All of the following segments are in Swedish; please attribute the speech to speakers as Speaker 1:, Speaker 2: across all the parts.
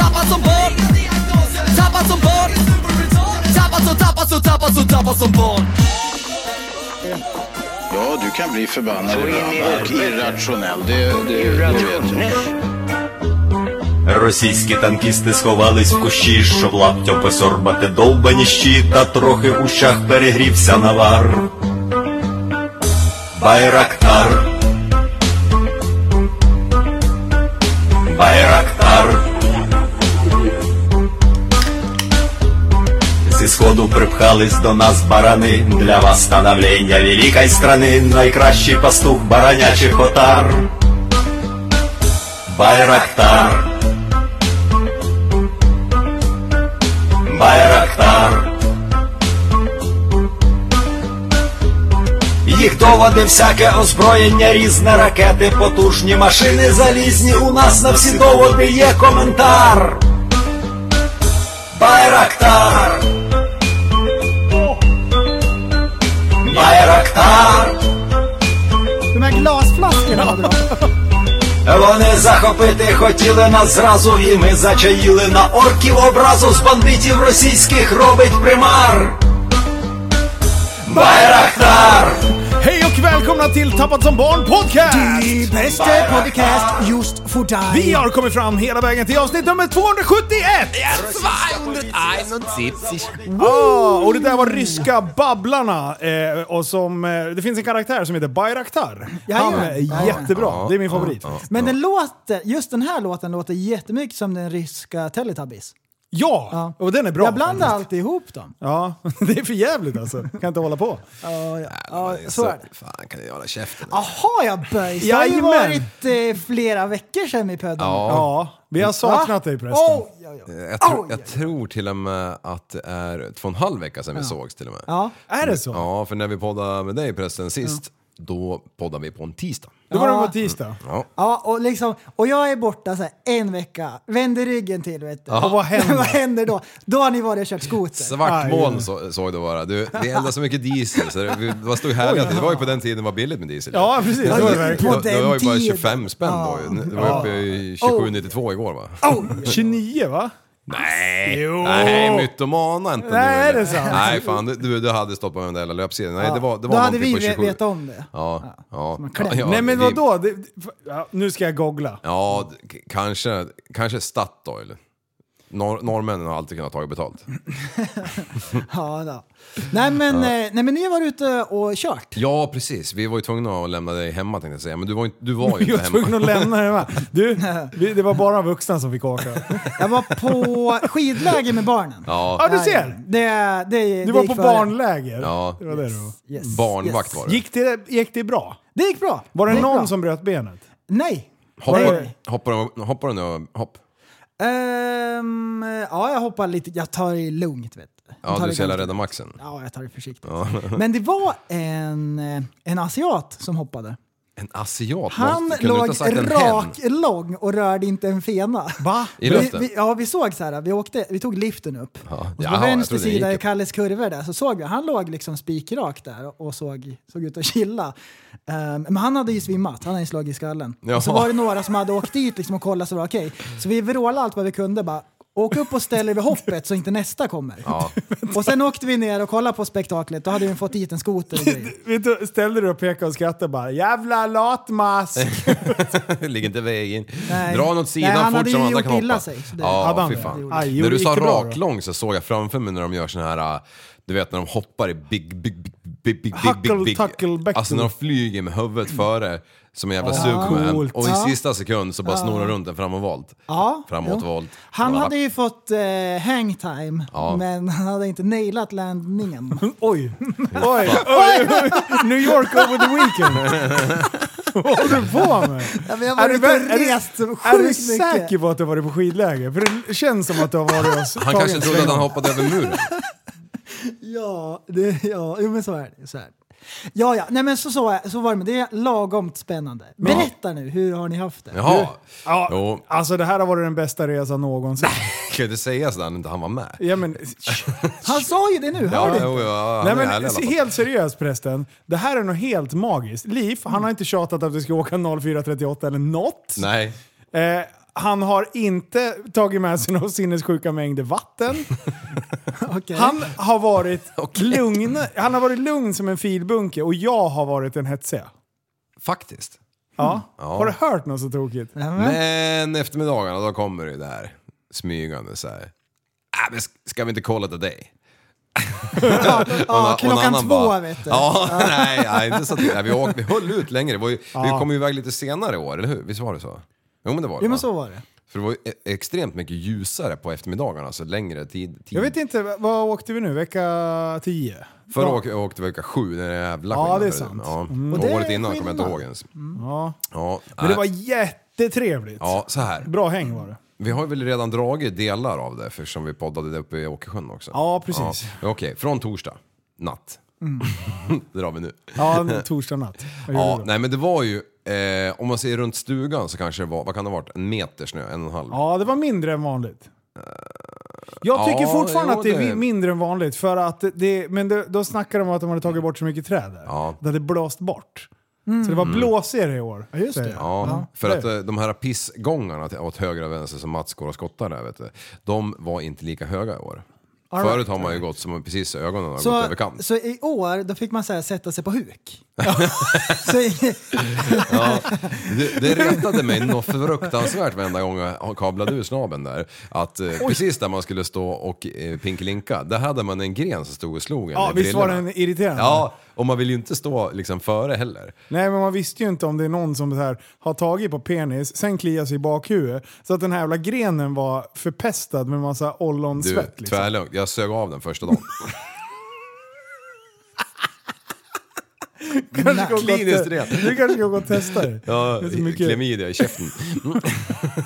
Speaker 1: Tappad som barn Tappad som barn Tappad som, tappad som, tappad som, tappad som barn
Speaker 2: Ja, du kan bli förbannad ibland och irrationell. Det, det, det vet jag.
Speaker 3: Російські танкісти сховались в кущі, щоб лаптю посорбати довбані щі, та трохи в ушах перегрівся навар. Байрактар. Байрактар. Зі сходу припхались до нас барани Для восстановлення великої страны Найкращий пастух баранячих отар Байрактар Байрактар Їх доводи всяке озброєння різне ракети, потужні машини залізні. У нас на всі доводи є коментар. Байрактар. Байрактар.
Speaker 4: De här glasflaskorna var bra.
Speaker 3: Вони захопити хотіли нас зразу, і ми зачаїли на орків образу з бандитів російських робить примар. Байрактар!
Speaker 5: Hej och välkomna till Tappat som barn podcast!
Speaker 4: Det bästa podcast just för dig.
Speaker 5: Vi har kommit fram hela vägen till avsnitt nummer 271!
Speaker 1: 271.
Speaker 5: Ah, och det där var ryska Babblarna. Eh, och som, eh, det finns en karaktär som heter Bayraktar. Han
Speaker 4: Jajamän.
Speaker 5: är jättebra. Det är min favorit.
Speaker 4: Men den låter, just den här låten låter jättemycket som den ryska Teletubbies.
Speaker 5: Ja, och den är bra.
Speaker 4: Jag blandar
Speaker 5: faktiskt.
Speaker 4: alltid ihop dem.
Speaker 5: Ja, det är för jävligt alltså. Kan inte hålla på.
Speaker 4: Ja, ja.
Speaker 5: alltså-
Speaker 4: ja, så är det.
Speaker 6: Alltså, Fan, kan du hålla käften?
Speaker 4: Jaha ja, Böjs. Det har ju
Speaker 5: Jajamän.
Speaker 4: varit eh, flera veckor sedan vi pödde.
Speaker 5: Ja, vi har saknat dig Eh. prästen.
Speaker 4: Oj, oj, oj.
Speaker 6: Jag, tror-
Speaker 4: Oj, oj,
Speaker 6: jag tror till och med att det är två och en halv vecka sedan vi sågs till och med.
Speaker 4: Ja.
Speaker 5: Är det så?
Speaker 6: Ja, för när vi poddade med dig förresten sist, då poddade vi på en tisdag.
Speaker 5: Då var det
Speaker 4: Ja.
Speaker 5: på tisdag.
Speaker 4: Ja, och, liksom, och jag är borta så här, en vecka, vänder ryggen till vet du.
Speaker 5: Och vad händer?
Speaker 4: vad händer då? Då har ni varit och kört skoter.
Speaker 6: Svart moln
Speaker 5: Aj.
Speaker 6: så, såg det vara. Du, vi eldade så mycket diesel, så det, vi- det var stor härliga Det var ju på den tiden det var billigt med diesel.
Speaker 5: Ja, precis. Det var det
Speaker 6: det,
Speaker 5: verkligen.
Speaker 4: På
Speaker 6: var- det var ju bara
Speaker 4: den
Speaker 6: 25 spänn
Speaker 4: tiden.
Speaker 6: då ju. Det var uppe i 27,92 igår va?
Speaker 5: 29 va?
Speaker 6: Nej!
Speaker 5: Jo.
Speaker 6: Nej, mytomana inte
Speaker 5: Nej,
Speaker 6: nu.
Speaker 5: är det sant?
Speaker 6: Nej, fan du- du, du hade stoppat med den där jävla löpsedeln. Nej, det var, det var
Speaker 4: då hade
Speaker 6: någonting
Speaker 4: vi
Speaker 6: på
Speaker 4: ve-
Speaker 6: 27.
Speaker 4: vetat om det.
Speaker 6: Ja, ja.
Speaker 4: man klämmer.
Speaker 6: ja
Speaker 5: Nej men
Speaker 6: vi-
Speaker 5: vadå? Det, ja, nu ska jag googla.
Speaker 6: Ja, d- k- kanske, kanske Statoil. Nor norrmännen har alltid kunnat ta betalt.
Speaker 4: Ja, då. Nej, men, eh, nej men ni har varit ute och kört.
Speaker 6: Ja, precis. Vi var ju tvungna att lämna dig hemma tänkte jag säga, men du var, ju- du var ju
Speaker 5: Vi
Speaker 6: inte
Speaker 5: var
Speaker 6: hemma.
Speaker 5: tvungna att lämna det med. Du, vi, det var bara vuxna som fick åka.
Speaker 4: Jag var på skidläger med barnen.
Speaker 6: Ja,
Speaker 5: Ja du ser!
Speaker 4: Det, det, det
Speaker 5: Du var
Speaker 4: gick
Speaker 5: på
Speaker 4: före.
Speaker 5: barnläger.
Speaker 6: Ja.
Speaker 5: Det var det du var.
Speaker 4: Yes,
Speaker 6: barnvakt var du.
Speaker 5: Gick det, gick det bra?
Speaker 4: Det gick bra.
Speaker 5: Var det,
Speaker 4: gick
Speaker 5: någon
Speaker 4: bra.
Speaker 5: som bröt benet?
Speaker 4: Nej.
Speaker 6: Hoppar,
Speaker 4: Nej.
Speaker 6: hoppar, hoppar du nu? Hopp.
Speaker 4: Ehm, ja, jag hoppar lite. Jag tar det lugnt vet du. Jag
Speaker 6: Ja,
Speaker 4: tar
Speaker 6: du
Speaker 4: det
Speaker 6: ser
Speaker 4: ganska-
Speaker 6: Rädda Maxen.
Speaker 4: Ja, jag tar det försiktigt. Men det var en, eh, en asiat som hoppade.
Speaker 6: En asiat?
Speaker 4: Han
Speaker 6: måste- kunde du inte ha
Speaker 4: låg
Speaker 6: sagt en hen?
Speaker 4: raklång och rörde inte en fena.
Speaker 5: Va?
Speaker 6: I
Speaker 4: vi,
Speaker 6: luften?
Speaker 4: vi, ja, vi såg så här, vi, åkte, vi tog liften upp.
Speaker 6: Ja.
Speaker 4: Och så
Speaker 6: Jaha,
Speaker 4: på
Speaker 6: jag
Speaker 4: vänster
Speaker 6: trodde den
Speaker 4: sida
Speaker 6: gick
Speaker 4: i
Speaker 6: upp.
Speaker 4: Kalles kurvor där så såg vi, han låg liksom spikrak där och såg, såg ut att chilla. Ehm, men han hade ju svimmat, han hade ju slagit i skallen. Och så
Speaker 6: Jaha.
Speaker 4: var det några som hade åkt dit liksom och kollat så det var okej. Så vi vrålade allt vad vi kunde bara. Åk upp och ställ er vid hoppet så inte nästa kommer. Och sen åkte vi ner och kollade på spektaklet. Då hade vi fått hit en skoter och grejer.
Speaker 5: Vet du, ställde du dig och pekade och skrattade bara “Jävla latmask!”
Speaker 6: Ligger inte i vägen.
Speaker 4: Nej.
Speaker 6: Dra åt sidan
Speaker 4: Nej, han
Speaker 6: fort
Speaker 4: hade
Speaker 6: som
Speaker 4: ju
Speaker 6: andra
Speaker 4: gjort
Speaker 6: kan hoppa.
Speaker 4: illa sig, så det-
Speaker 5: Hade
Speaker 6: ja,
Speaker 5: han
Speaker 6: fy
Speaker 5: det?
Speaker 6: fan.
Speaker 5: Aj,
Speaker 6: när
Speaker 5: gjorde
Speaker 6: du sa
Speaker 5: inte bra då.
Speaker 6: raklång så såg jag framför mig när de gör såna här, äh, du vet när de hoppar i big, big, big, big, big,
Speaker 5: Huckle,
Speaker 6: big, big.
Speaker 5: tuckle, backle.
Speaker 6: Alltså när de flyger med huvudet före som en jävla
Speaker 5: coolt.
Speaker 6: Superman. Och i
Speaker 4: Ja.
Speaker 6: sista sekund så bara snurrar runt den framåtvolt.
Speaker 4: Ja,
Speaker 6: Framåtvolt.
Speaker 4: jo. Han
Speaker 6: Bara-
Speaker 4: hade ju fått eh, hangtime,
Speaker 6: Ja.
Speaker 4: men han hade inte nailat landningen.
Speaker 5: Oj. Oj, oj, oj! New York over the weekend! Vad håller du på med?
Speaker 4: Ja, men jag har varit
Speaker 5: väl-
Speaker 4: ute och rest så
Speaker 5: är du
Speaker 4: sjukt
Speaker 5: säker
Speaker 4: mycket.
Speaker 5: på att du har varit på skidläger? För det känns som att du har varit och
Speaker 6: Han
Speaker 5: tagit
Speaker 6: kanske
Speaker 5: en
Speaker 6: trodde att
Speaker 5: sväng.
Speaker 6: han hoppade över muren.
Speaker 4: Ja, det, ja, jo, men så är det. Så är det. Ja, ja, nej men så, så, är- så var det med det. är Lagomt spännande. Berätta nu, hur har ni haft det?
Speaker 6: Jaha.
Speaker 5: Ja,
Speaker 6: Jo.
Speaker 5: Alltså det här har varit den bästa resan någonsin.
Speaker 6: Kan du säga sådär när inte han var med?
Speaker 5: Ja, men,
Speaker 4: Han sa ju det nu, hör
Speaker 6: Ja,
Speaker 4: du?
Speaker 6: jo, ja, han
Speaker 5: nej,
Speaker 6: är
Speaker 5: men,
Speaker 6: ärlig i alla fall.
Speaker 5: helt seriöst prästen, det här är något helt magiskt. Liv, han har inte tjatat att vi ska åka 04.38 eller något.
Speaker 6: Nej.
Speaker 5: Eh, han har inte tagit med sig några sinnessjuka mängder vatten.
Speaker 4: Okej.
Speaker 5: Han har varit
Speaker 6: Okej.
Speaker 5: lugn. Han har varit lugn som en filbunke och jag har varit en hetsiga.
Speaker 6: Faktiskt.
Speaker 5: Ja.
Speaker 6: Mm. Ja.
Speaker 5: Har du hört något så tokigt?
Speaker 4: Ja, men-
Speaker 6: Men eftermiddagarna då kommer det där smygande så här. Äh, men sk- ska vi inte kolla till dig? Och
Speaker 4: ja,
Speaker 6: na- och en
Speaker 4: klockan
Speaker 6: annan
Speaker 4: två
Speaker 6: bara,
Speaker 4: vet du.
Speaker 6: Ja, nej, nej, inte så att, nej, vi, åkte, vi höll ut längre. Det var ju, Vi kom ju iväg lite senare i år, eller hur? Visst var det så? Jo men det var det
Speaker 4: Jo
Speaker 6: va?
Speaker 4: men så var det.
Speaker 6: För det var ju e- extremt mycket ljusare på eftermiddagarna, alltså längre tid. tid.
Speaker 5: Jag vet inte, vad åkte vi nu? Vecka 10?
Speaker 6: Förra åkte, åkte vi vecka sju, när det är jävla
Speaker 5: Ja,
Speaker 6: skillnad.
Speaker 5: det är sant.
Speaker 6: Ja.
Speaker 5: Mm.
Speaker 6: Och
Speaker 4: Och det
Speaker 6: året
Speaker 4: är
Speaker 6: innan kommer jag inte
Speaker 4: skillnad.
Speaker 6: ihåg ens.
Speaker 5: Ja.
Speaker 6: Ja,
Speaker 5: Men det
Speaker 6: nej.
Speaker 5: var jättetrevligt.
Speaker 6: ja, så här.
Speaker 5: Bra häng var det.
Speaker 6: Vi har väl redan dragit delar av det eftersom vi poddade det uppe i Åkersjön också.
Speaker 5: Ja, precis. Mm.
Speaker 6: Ja, Okej, från torsdag natt. det drar vi nu.
Speaker 5: Ja, en torsdag natt. Vad gjorde
Speaker 6: Ja,
Speaker 5: du då?
Speaker 6: nej men det var ju, eh, om man ser runt stugan så kanske det var, vad kan det ha varit, en meter snö, en och en halv.
Speaker 5: ja, det var mindre än vanligt. Jag tycker
Speaker 6: Eh, ja,
Speaker 5: fortfarande
Speaker 6: jo,
Speaker 5: att det är
Speaker 6: det-
Speaker 5: mindre än vanligt. För att det, men det, då snackade de om att de hade tagit bort så mycket träd där.
Speaker 6: Ja. Mm.
Speaker 5: Det hade blåst bort. Så det var blåsigare i år. Ja,
Speaker 4: just det.
Speaker 6: Ja, för
Speaker 5: det.
Speaker 6: att eh, de här pissgångarna till- åt höger och vänster som Mats går och skottar där, vet du, de var inte lika höga i år. Förut har man ju gått som precis ögonen har gått
Speaker 4: Så,
Speaker 6: över kant.
Speaker 4: så i år, då fick man så här, sätta sig på huk. så, i-
Speaker 6: Det, det retade mig något fruktansvärt varenda gång jag kablade ur snaben där. Att eh, precis där man skulle stå och eh, pinkelinka, där hade man en gren som stod och slog en
Speaker 5: Ja,
Speaker 6: i
Speaker 5: visst var
Speaker 6: brillorna.
Speaker 5: den irriterande?
Speaker 6: Ja, och man vill ju inte stå liksom före heller.
Speaker 5: Nej, men man visste ju inte om det är någon som så här, har tagit på penis, sen kliar sig i bakhuvudet. Så att den här jävla grenen var förpestad med massa
Speaker 6: Du,
Speaker 5: ollonsvett. Liksom.
Speaker 6: tvärlugnt. Jag sög av den första dagen.
Speaker 5: Kanske ska gå och te-
Speaker 6: Kliniskt rent.
Speaker 5: Du kanske ska gå och testa det.
Speaker 6: Ja,
Speaker 5: det är så mycket-
Speaker 6: klamydia i käften. Mm.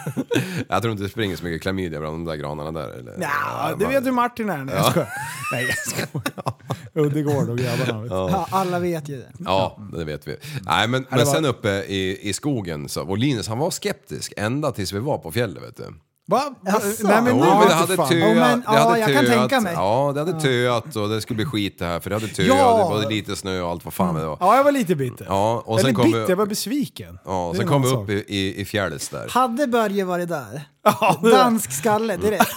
Speaker 6: jag tror inte det springer så mycket klamydia bland de där granarna där. Eller?
Speaker 5: Ja, det vet du Martin är. Nej, jag skojar. Nej, jag skojar. Uddegård och grabbarna. Vet. du.
Speaker 4: ja, alla vet ju det.
Speaker 6: Ja, det vet vi. Nej, men, men sen uppe i, i skogen så, och Linus han var skeptisk ända tills vi var på fjället vet du.
Speaker 5: Va? Va?
Speaker 4: Jaså?
Speaker 5: Nej, men
Speaker 6: Jo,
Speaker 5: nu
Speaker 6: men
Speaker 5: vet du
Speaker 6: det hade
Speaker 5: fan.
Speaker 6: töat.
Speaker 4: Jo, men,
Speaker 6: det
Speaker 4: ja,
Speaker 6: hade
Speaker 4: jag kan
Speaker 6: töat.
Speaker 4: tänka mig.
Speaker 6: Ja, det hade töat och det skulle bli skit det här för det hade töat
Speaker 5: Ja.
Speaker 6: och det var lite snö och allt vad fan det var.
Speaker 5: Ja, jag var lite bitter.
Speaker 6: Ja, och sen
Speaker 5: Eller
Speaker 6: kom vi-
Speaker 5: bitter, jag var besviken.
Speaker 6: Ja,
Speaker 5: Det är
Speaker 6: sen
Speaker 5: en
Speaker 6: kom vi
Speaker 5: annan
Speaker 6: upp i, i, i fjället där.
Speaker 4: Hade Börje varit där?
Speaker 5: sak.
Speaker 4: Dansk skalle direkt.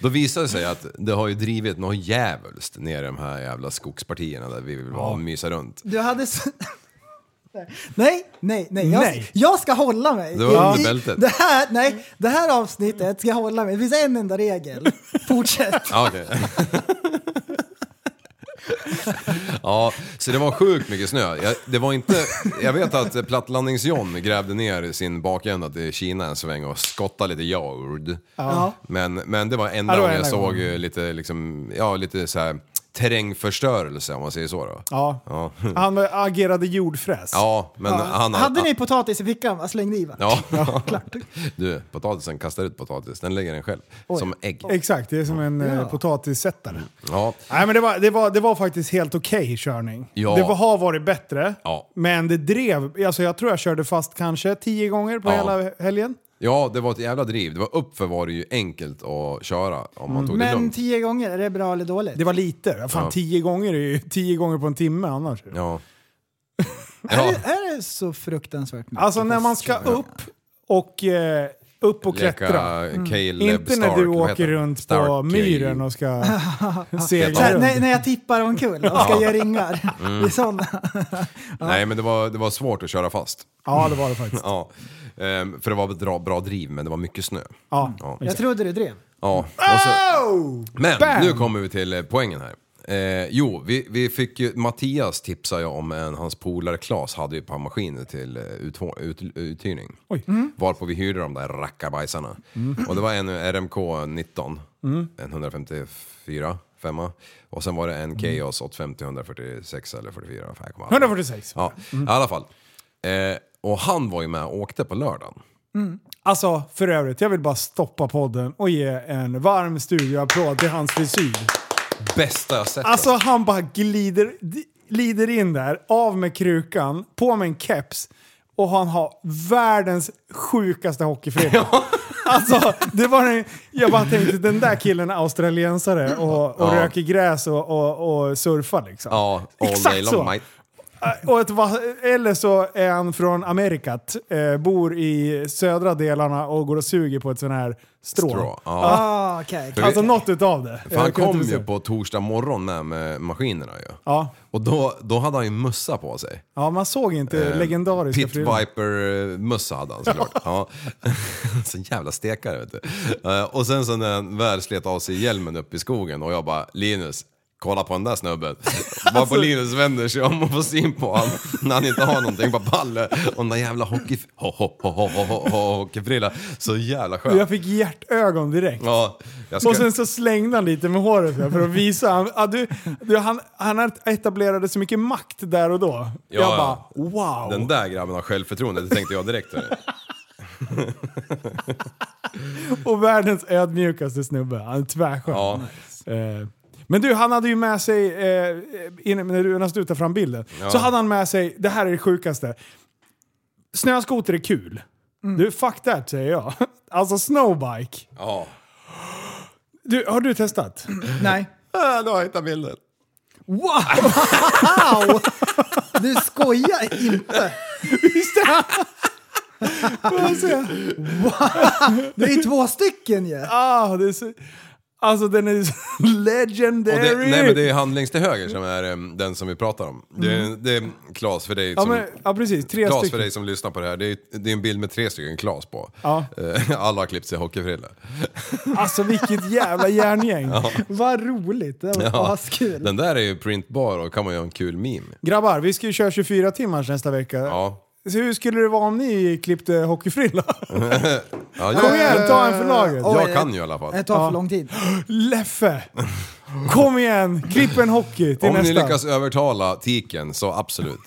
Speaker 6: Då visade det sig att det har ju drivit något djävulskt ner i de här jävla skogspartierna där vi vill vara och mysa runt.
Speaker 4: Du hade... Så... Nej, nej, nej. Jag,
Speaker 5: Nej.
Speaker 4: jag ska hålla mig.
Speaker 6: Det var
Speaker 4: I-
Speaker 6: under
Speaker 4: i-
Speaker 6: bältet.
Speaker 4: Det här, nej, det här avsnittet ska jag hålla mig. Det finns en enda regel. Fortsätt.
Speaker 6: Ja, okej. ja, så det var sjukt mycket snö. Jag, det var inte, jag vet att Plattlandnings-John grävde ner sin bakända till Kina en sväng och skottade lite jord.
Speaker 4: Ja.
Speaker 6: Men, men det var
Speaker 5: Ja,
Speaker 6: enda
Speaker 5: det var
Speaker 6: gången jag
Speaker 5: enda
Speaker 6: såg
Speaker 5: gången.
Speaker 6: eh, lite, liksom, ja, lite så här, terrängförstörelse om man säger så. Då.
Speaker 5: Ja.
Speaker 6: Ja.
Speaker 5: Han agerade jordfräs.
Speaker 6: Ja, men han...
Speaker 4: Hade ni potatis i fickan? va? Slängde i va?
Speaker 6: Ja, Du, potatisen kastar ut potatis, den lägger den själv. Som ägg.
Speaker 5: Exakt, det är som en eh, potatissättare.
Speaker 6: Ja.
Speaker 5: Nej, men det, var, det, var, det var faktiskt helt okej körning.
Speaker 6: Ja.
Speaker 5: Det var, har varit bättre,
Speaker 6: Ja.
Speaker 5: men det drev. Alltså jag tror jag körde fast kanske tio gånger på
Speaker 6: Ja.
Speaker 5: hela helgen.
Speaker 6: ja, det var ett jävla driv. Det var uppför var det ju enkelt att köra om
Speaker 5: Mm.
Speaker 6: man tog det
Speaker 4: Men
Speaker 6: lugnt.
Speaker 4: tio gånger, är det bra eller dåligt?
Speaker 5: Det var lite. Fan,
Speaker 6: Ja.
Speaker 5: tio gånger är ju tio gånger på en timme annars.
Speaker 6: Ja.
Speaker 4: Är,
Speaker 6: ja.
Speaker 4: det, är det så fruktansvärt mycket?
Speaker 5: Alltså när man ska upp och, eh, upp och klättra. Mm.
Speaker 6: Leka Caleb
Speaker 5: Inte när
Speaker 6: Stark,
Speaker 5: du
Speaker 6: vad
Speaker 5: åker
Speaker 6: heter han?
Speaker 5: runt
Speaker 6: Stark
Speaker 5: på
Speaker 6: Caleb.
Speaker 5: myren och ska segla
Speaker 4: Där,
Speaker 5: runt.
Speaker 4: när, när jag tippar omkull och ska göra ringar.
Speaker 6: Mm.
Speaker 4: Det är sådana.
Speaker 6: Nej, men det var, det var svårt att köra fast.
Speaker 5: Ja, det var det faktiskt.
Speaker 6: Ja. Ehm, för det var ett bra, bra driv, men det var mycket snö.
Speaker 5: Ja.
Speaker 4: Jag trodde du drev.
Speaker 6: Ja, och så,
Speaker 5: Oh!
Speaker 6: men
Speaker 5: Bam!
Speaker 6: nu kommer vi till eh, poängen här. Eh, jo, vi, vi fick ju, Mattias tipsade ju om en, hans polare Klas hade ju ett par maskiner till eh, uthå- ut, uthyrning.
Speaker 5: Oj.
Speaker 6: Varpå vi hyrde de där
Speaker 5: Mm.
Speaker 6: rackabajsarna. Och det var en RMK 19, en 154, femma. Och sen var det
Speaker 5: Mm.
Speaker 6: en Chaos 850 146 eller 44. Fan, jag kommer aldrig ihåg.
Speaker 5: 146.
Speaker 6: Ja,
Speaker 5: Mm.
Speaker 6: i alla fall. Eh, och han var ju med och åkte på lördagen.
Speaker 5: Alltså, för övrigt, jag vill bara stoppa podden och ge en varm studioapplåd till hans frisyr.
Speaker 6: Bästa jag sett.
Speaker 5: Alltså han bara glider, glider in där, av med krukan, på med en keps och han har världens sjukaste hockeyfrilla. Alltså, det var en, jag bara tänkte den där killen är australiensare och, och
Speaker 6: Ja.
Speaker 5: röker gräs och, och, och surfar liksom.
Speaker 6: Ja, all
Speaker 5: Exakt
Speaker 6: day
Speaker 5: så.
Speaker 6: long, mate.
Speaker 5: Äh, Och ett, va- eller så är han från Amerikat, eh, bor i södra delarna och går och suger på ett sån här strå.
Speaker 6: Strå. Ja.
Speaker 4: Ah, okej.
Speaker 6: För
Speaker 5: Alltså
Speaker 6: vi-
Speaker 5: något utav det.
Speaker 6: För han
Speaker 5: Jag kunde
Speaker 6: kom
Speaker 5: inte
Speaker 6: ju
Speaker 5: se.
Speaker 6: på torsdag morgon med, med maskinerna ju.
Speaker 5: Ja.
Speaker 6: Och då, då hade han ju mössa på sig.
Speaker 5: ja, man såg inte legendariska
Speaker 6: Eh, Pit
Speaker 5: prylar.
Speaker 6: Viper-mössa hade han såklart. ja. Så en jävla stekare vet du. Eh, Och sen så när han väl slet av sig hjälmen upp i skogen och jag bara Linus, kolla på den där snubben. Bara
Speaker 5: Alltså-
Speaker 6: på Linus vänder sig om och får syn på honom när han inte har någonting på ballen. Och den där jävla hockey... ho, ho, ho, ho, ho, ho, ho, hockeyfrilla. Så jävla
Speaker 5: Jag
Speaker 6: skön.
Speaker 5: fick hjärtögon direkt.
Speaker 6: Ja, jag
Speaker 5: Och
Speaker 6: ska...
Speaker 5: sen så slängde han lite med håret där för att visa. Han, ja, du, du, han, han etablerade så mycket makt där och då. jag
Speaker 6: ja.
Speaker 5: bara wow.
Speaker 6: Den där grabben har självförtroende, det tänkte jag direkt. hörni.
Speaker 5: Och världens ödmjukaste snubbe. Han är tvärskön.
Speaker 6: Ja.
Speaker 5: Eh, men du, han hade ju med sig, eh, innan- när du nästan tar fram bilden, så hade han med sig, det här är det sjukaste. Snöskoter är kul. Du, fuck that säger jag. Alltså snowbike.
Speaker 6: Ja.
Speaker 5: Du, har du testat?
Speaker 4: Nej.
Speaker 6: Ah, nu har jag hittat bilden.
Speaker 4: Wow! Du skojar inte! Det är ju två stycken ju!
Speaker 5: Ah, det är så, alltså den är så legendary!
Speaker 6: Och det, nej men det är handlings till höger som är em, den som vi pratar om. Det, är- det är Klas för dig
Speaker 5: Mm. ja,
Speaker 6: som...
Speaker 5: men, ja precis, tre
Speaker 6: Klas för
Speaker 5: stycken.
Speaker 6: dig som lyssnar på det här, det är, det är en bild med tre stycken Klas på.
Speaker 5: Ja.
Speaker 6: Eh, Alla har klippt sig i hockeyfrilla.
Speaker 5: Alltså vilket jävla järngäng.
Speaker 4: Vad roligt! Det var
Speaker 6: Ja.
Speaker 4: askul.
Speaker 6: Den där är ju printbar och kan man göra en kul meme.
Speaker 5: Grabbar, vi ska ju köra 24 timmars nästa vecka.
Speaker 6: Ja.
Speaker 5: Så hur skulle det vara om ni klippte hockeyfrilla?
Speaker 6: ja
Speaker 5: Kom
Speaker 6: jag,
Speaker 5: igen, ta en för laget.
Speaker 4: Oj,
Speaker 6: jag kan ju i alla fall.
Speaker 4: Det tar
Speaker 5: Ja.
Speaker 4: för lång tid.
Speaker 5: Leffe! Kom igen, klipp en hockey till
Speaker 6: Om ni
Speaker 5: nästa.
Speaker 6: lyckas övertala tiken så absolut.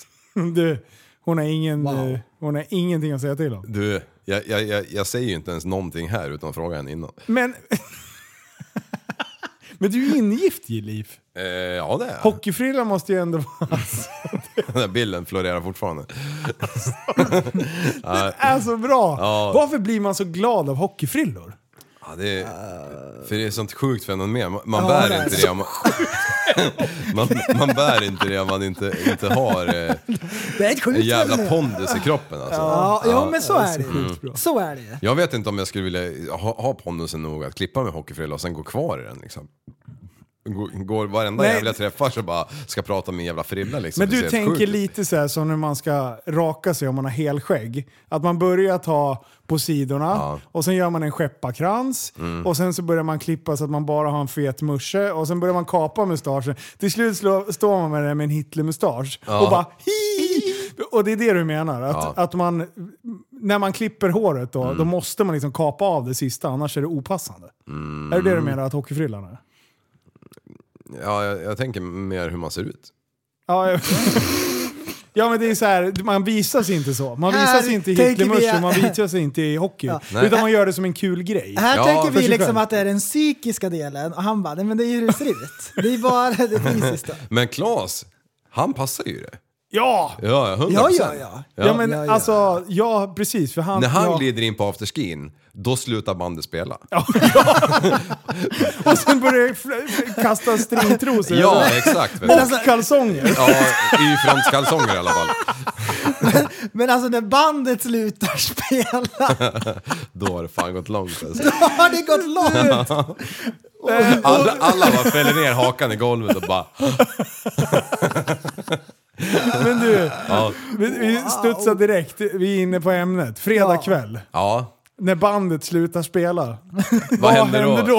Speaker 5: Du, hon, har ingen, eh, hon har ingenting att säga till om.
Speaker 6: Du, jag, jag, jag, jag säger ju inte ens någonting här utan att fråga henne innan.
Speaker 5: Men... Men du är ju ingift i liv.
Speaker 6: Eh, ja det är jag.
Speaker 5: Hockeyfrilla måste ju ändå vara...
Speaker 6: Den där bilden florerar fortfarande.
Speaker 5: är så bra!
Speaker 6: Ja.
Speaker 5: Varför blir man så glad av hockeyfrillor?
Speaker 6: Ja, det är,
Speaker 5: Eh.
Speaker 6: för det är ett sånt sjukt fenomen. Man, man
Speaker 4: Ja,
Speaker 6: bär
Speaker 4: det är
Speaker 6: inte
Speaker 4: så
Speaker 6: det om man, man, man bär inte det om man inte, inte har eh,
Speaker 4: Det är ett
Speaker 6: en
Speaker 4: sjukt
Speaker 6: jävla
Speaker 4: ämne.
Speaker 6: pondus i kroppen alltså.
Speaker 4: Ja, jo, men så är det
Speaker 5: sjukt bra.
Speaker 4: ju. Så är det ju.
Speaker 6: Jag vet inte om jag skulle vilja ha, ha pondusen nog att klippa med hockeyfrilla och sen gå kvar i den liksom. Går, går varenda
Speaker 5: Nej.
Speaker 6: jävla jag träffar så bara ska prata med en jävla frilla liksom.
Speaker 5: Men
Speaker 6: Det
Speaker 5: du
Speaker 6: ser helt
Speaker 5: tänker
Speaker 6: sjukt ut.
Speaker 5: lite så här som när man ska raka sig om man har helskägg. Att man börjar ta på sidorna och sen gör man en skepparkrans och sen så börjar man klippa så att man bara har en fet musche och sen börjar man kapa mustaschen. Till slut slå, står man med den med en Hitlermustasch och bara hi! Och det är det du menar? Att, att man, när man klipper håret då, då måste man liksom kapa av det sista annars är det opassande. Är det det du menar att hockeyfrillan är?
Speaker 6: Ja, jag, jag tänker mer hur man ser ut.
Speaker 5: Ja, jag- ja men det är så här, man visar sig inte så. Man
Speaker 4: Här
Speaker 5: visar sig inte i
Speaker 4: tänker
Speaker 5: Hitlermuschen,
Speaker 4: vi-
Speaker 5: man visar sig inte i hockey.
Speaker 6: Nej.
Speaker 5: Utan man gör det som en kul grej.
Speaker 4: Här
Speaker 6: Ja,
Speaker 4: tänker
Speaker 5: för
Speaker 4: vi
Speaker 5: sig själv.
Speaker 4: liksom att det är den psykiska delen och han bara, nej men det är ju hur det ser ut. Det är bara det fysiska.
Speaker 6: Men Claes, han passar ju det.
Speaker 5: Ja!
Speaker 6: Ja, 100%.
Speaker 4: Ja, ja, ja.
Speaker 5: Ja, men
Speaker 4: ja, ja.
Speaker 5: alltså, ja precis. För han,
Speaker 6: När han
Speaker 5: ja.
Speaker 6: glider in på afterskin, då slutar bandet spela.
Speaker 5: Och sen börjar fl- fl- kasta stringtrosor. Alltså,
Speaker 6: Ja, exakt.
Speaker 5: Och kalsonger.
Speaker 6: Ja, i franskalsonger i alla fall.
Speaker 4: Men alltså när bandet slutar spela,
Speaker 6: Då har det fan gått långt alltså.
Speaker 4: då har det gått långt.
Speaker 6: alla, alla bara fäller ner hakan i golvet och bara...
Speaker 5: Men du,
Speaker 6: Ja,
Speaker 5: vi- vi studsar direkt. Vi är inne på ämnet. Fredag kväll.
Speaker 6: ja
Speaker 5: När bandet slutar spela.
Speaker 6: Vad händer då?
Speaker 5: händer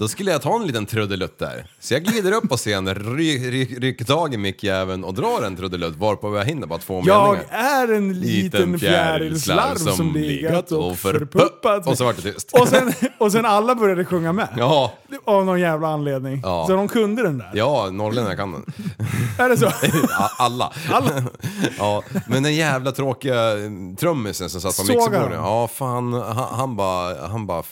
Speaker 6: då? skulle jag ta en liten trudelutt där. Så jag glider upp på scenen, ry, ry, rycker tag i mickjäveln och drar en trudelutt varpå jag hinner bara två
Speaker 5: Jag
Speaker 6: meningar.
Speaker 5: är en liten fjärilslarv som legat och förpuppat.
Speaker 6: Och så vart det tyst.
Speaker 5: och, sen, och sen alla började sjunga med.
Speaker 6: Ja,
Speaker 5: Av någon jävla anledning.
Speaker 6: Ja.
Speaker 5: Så de kunde den där.
Speaker 6: ja norrlänningar kan den.
Speaker 5: Är det så?
Speaker 6: A- Alla. Alla. ja, men den jävla tråkiga eh, trummisen som satt på
Speaker 5: Såg
Speaker 6: mixerbordet.
Speaker 5: han?
Speaker 6: Ja, fan, han, han bara... Han, bara,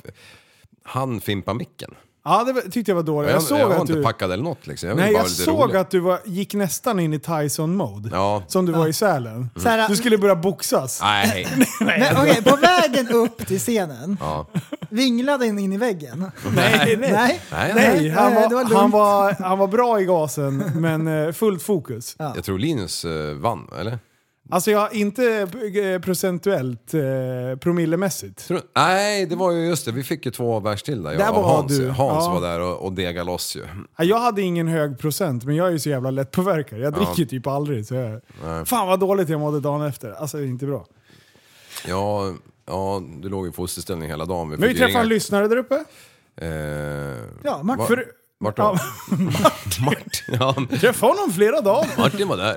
Speaker 6: han fimpade micken.
Speaker 5: Ja, det var- tyckte jag var dåligt. Jag, såg
Speaker 6: jag var
Speaker 5: att
Speaker 6: inte
Speaker 5: du...
Speaker 6: packad eller något liksom. Jag ville
Speaker 5: Nej,
Speaker 6: bara
Speaker 5: jag
Speaker 6: vara lite
Speaker 5: såg
Speaker 6: rolig.
Speaker 5: att du var, gick nästan in i Tyson-mode.
Speaker 6: Ja. Mm. Ah,
Speaker 5: Som du var i Sälen.
Speaker 4: Såhär-
Speaker 5: Du skulle börja boxas.
Speaker 6: Nej,
Speaker 4: Men okej, på vägen upp till scenen,
Speaker 6: Ja.
Speaker 4: vinglade han in i väggen.
Speaker 5: Nej,
Speaker 4: Nej.
Speaker 6: nej, nej.
Speaker 5: Nej, han
Speaker 4: Nej, det var
Speaker 5: var,
Speaker 4: lugnt.
Speaker 5: han, var, han var bra i gasen, men eh, fullt fokus.
Speaker 6: Jag tror Linus eh, vann, eller?
Speaker 5: Alltså jag har inte eh, procentuellt, eh, promillemässigt.
Speaker 6: Tror, nej, det var ju just det. Vi fick ju två vers till där. Jag
Speaker 5: Där
Speaker 6: och
Speaker 5: var
Speaker 6: Hans,
Speaker 5: du.
Speaker 6: Hans
Speaker 5: Ja.
Speaker 6: var där och, och degade loss ju.
Speaker 5: Ja, Jag hade ingen hög procent, men jag är ju så jävla lättpåverkad. Jag dricker ju typ aldrig. Så jag, fan vad dåligt jag mådde dagen efter. Alltså det är inte bra.
Speaker 6: Ja, ja du låg i fosterställning hela dagen.
Speaker 5: Men vi
Speaker 6: fick ju
Speaker 5: träffade en
Speaker 6: ringa-
Speaker 5: lyssnare där uppe.
Speaker 6: Eh,
Speaker 4: Ja, Martin.
Speaker 6: va-
Speaker 5: För-
Speaker 6: Vart då?
Speaker 5: Ja,
Speaker 6: Martin. Ja,
Speaker 5: träffade honom flera dagar.
Speaker 6: Martin var där.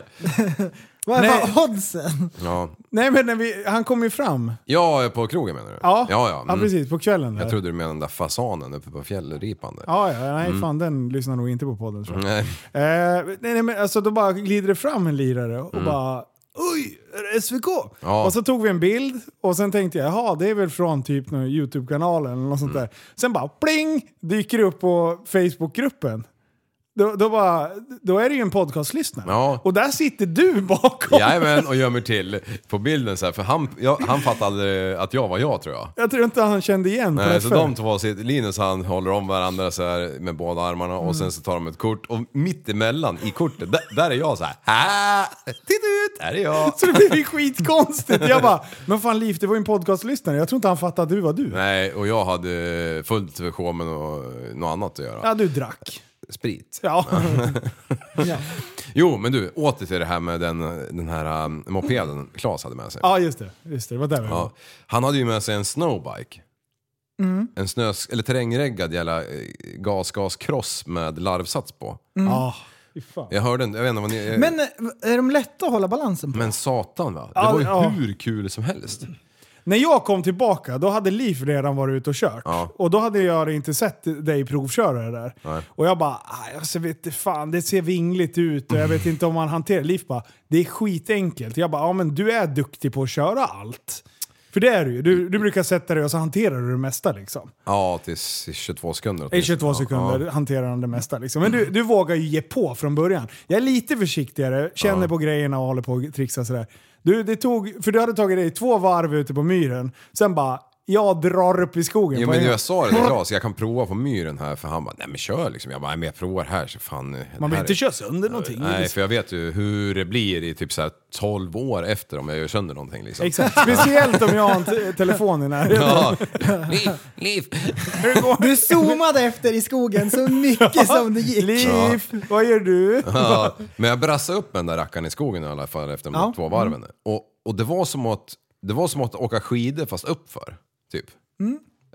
Speaker 4: Vad
Speaker 5: Nej.
Speaker 4: var oddsen?
Speaker 6: Ja,
Speaker 5: Nej men när vi, han kom ju fram.
Speaker 6: ja på krogen menar du?
Speaker 5: Ja,
Speaker 6: ja. ja.
Speaker 5: ja
Speaker 6: Mm.
Speaker 5: precis. På kvällen där.
Speaker 6: Jag trodde du menade den där fasanen uppe på fjällripan där.
Speaker 5: Ja, ja, nej
Speaker 6: Mm.
Speaker 5: fan den lyssnar nog inte på podden tror jag.
Speaker 6: Nej.
Speaker 5: Eh, nej, nej, men alltså då bara glider det fram en lirare och bara Oj, är det SVK?
Speaker 6: Mm. Ja.
Speaker 5: Och så tog vi en bild och sen tänkte jag, jaha det är väl från typ någon YouTube-kanal eller något
Speaker 6: Mm.
Speaker 5: sånt där. Sen bara pling! Dyker det upp på Facebook-gruppen. Då, då, bara, då är det ju en podcastlyssnare.
Speaker 6: Ja.
Speaker 5: Och där sitter du bakom.
Speaker 6: Jajamän, och gömmer till på bilden så här, för han, jag, han fattade att jag var jag tror jag.
Speaker 5: Jag tror inte han kände igen på
Speaker 6: Nej, så
Speaker 5: FN.
Speaker 6: de två sitter, Linus han håller om varandra så här med båda armarna och sen så tar de ett kort och mitt emellan i kortet, där, där är jag så här. "Ah, Titta ut, här är jag!
Speaker 5: Så det blev ju skitkonstigt. Jag bara, men fan Liv, det var ju en podcastlyssnare. Jag tror inte han fattade att du var du.
Speaker 6: Nej, och jag hade fullt för show med nå- något annat att göra.
Speaker 5: Ja, du drack.
Speaker 6: Sprit.
Speaker 5: Ja.
Speaker 6: Jo, men du, åter till det här med den, den här um, mopeden Claes hade med sig.
Speaker 5: ja, just det. Just det, det var där vi var.
Speaker 6: Ja. Han hade ju med sig en snowbike.
Speaker 5: Mm.
Speaker 6: En snös, eller terrängreggad jävla eh, gas gas cross med larvsats på.
Speaker 5: Ah, fy fan.
Speaker 6: Jag hörde inte, jag vet inte vad ni...
Speaker 4: Men eh, är de lätta att hålla balansen på?
Speaker 6: Men satan va? Det
Speaker 5: Ja,
Speaker 6: var ju
Speaker 5: ja.
Speaker 6: hur kul som helst.
Speaker 5: När jag kom tillbaka, då hade Liv redan varit ute och kört.
Speaker 6: Ja.
Speaker 5: Och då hade jag inte sett dig provköra det där. Och jag bara, "Aj, alltså vet du fan, det ser vingligt ut och jag vet inte om man hanterar det." Liv bara, det är skitenkelt. Jag bara, ja men du är duktig på att köra allt. För det är du ju. Du, du brukar sätta dig och så hanterar du det mesta liksom.
Speaker 6: Ja, till 22 sekunder
Speaker 5: I
Speaker 6: åtminstone.
Speaker 5: 22 sekunder hanterar han det mesta. Liksom. Men du, du vågar ju ge på från början. Jag är lite försiktigare, känner på grejerna och håller på och trixar sådär. Du, det tog, för du hade tagit dig två varv ute på myren, sen bara jag drar upp i skogen.
Speaker 6: Jo
Speaker 5: på
Speaker 6: men
Speaker 5: en-
Speaker 6: jag sa det till Claes, jag kan prova på myren här för han bara, nej men kör liksom. Jag bara, nej men jag provar här så fan. eh,
Speaker 5: Man
Speaker 6: det
Speaker 5: vill
Speaker 6: här
Speaker 5: inte
Speaker 6: är-
Speaker 5: köra sönder någonting.
Speaker 6: Nej för jag vet ju hur det blir i typ så här 12 år efter om jag gör sönder någonting liksom.
Speaker 5: Exakt. Speciellt om jag har en te- telefon i närheten.
Speaker 6: Ja. Liv, liv.
Speaker 4: Du zoomade efter i skogen så mycket som det gick.
Speaker 5: Liv, vad gör du?
Speaker 6: Ja, men jag brassade upp den där rackaren i skogen i alla fall efter de
Speaker 5: Ja.
Speaker 6: två varven. Och, och det, var som att, det var som att åka skidor fast uppför, typ.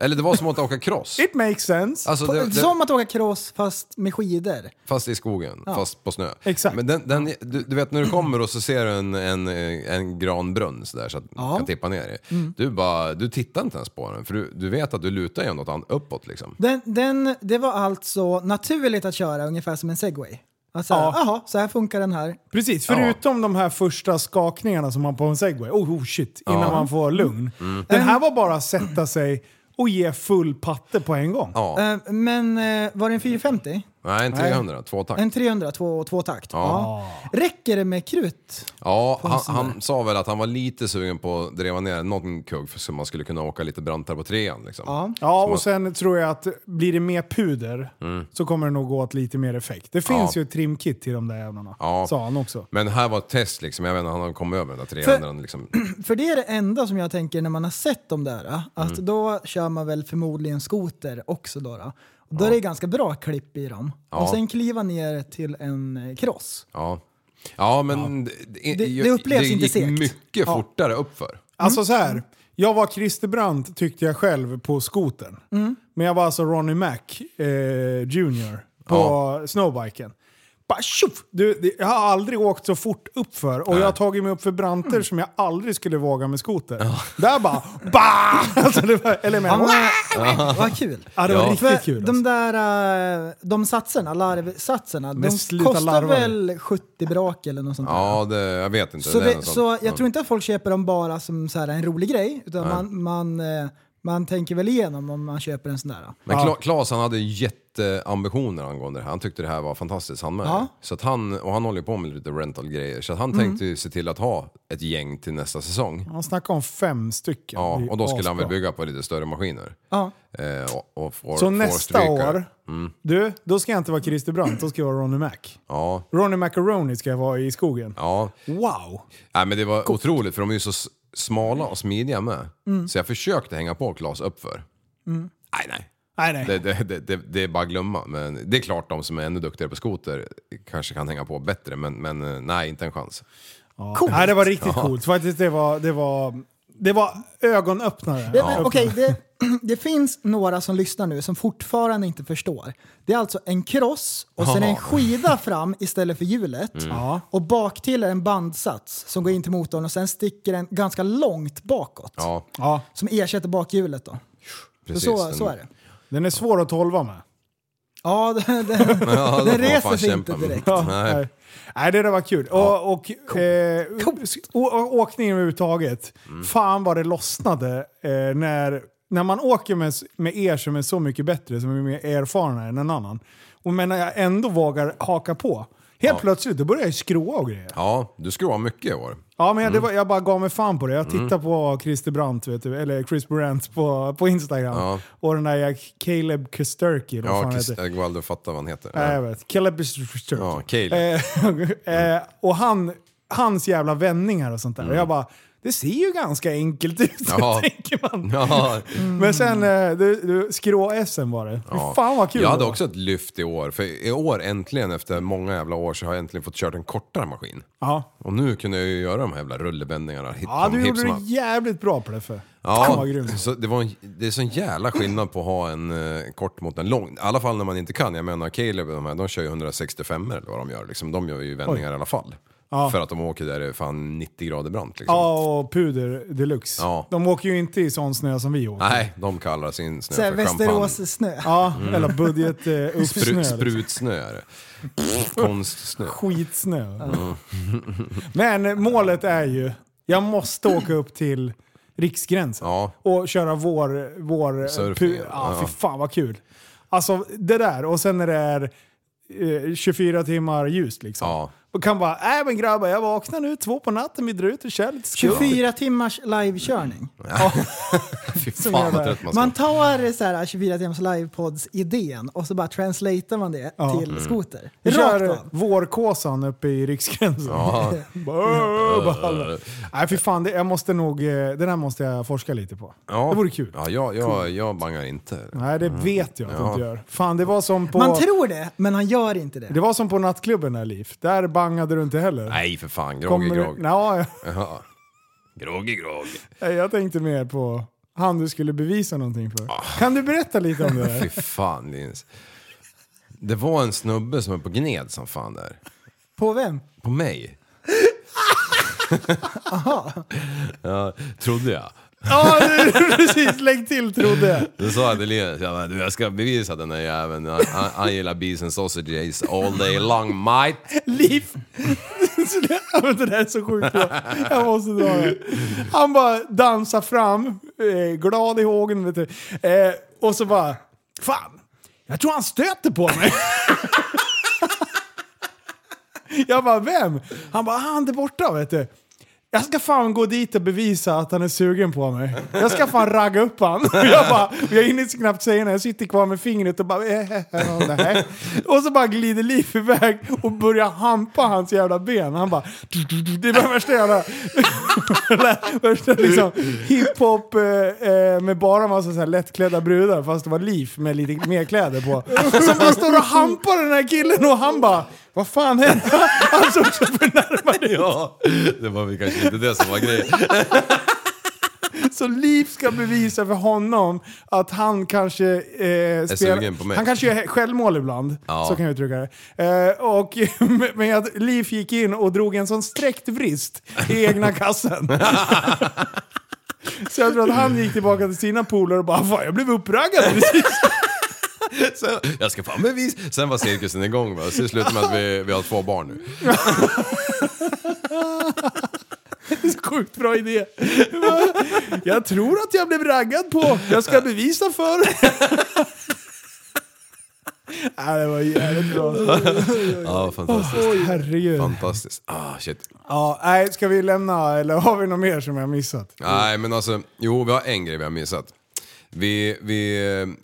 Speaker 6: Eller det var som att åka cross.
Speaker 5: Mm. It makes sense.
Speaker 6: Alltså, det, det,
Speaker 4: Som att åka cross fast med skidor.
Speaker 6: Fast i skogen, fast på snö.
Speaker 5: Exakt.
Speaker 6: Men den, den, du, du vet när du kommer och så ser du en, en, eh, en granbrunn sådär så att du kan tippa ner i.
Speaker 5: Mm.
Speaker 6: Du, bara, du tittar inte ens på den för du, du vet att du lutar ju något annat uppåt liksom.
Speaker 4: Den, den, det var alltså naturligt att köra ungefär som en segway. Alltså,
Speaker 5: Ja.
Speaker 4: jaha, så här funkar den här.
Speaker 5: Precis, förutom de här första skakningarna som man på en segway. Oh, oh shit, innan man får lugn.
Speaker 6: Mm.
Speaker 5: Den här var bara att sätta sig och ge full patte på en gång.
Speaker 6: Ja.
Speaker 4: Eh, Men eh, var det en 450?
Speaker 6: Nej, en 300, två tack.
Speaker 4: En 300, två, två takt?
Speaker 6: Ja.
Speaker 4: Ja. Räcker det med krut?
Speaker 6: Ja,
Speaker 4: en
Speaker 6: han,
Speaker 4: sån där.
Speaker 6: han sa väl att han var lite sugen på att driva ner någon kugg för så man skulle kunna åka lite brantare på trean liksom.
Speaker 5: Ja, och sen tror jag att blir det mer puder så kommer det nog gå åt lite mer effekt. Det finns
Speaker 6: Mm. Ja.
Speaker 5: ju ett trimkit till de där jävlarna,
Speaker 6: Ja.
Speaker 5: sa han också.
Speaker 6: Men här var ett test liksom, jag vet inte, han har kommit över den där 300 liksom.
Speaker 4: För det är det enda som jag tänker när man har sett de där. eh, Att
Speaker 5: Mm.
Speaker 4: då kör man väl förmodligen skoter också då. Då, Och då är det ganska bra klipp i dem. Och sen kliva ner till en eh, cross.
Speaker 6: Ja. Ja men det,
Speaker 4: Det- det upplevs inte
Speaker 6: gick
Speaker 4: segt.
Speaker 6: mycket fortare uppför.
Speaker 4: Mm.
Speaker 5: Alltså så här, Jag var Christer Brandt tyckte jag själv på skoten.
Speaker 4: Mm.
Speaker 5: Men jag var alltså Ronnie Mac eh, Junior på snowbiken. Bara tjoff! Du, det- jag har aldrig åkt så fort uppför och jag har tagit mig upp för branter som jag aldrig skulle våga med skoter. Där bara... Bah! Alltså, det var, eller
Speaker 4: Ja,
Speaker 5: men,
Speaker 4: men, vad kul.
Speaker 5: ja, det var
Speaker 6: Ja.
Speaker 5: riktigt
Speaker 4: För
Speaker 5: kul. Alltså.
Speaker 4: De där eh, de satserna, larvsatserna, de
Speaker 5: sluta
Speaker 4: kostar
Speaker 5: larva dig.
Speaker 4: väl 70 brak eller något sånt där.
Speaker 6: Ja, det, jag vet inte.
Speaker 4: Så,
Speaker 6: det är
Speaker 4: det,
Speaker 6: något
Speaker 4: så
Speaker 6: sånt.
Speaker 4: jag tror inte att folk köper dem bara som så här en rolig grej, utan man, man, eh, man tänker väl igenom om man köper en sån där.
Speaker 6: Men Kla, Claes han hade jätteambitioner angående det här. Han tyckte det här var fantastiskt han med.
Speaker 4: Ja. Mm.
Speaker 6: Så att han, och han håller ju på med lite rental-grejer. Så att han tänkte ju se till att ha ett gäng till nästa säsong.
Speaker 5: Han snackade om fem stycken.
Speaker 6: Ja,
Speaker 5: Det är
Speaker 6: och då skulle han väl
Speaker 5: asbra.
Speaker 6: bygga på lite större maskiner.
Speaker 4: Ja.
Speaker 6: Eh, och, och får,
Speaker 5: Så
Speaker 6: får
Speaker 5: nästa
Speaker 6: stryka.
Speaker 5: år,
Speaker 6: Mm.
Speaker 5: du, då ska jag inte vara Christer Brandt, då ska jag vara Ronnie Mac.
Speaker 6: Ja.
Speaker 5: Ronnie Macaroni ska jag vara i skogen.
Speaker 6: Ja,
Speaker 5: Wow!
Speaker 6: Nej, men det var otroligt för de är ju så s- smala och smidiga med.
Speaker 5: Mm.
Speaker 6: Så jag försökte hänga på Claes uppför. Nej, nej.
Speaker 5: Nej, Mm. nej.
Speaker 6: Det, det, det, det, det är bara att glömma. Men det är klart de som är ännu duktigare på skoter kanske kan hänga på bättre, men, men eh, nej, inte en chans.
Speaker 5: Ja. Nej, det var riktigt coolt. Faktiskt, det var, det var, det var ögonöppnare.
Speaker 4: Ja, men Okej, det, det finns några som lyssnar nu som fortfarande inte förstår. Det är alltså en kross och sen
Speaker 6: Ja. Mm.
Speaker 4: en skida fram istället för hjulet.
Speaker 5: Ja.
Speaker 4: Och bak till är en bandsats som går in till motorn och sen sticker den ganska långt bakåt.
Speaker 6: Ja,
Speaker 5: Ja,
Speaker 4: Som ersätter bakhjulet då. Så,
Speaker 6: precis.
Speaker 4: så, så är det.
Speaker 5: den är svår att tolva med.
Speaker 4: Ja, den, den,
Speaker 6: Ja,
Speaker 4: den
Speaker 6: får man
Speaker 4: reser
Speaker 6: fan
Speaker 4: sig
Speaker 6: kämpa
Speaker 4: inte
Speaker 6: med.
Speaker 4: direkt.
Speaker 5: Ja,
Speaker 6: Nej.
Speaker 5: nej. nej, det där var kul. Och, och, eh, å- å- åkningen överhuvudtaget. Fan vad det lossnade eh, när, när man åker med, s- med er som är så mycket bättre, som är mer erfarna än en annan. Och men när jag ändå vågar haka på. Helt plötsligt, då börjar jag ju skroa och grejer.
Speaker 6: Ja, du skruvar mycket i år.
Speaker 5: Ja, men jag,
Speaker 6: Mm.
Speaker 5: det var, jag bara gav mig fan på det. Jag tittade på Christer Brandt, vet du, eller Chris Brandt på, på Instagram.
Speaker 6: Ja.
Speaker 5: Och den där Caleb Kusterki, vad fan
Speaker 6: Ja,
Speaker 5: heter.
Speaker 6: Christer Gualdo fattar vad han heter.
Speaker 5: Ja,
Speaker 6: Ja.
Speaker 5: jag vet. Caleb Kusterki.
Speaker 6: Ja, Caleb.
Speaker 5: Eh, eh, och han, hans jävla vändningar och sånt där. Och jag bara, det ser ju ganska enkelt ut,
Speaker 6: Mm. Ja.
Speaker 5: tänker man.
Speaker 6: Ja.
Speaker 5: Men sen, eh, du, du, skrå-SM var det. Fy Fan vad kul
Speaker 6: Jag hade
Speaker 5: det var.
Speaker 6: också ett lyft i år, för i år äntligen efter många jävla år så har jag äntligen fått kört en kortare maskin.
Speaker 5: Ja.
Speaker 6: Och nu kunde jag ju göra de här jävla rullebändningarna. Hit,
Speaker 5: Ja,
Speaker 6: som
Speaker 5: du
Speaker 6: hipp
Speaker 5: gjorde
Speaker 6: som
Speaker 5: det
Speaker 6: happ.
Speaker 5: jävligt bra Pleffe. Fan
Speaker 6: Ja,
Speaker 5: vad grym.
Speaker 6: så det, var en, det är sån jävla skillnad på att ha en eh, kort mot en lång. I alla fall när man inte kan. Jag menar Caleb och de här, de kör ju 165 eller vad de gör. Liksom, de gör ju vändningar i alla fall. För att de åker där det är fan 90 grader brant liksom.
Speaker 5: Ja, och puder deluxe.
Speaker 6: Ja.
Speaker 5: De åker ju inte i sån snö som vi åker.
Speaker 6: Nej, de kallar sin snö
Speaker 4: Så här,
Speaker 6: för champagne.
Speaker 4: Västerås snö.
Speaker 5: Ja, eller budget eh, uppsnö.
Speaker 6: Mm. Spru,
Speaker 5: liksom.
Speaker 6: sprutsnö är det. Konstsnö.
Speaker 5: Skitsnö. Men eh, målet är ju, jag måste åka upp till riksgränsen
Speaker 6: Ja.
Speaker 5: och köra vår... vår
Speaker 6: Surfing,
Speaker 5: pu- ja,
Speaker 6: ja.
Speaker 5: fy fan vad kul. Alltså det där, och sen när det är eh, 24 timmar ljust liksom.
Speaker 6: Ja.
Speaker 5: Och kan bara, nej men grabbar jag vaknar nu två på natten, vi drar ut och kör lite skumt."
Speaker 4: 24 timmars livekörning.
Speaker 6: Fy fan Mm. vad trött man ska
Speaker 4: Man tar så här 24 timmars livepods-idén och så bara translatear man det till
Speaker 6: Mm.
Speaker 4: skoter.
Speaker 5: Vi
Speaker 4: Rakt
Speaker 5: kör
Speaker 4: av.
Speaker 5: vårkåsan uppe i riksgränsen. Bara- bara- Nej fy fan, det, jag måste nog, eh, den här måste jag forska lite på.
Speaker 6: Ja.
Speaker 5: Det vore kul.
Speaker 6: Ja, Mm. jag, jag, jag bangar inte.
Speaker 5: Nej, det vet jag att du inte gör. Fan, det var som på...
Speaker 4: Man tror det, men han gör inte det.
Speaker 5: det var som på nattklubben där, Liv. Där bangade du inte heller.
Speaker 6: Nej för fan, grogg är
Speaker 5: Kommer
Speaker 6: grogg.
Speaker 5: Du, Nå,
Speaker 6: Ja. Grogg är grogg.
Speaker 5: jag, jag tänkte mer på han du skulle bevisa någonting för. Kan du berätta lite om det där?
Speaker 6: Ah. Fy fan Linus. Det var en snubbe som är på gned som fan där.
Speaker 4: På vem?
Speaker 6: På mig. ja, trodde jag.
Speaker 5: Ja, det- precis. Lägg till trodde jag.
Speaker 6: Då sa jag till Linus, jag, bara, du, jag ska bevisa att den där jäveln, han, han, han gillar bees and sausages all day long mate.
Speaker 5: Liv. Ja, men det där är så sjukt bra. Jag måste dra det. Han bara dansar fram, eh, glad i hågen, vet du. Eh, och så bara, fan, jag tror han stöter på mig. jag bara, vem? Han bara, "Ah, han där borta, vet du. Jag ska fan gå dit och bevisa att han är sugen på mig. Jag ska fan ragga upp han. Och Jag, bara, och jag hinner så knappt säga när jag sitter kvar med fingret och bara... Eh, eh, eh, nej. Och så bara glider Liv iväg och börjar hampa hans jävla ben. Han bara... Det var värsta jävla... värsta liksom hiphop eh, eh, med bara massa så här lättklädda brudar fast det var Liv med lite mer kläder på. Som bara står och hampar den här killen och han bara... Vad fan hände? Han såg så förnärmad ut.
Speaker 6: Ja, det var väl kanske inte det som var grejen.
Speaker 5: Så Liv ska bevisa för honom att han kanske... Eh,
Speaker 6: sugen på mig.
Speaker 5: Han kanske gör självmål ibland,
Speaker 6: Ja.
Speaker 5: så kan jag uttrycka det. Eh, och, men att Liv gick in och drog en sån sträckt vrist i egna kassen. Så jag tror att han gick tillbaka till sina polare och bara Fan, jag blev uppraggad precis.
Speaker 6: Sen, jag ska fan bevisa. Sen var cirkusen igång va. Så det slutade med att vi, vi har två barn nu.
Speaker 5: Sjukt bra idé. Jag tror att jag blev raggad på. Jag ska bevisa för. Nej, det var jävligt bra.
Speaker 6: Ja, fantastiskt.
Speaker 5: Oj, herregud.
Speaker 6: Fantastiskt. Ah, shit.
Speaker 5: Ja, nej, ska vi lämna eller har vi något mer som jag missat?
Speaker 6: Nej, men alltså, jo, vi har en grej vi har missat. Vi, vi,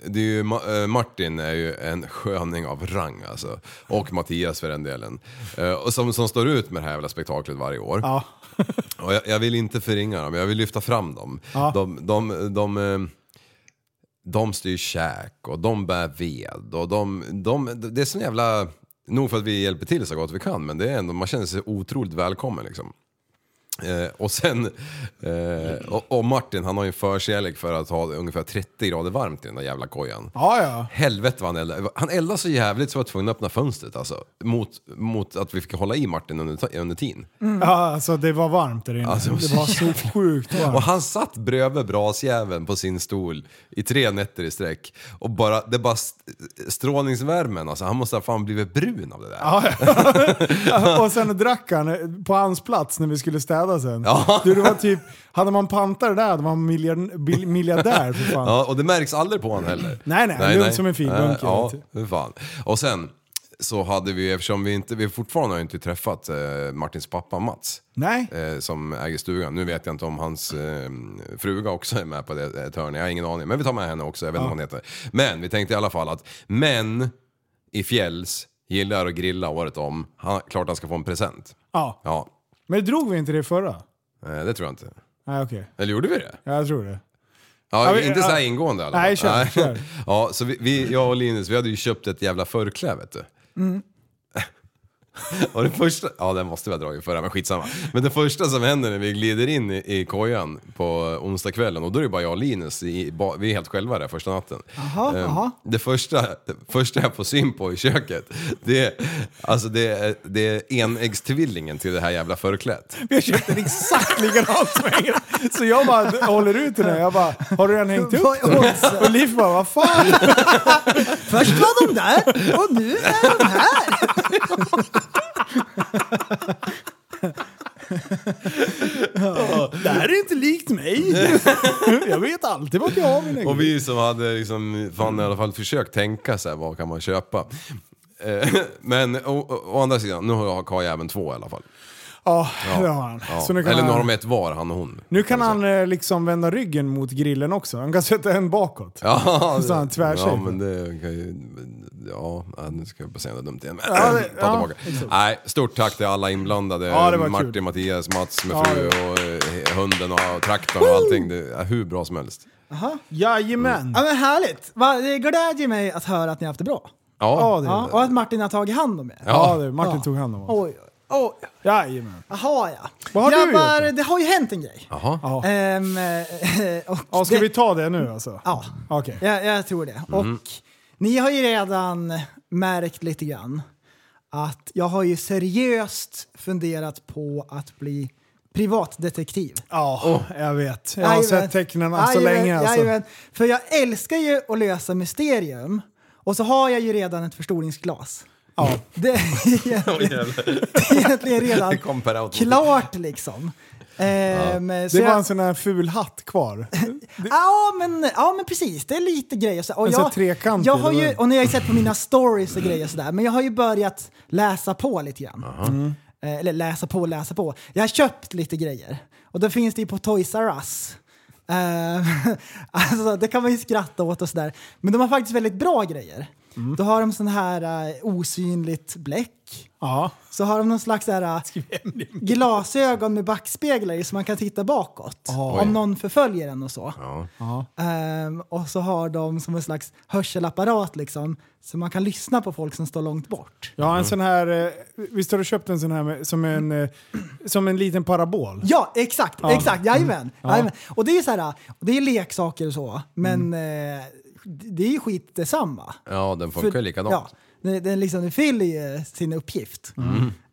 Speaker 6: det är ju, Ma- eh, Martin är ju en sköning av rang alltså. Och Mattias för den delen. Eh, Och som, som står ut med det här jävla spektaklet varje år.
Speaker 5: Ja.
Speaker 6: Och jag, jag vill inte förringa dem, jag vill lyfta fram dem.
Speaker 5: Ja.
Speaker 6: De, de, de, eh, de styr käk och de bär ved och de, de, det är sån jävla... Nog för att vi hjälper till så gott vi kan, men det är ändå, man känner sig otroligt välkommen liksom. Eh, och sen, eh, och, och Martin han har ju en förkärlek för att ha ungefär 30 grader varmt i den där jävla kojan.
Speaker 5: Ja, ja.
Speaker 6: Helvete vad han eldade. Han eldade så jävligt så jag var tvungen att öppna fönstret alltså. Mot, mot att vi fick hålla i Martin under, under tiden.
Speaker 5: ja alltså, det var varmt där inne.
Speaker 6: Alltså, det var
Speaker 5: det
Speaker 6: så
Speaker 5: var så sjukt
Speaker 6: Och
Speaker 5: varmt.
Speaker 6: han satt bredvid brasjäveln på sin stol i tre nätter i sträck. Och bara, det bara st- strålningsvärmen alltså, han måste ha fan blivit brun av det där.
Speaker 5: Ja, ja. och sen drack han eh, på hans plats när vi skulle städa sen.
Speaker 6: Ja.
Speaker 5: Du, det var typ, hade man pantat det där hade man miljard, bil- miljardär för fan.
Speaker 6: Ja, och det märks aldrig på honom heller.
Speaker 5: Nej, nej, lugn som en fin
Speaker 6: Nej,
Speaker 5: bunker,
Speaker 6: Ja,
Speaker 5: vet
Speaker 6: hur fan. Och sen så hade vi, eftersom vi inte, vi fortfarande har inte träffat eh, Martins pappa Mats.
Speaker 5: Nej.
Speaker 6: Eh, som äger stugan. Nu vet jag inte om hans eh, fruga också är med på det ett hörn. Jag har ingen aning. Men vi tar med henne också. Jag vet inte vad hon heter. Men vi tänkte i alla fall att män i fjälls gillar att grilla året om. Han, klart han ska få en present.
Speaker 5: Ja.
Speaker 6: Ja,
Speaker 5: Men drog vi inte det förra?
Speaker 6: eh, det tror jag inte.
Speaker 5: Nej, okej.
Speaker 6: Eller gjorde vi det?
Speaker 5: Ja, jag tror det.
Speaker 6: Ja,
Speaker 5: Ja, vi-
Speaker 6: inte så
Speaker 5: ja.
Speaker 6: här ingående i alla fall.
Speaker 5: Nej, kör, kör.
Speaker 6: Ja, så vi, vi, jag och Linus, vi hade ju köpt ett jävla förklä vet du.
Speaker 5: Mm.
Speaker 6: och det första, ja den måste vi ha dragit förra, men skitsamma. Men det första som händer när vi glider in i, i kojan på onsdagskvällen, och då är det bara jag och Linus, i, ba, vi är helt själva där första natten.
Speaker 4: Aha,
Speaker 6: Ehm,
Speaker 4: aha.
Speaker 6: Det första, det första jag får syn på i köket, det är, alltså det är, det är enäggstvilingen till det här jävla förklädet.
Speaker 5: Vi har köpt en exakt likadan som hänger. Så jag bara håller ut den här. Jag bara, har du redan hängt upp
Speaker 4: Vad är oddsen?
Speaker 5: Och Liv bara, vad fan?
Speaker 4: Först var de där och nu är de här.
Speaker 5: Det här är inte likt mig. Jag vet alltid vart jag har min
Speaker 6: Och
Speaker 5: egen.
Speaker 6: vi som hade liksom, fan i alla fall försökt tänka så här, vad kan man köpa? Eh, Men å, å, å andra sidan, nu har jag även två i alla fall.
Speaker 5: Ja, det har han.
Speaker 6: Ja.
Speaker 5: Så nu kan
Speaker 6: Eller nu har
Speaker 5: han,
Speaker 6: de ett var, han och hon.
Speaker 5: nu kan han eh, liksom vända ryggen mot grillen också. Han kan sätta en bakåt.
Speaker 6: Ja,
Speaker 5: Så han tvärsäker.
Speaker 6: Ja, men det kan ju... Ja, nej, nu ska jag bara säga något dumt igen. Men,
Speaker 5: Ja, det-
Speaker 6: ta
Speaker 5: ja,
Speaker 6: tillbaka. Nej, stort tack till alla inblandade.
Speaker 5: Ja, det var
Speaker 6: Martin,
Speaker 5: kul.
Speaker 6: Mattias, Mats med
Speaker 5: Ja,
Speaker 6: fru
Speaker 5: det-
Speaker 6: och eh, hunden och traktorn och allting. Det är hur bra som helst.
Speaker 5: Jajamän.
Speaker 4: Ja men härligt. Va, Det glädjer mig att höra att ni har haft det bra.
Speaker 5: Ja,
Speaker 6: Ja,
Speaker 5: det
Speaker 4: Ja,
Speaker 5: är det.
Speaker 4: och att Martin har tagit hand om er.
Speaker 5: Ja, det, Martin
Speaker 4: Ja.
Speaker 5: tog hand om honom.
Speaker 4: Oj, oj, oj.
Speaker 5: Jajamän.
Speaker 4: Jaha ja.
Speaker 5: Vad har du
Speaker 4: Grabbar,
Speaker 5: gjort
Speaker 4: det har ju hänt en grej.
Speaker 6: Jaha.
Speaker 5: Ja.
Speaker 4: Ehm, eh, och
Speaker 5: Ja, ska
Speaker 4: det-
Speaker 5: vi ta det nu alltså?
Speaker 4: Ja,
Speaker 5: Okej.
Speaker 4: jag, jag tror det.
Speaker 5: Mm.
Speaker 4: Och ni har ju redan märkt lite grann att jag har ju seriöst funderat på att bli privatdetektiv.
Speaker 5: Ja, jag vet. Jag har
Speaker 4: Jajamän.
Speaker 5: sett tecknen så
Speaker 4: Jajamän,
Speaker 5: länge alltså.
Speaker 4: jajamän. För jag älskar ju att lösa mysterium och så har jag ju redan ett förstoringsglas.
Speaker 5: Ja.
Speaker 4: Det är egentligen, det är egentligen redan
Speaker 6: Det kom per automatik.
Speaker 4: klart liksom. Ehm, så
Speaker 5: Det var
Speaker 4: jag-
Speaker 5: en sån här ful hatt kvar.
Speaker 4: Ja men, ja men precis, det är lite grejer. Så, och
Speaker 5: En sån här trekant,
Speaker 4: jag har ju,
Speaker 5: eller?
Speaker 4: och ni har ju sett på mina stories och grejer sådär, men jag har ju börjat läsa på lite grann. Eh, Eller läsa på, läsa på. Jag har köpt lite grejer. Och då finns det ju på Toys R Us. Eh, alltså, det kan man ju skratta åt och sådär. Men de har faktiskt väldigt bra grejer. Då har de sån här eh, osynligt bläck.
Speaker 5: Ja.
Speaker 4: Så har de någon slags så här, eh, glasögon med backspeglar i så man kan titta bakåt. Om någon förföljer en och så. Ehm, och så har de som en slags hörselapparat liksom. Så man kan lyssna på folk som står långt bort.
Speaker 5: Jag har en sån här, eh, visst har du köpt en sån här med, som, en, eh, som en liten parabol?
Speaker 4: Ja, exakt. exakt jajamän, jajamän. Och det är så här, och det är leksaker och så, men eh, det är ju skit detsamma.
Speaker 6: Ja, den funkar ju likadant.
Speaker 4: Ja, den, den, liksom, den fyller ju sin uppgift.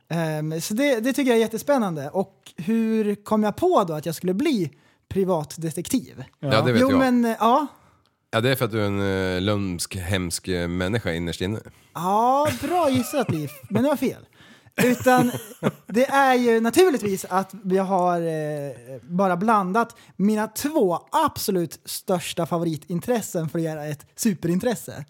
Speaker 4: Ehm, så det, det tycker jag är jättespännande. Och hur kom jag på då att jag skulle bli privatdetektiv?
Speaker 6: Ja, det vet
Speaker 4: jo,
Speaker 6: jag.
Speaker 4: men eh, ja.
Speaker 6: Ja, det är för att du är en uh, lömsk, hemsk eh, människa innerst inne.
Speaker 4: Ja, bra gissat Liv, men det var fel. Utan det är ju naturligtvis att vi har eh, bara blandat mina två absolut största favoritintressen för att göra ett superintresse.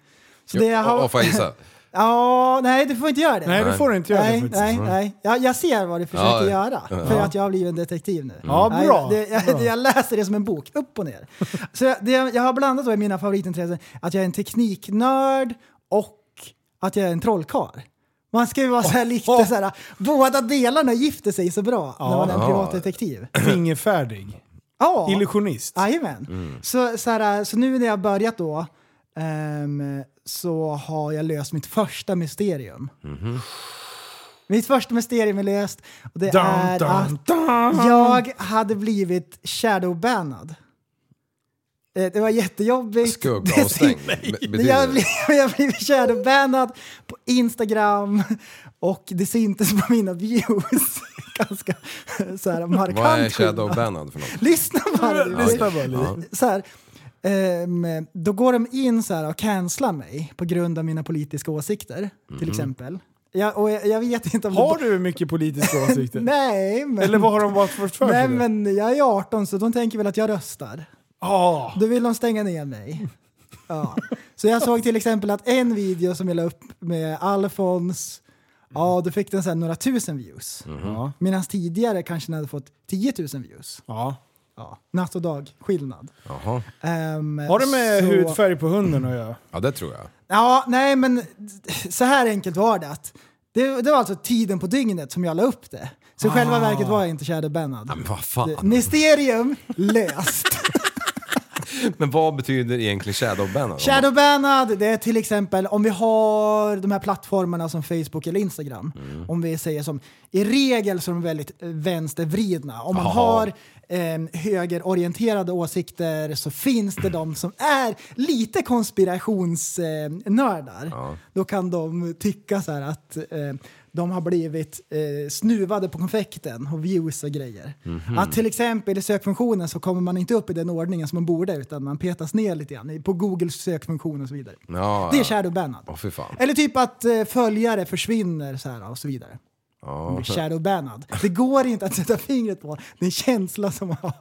Speaker 4: Så
Speaker 6: Jo, och- och får jag gissa?
Speaker 4: Ja, nej du får inte göra det.
Speaker 5: Nej, det får du inte göra.
Speaker 4: Nej,
Speaker 5: faktiskt.
Speaker 4: nej, nej. Jag, jag ser vad du försöker
Speaker 6: Ja,
Speaker 4: göra. För att jag har blivit en detektiv nu.
Speaker 5: Ja,
Speaker 4: Nej,
Speaker 5: bra.
Speaker 4: det, jag,
Speaker 5: Bra.
Speaker 4: det- jag läser det som en bok, upp och ner. Så jag- det, jag har blandat då i mina favoritintressen att jag är en tekniknörd och att jag är en trollkarl. Man ska ju vara så här
Speaker 5: Oh,
Speaker 4: lite så här, båda delarna gifter sig så bra när man är en privatdetektiv.
Speaker 5: Fingerfärdig.
Speaker 4: Ja.
Speaker 5: Illusionist.
Speaker 4: Jajamän.
Speaker 6: Mm.
Speaker 4: Så, så, här, äh, så nu när jag har börjat då ehm, så har jag löst mitt första mysterium.
Speaker 6: Mhm.
Speaker 4: Mitt första mysterium är löst och det
Speaker 5: Dun,
Speaker 4: är
Speaker 5: dun,
Speaker 4: att jag hade blivit shadowbannad. Eh, Det var jättejobbigt.
Speaker 6: Skuggavstängd.
Speaker 4: Det-
Speaker 6: be-
Speaker 4: det- Jag
Speaker 6: betyder
Speaker 4: blev,
Speaker 6: det.
Speaker 4: jag blev shadowbannad på Instagram och det syntes på mina views. Ganska så här markant.
Speaker 6: Vad är
Speaker 4: skillnad.
Speaker 6: shadowbannad för något?
Speaker 4: Lyssna bara nu.
Speaker 5: Lyssna bara lite.
Speaker 4: Så här, ehm, då går de in så här och cancelar mig på grund av mina politiska åsikter, till exempel. Jag, och jag, jag vet inte om
Speaker 5: Mhm. Har
Speaker 4: det,
Speaker 5: du mycket politiska åsikter?
Speaker 4: Nej, men...
Speaker 5: Eller vad har de varit först för
Speaker 4: Nej,
Speaker 5: sig?
Speaker 4: men jag är 18 så de tänker väl att jag röstar.
Speaker 5: Ja.
Speaker 4: Då vill de stänga ner mig. Ja. Så jag såg till exempel att en video som jag la upp med Alfons,
Speaker 5: Mm.
Speaker 4: ja då fick den så här några tusen views.
Speaker 5: Ja.
Speaker 4: Medan tidigare kanske den hade fått 10 000 views.
Speaker 5: Ja.
Speaker 4: Ja. Natt och dag skillnad.
Speaker 6: Jaha.
Speaker 4: Ehm,
Speaker 5: Har det med
Speaker 4: så-
Speaker 5: hudfärg på hunden att göra?
Speaker 6: Ja, det tror jag.
Speaker 4: Ja, nej men så här enkelt var det. Att det, det var alltså tiden på dygnet som jag la upp det. Så i själva verket var jag inte shadowbannad.
Speaker 6: Ah. Men vad fan?
Speaker 4: Mysterium löst.
Speaker 6: Men vad betyder egentligen shadowbannad?
Speaker 4: Shadowbannad, det är till exempel om vi har de här plattformarna som Facebook eller Instagram. Om vi säger som, i regel så är de väldigt eh, vänstervridna. Om man
Speaker 6: Jaha.
Speaker 4: har eh, högerorienterade åsikter så finns det de som är lite konspirationsnördar. Eh, nördar. Då kan de tycka så här att eh, de har blivit eh, snuvade på konfekten och views och grejer.
Speaker 6: Mhm.
Speaker 4: Att till exempel i sökfunktionen så kommer man inte upp i den ordningen som man borde utan man petas ner lite grann i- på Googles sökfunktion och så vidare.
Speaker 6: Ja,
Speaker 4: Det är
Speaker 6: ja.
Speaker 4: shadowbannad.
Speaker 6: Åh, fy fan.
Speaker 4: Eller typ att eh, följare försvinner så här och så vidare. Man blir shadowbannad. Det går inte att sätta fingret på den känsla som man har.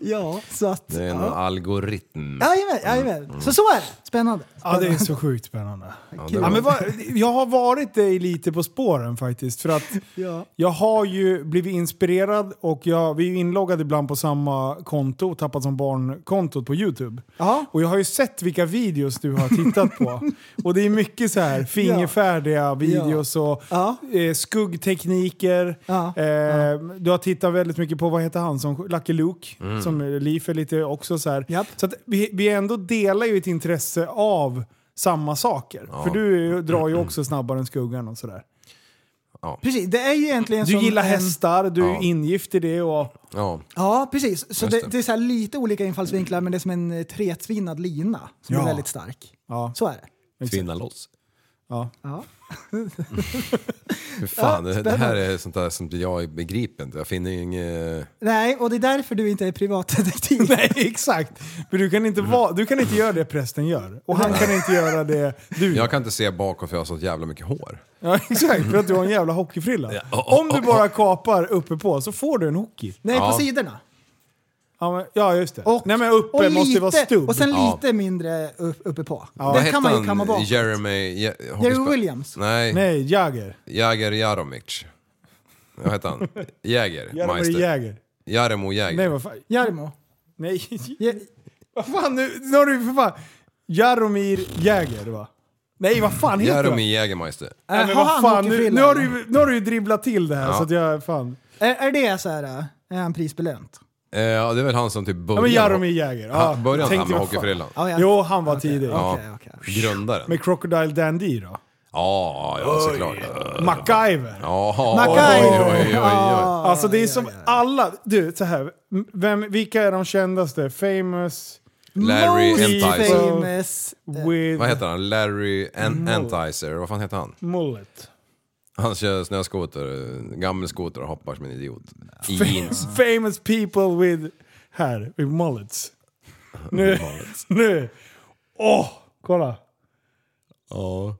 Speaker 4: ja, så att...
Speaker 6: Det är en
Speaker 4: ja.
Speaker 6: algoritm.
Speaker 4: Jajamän, jajamän. Så så är det. Spännande.
Speaker 5: Ja, det är så sjukt spännande. Ja,
Speaker 6: det var-
Speaker 5: men vad, jag har varit dig lite på spåren faktiskt. För att
Speaker 4: Ja.
Speaker 5: jag har ju blivit inspirerad och jag, vi är ju inloggade ibland på samma konto, Tappat som barn-kontot på YouTube.
Speaker 4: Ja.
Speaker 5: Och jag har ju sett vilka videos du har tittat på. och det är mycket så här fingerfärdiga videos och
Speaker 4: Ja.
Speaker 5: eh, skuggtekniker.
Speaker 4: Ja.
Speaker 5: Eh, Du har tittat väldigt mycket på, vad heter han, som Lucky Luke,
Speaker 6: Mm.
Speaker 5: som Leaf är lite också så här.
Speaker 4: Japp.
Speaker 5: Så att vi, vi ändå delar ju ett intresse av samma saker. För
Speaker 6: Mm.
Speaker 5: du drar ju också snabbare än skuggan och sådär.
Speaker 4: Precis, det är ju egentligen
Speaker 5: Du
Speaker 4: som
Speaker 5: gillar
Speaker 4: Alltså, en-
Speaker 5: hästar, du är
Speaker 6: Ja.
Speaker 5: ingift i det och...
Speaker 6: Ja.
Speaker 4: Ja, precis. Så
Speaker 6: Just
Speaker 4: det,
Speaker 6: det.
Speaker 4: det är så här lite olika infallsvinklar men det är som en eh, tretvinnad lina som
Speaker 5: Ja.
Speaker 4: är väldigt stark.
Speaker 5: Ja.
Speaker 4: Så är det.
Speaker 6: Tvinna loss.
Speaker 5: Ja.
Speaker 4: Ja.
Speaker 6: Hur fan, det, det här är sånt där som jag begriper inte. Jag finner ju inget...
Speaker 4: Nej, och det är därför du inte är privatdetektiv.
Speaker 5: Nej, exakt! Men du kan, inte
Speaker 6: Mm.
Speaker 5: va, du kan inte göra det prästen gör. Och han kan inte göra det du gör.
Speaker 6: Jag kan inte se bakåt för jag har så jävla mycket hår.
Speaker 5: Ja, exakt, för att du har en jävla hockeyfrilla.
Speaker 6: Ja, oh,
Speaker 5: Om du
Speaker 6: oh,
Speaker 5: bara kapar uppe på så får du en hockey.
Speaker 4: Nej,
Speaker 6: Ja.
Speaker 4: på sidorna.
Speaker 5: Ja, men, ja just det.
Speaker 4: Och,
Speaker 5: Nej men uppe
Speaker 4: och
Speaker 5: måste
Speaker 4: lite,
Speaker 5: vara stubb.
Speaker 4: Och sen
Speaker 6: Ja.
Speaker 4: lite mindre upp, uppe på.
Speaker 6: Vad
Speaker 4: Den
Speaker 6: hette
Speaker 4: kan man ju
Speaker 6: han?
Speaker 4: kamma bak.
Speaker 6: Jeremy... Je, hockeyspel-
Speaker 4: Williams.
Speaker 6: Nej,
Speaker 5: Nej, Jagger.
Speaker 6: Jäger Jaromic. Vad hette han? Jäger.
Speaker 5: Jaromir
Speaker 6: Meister.
Speaker 5: Jagger.
Speaker 6: Jaremo Jäger.
Speaker 5: Nej, vad fan.
Speaker 4: Jarmo.
Speaker 5: Nej.
Speaker 4: Ja,
Speaker 5: Vad fan nu, nu har du ju för fan... Jaromir Jäger va? Nej vad fan heter
Speaker 6: Jaromir
Speaker 5: han?
Speaker 6: Jägermeister.
Speaker 5: Nej,
Speaker 4: eh,
Speaker 5: men vad fan, nu, nu, har du, ju- nu har du ju dribblat till det här så att jag fan...
Speaker 4: Är, är det så här, äh, är han prisbelönt?
Speaker 6: Eh, ja, det är väl han som typ
Speaker 5: Ja
Speaker 6: började...
Speaker 5: men Jaromir Jäger. Ja,
Speaker 6: han, började han
Speaker 5: tänkte
Speaker 6: med
Speaker 5: vad fan.
Speaker 6: Hockeyfrillan?
Speaker 4: Ja, ja.
Speaker 5: Jo, han var tidig.
Speaker 4: Ja.
Speaker 5: Ja.
Speaker 4: Okej, okej.
Speaker 6: Grundaren?
Speaker 5: Med Crocodile Dundee då?
Speaker 6: Ja, ja såklart. Ja,
Speaker 5: MacGyver.
Speaker 4: Mackay.
Speaker 6: oj, oj, oj, oj.
Speaker 5: Alltså det är som alla... Du, så här. Vem, vilka är de kändaste? Famous
Speaker 6: Larry
Speaker 4: Most
Speaker 6: Entizer.
Speaker 4: famous. eh,
Speaker 5: with
Speaker 6: Vad heter han? Larry An- Entizer? Vad fan heter han?
Speaker 5: mullet.
Speaker 6: Han kör snöskoter, gammelskoter och hoppar som en idiot. I jeans.
Speaker 5: Famous people with... Här, with mullets. Nu, nu. Åh, kolla.
Speaker 6: Ja.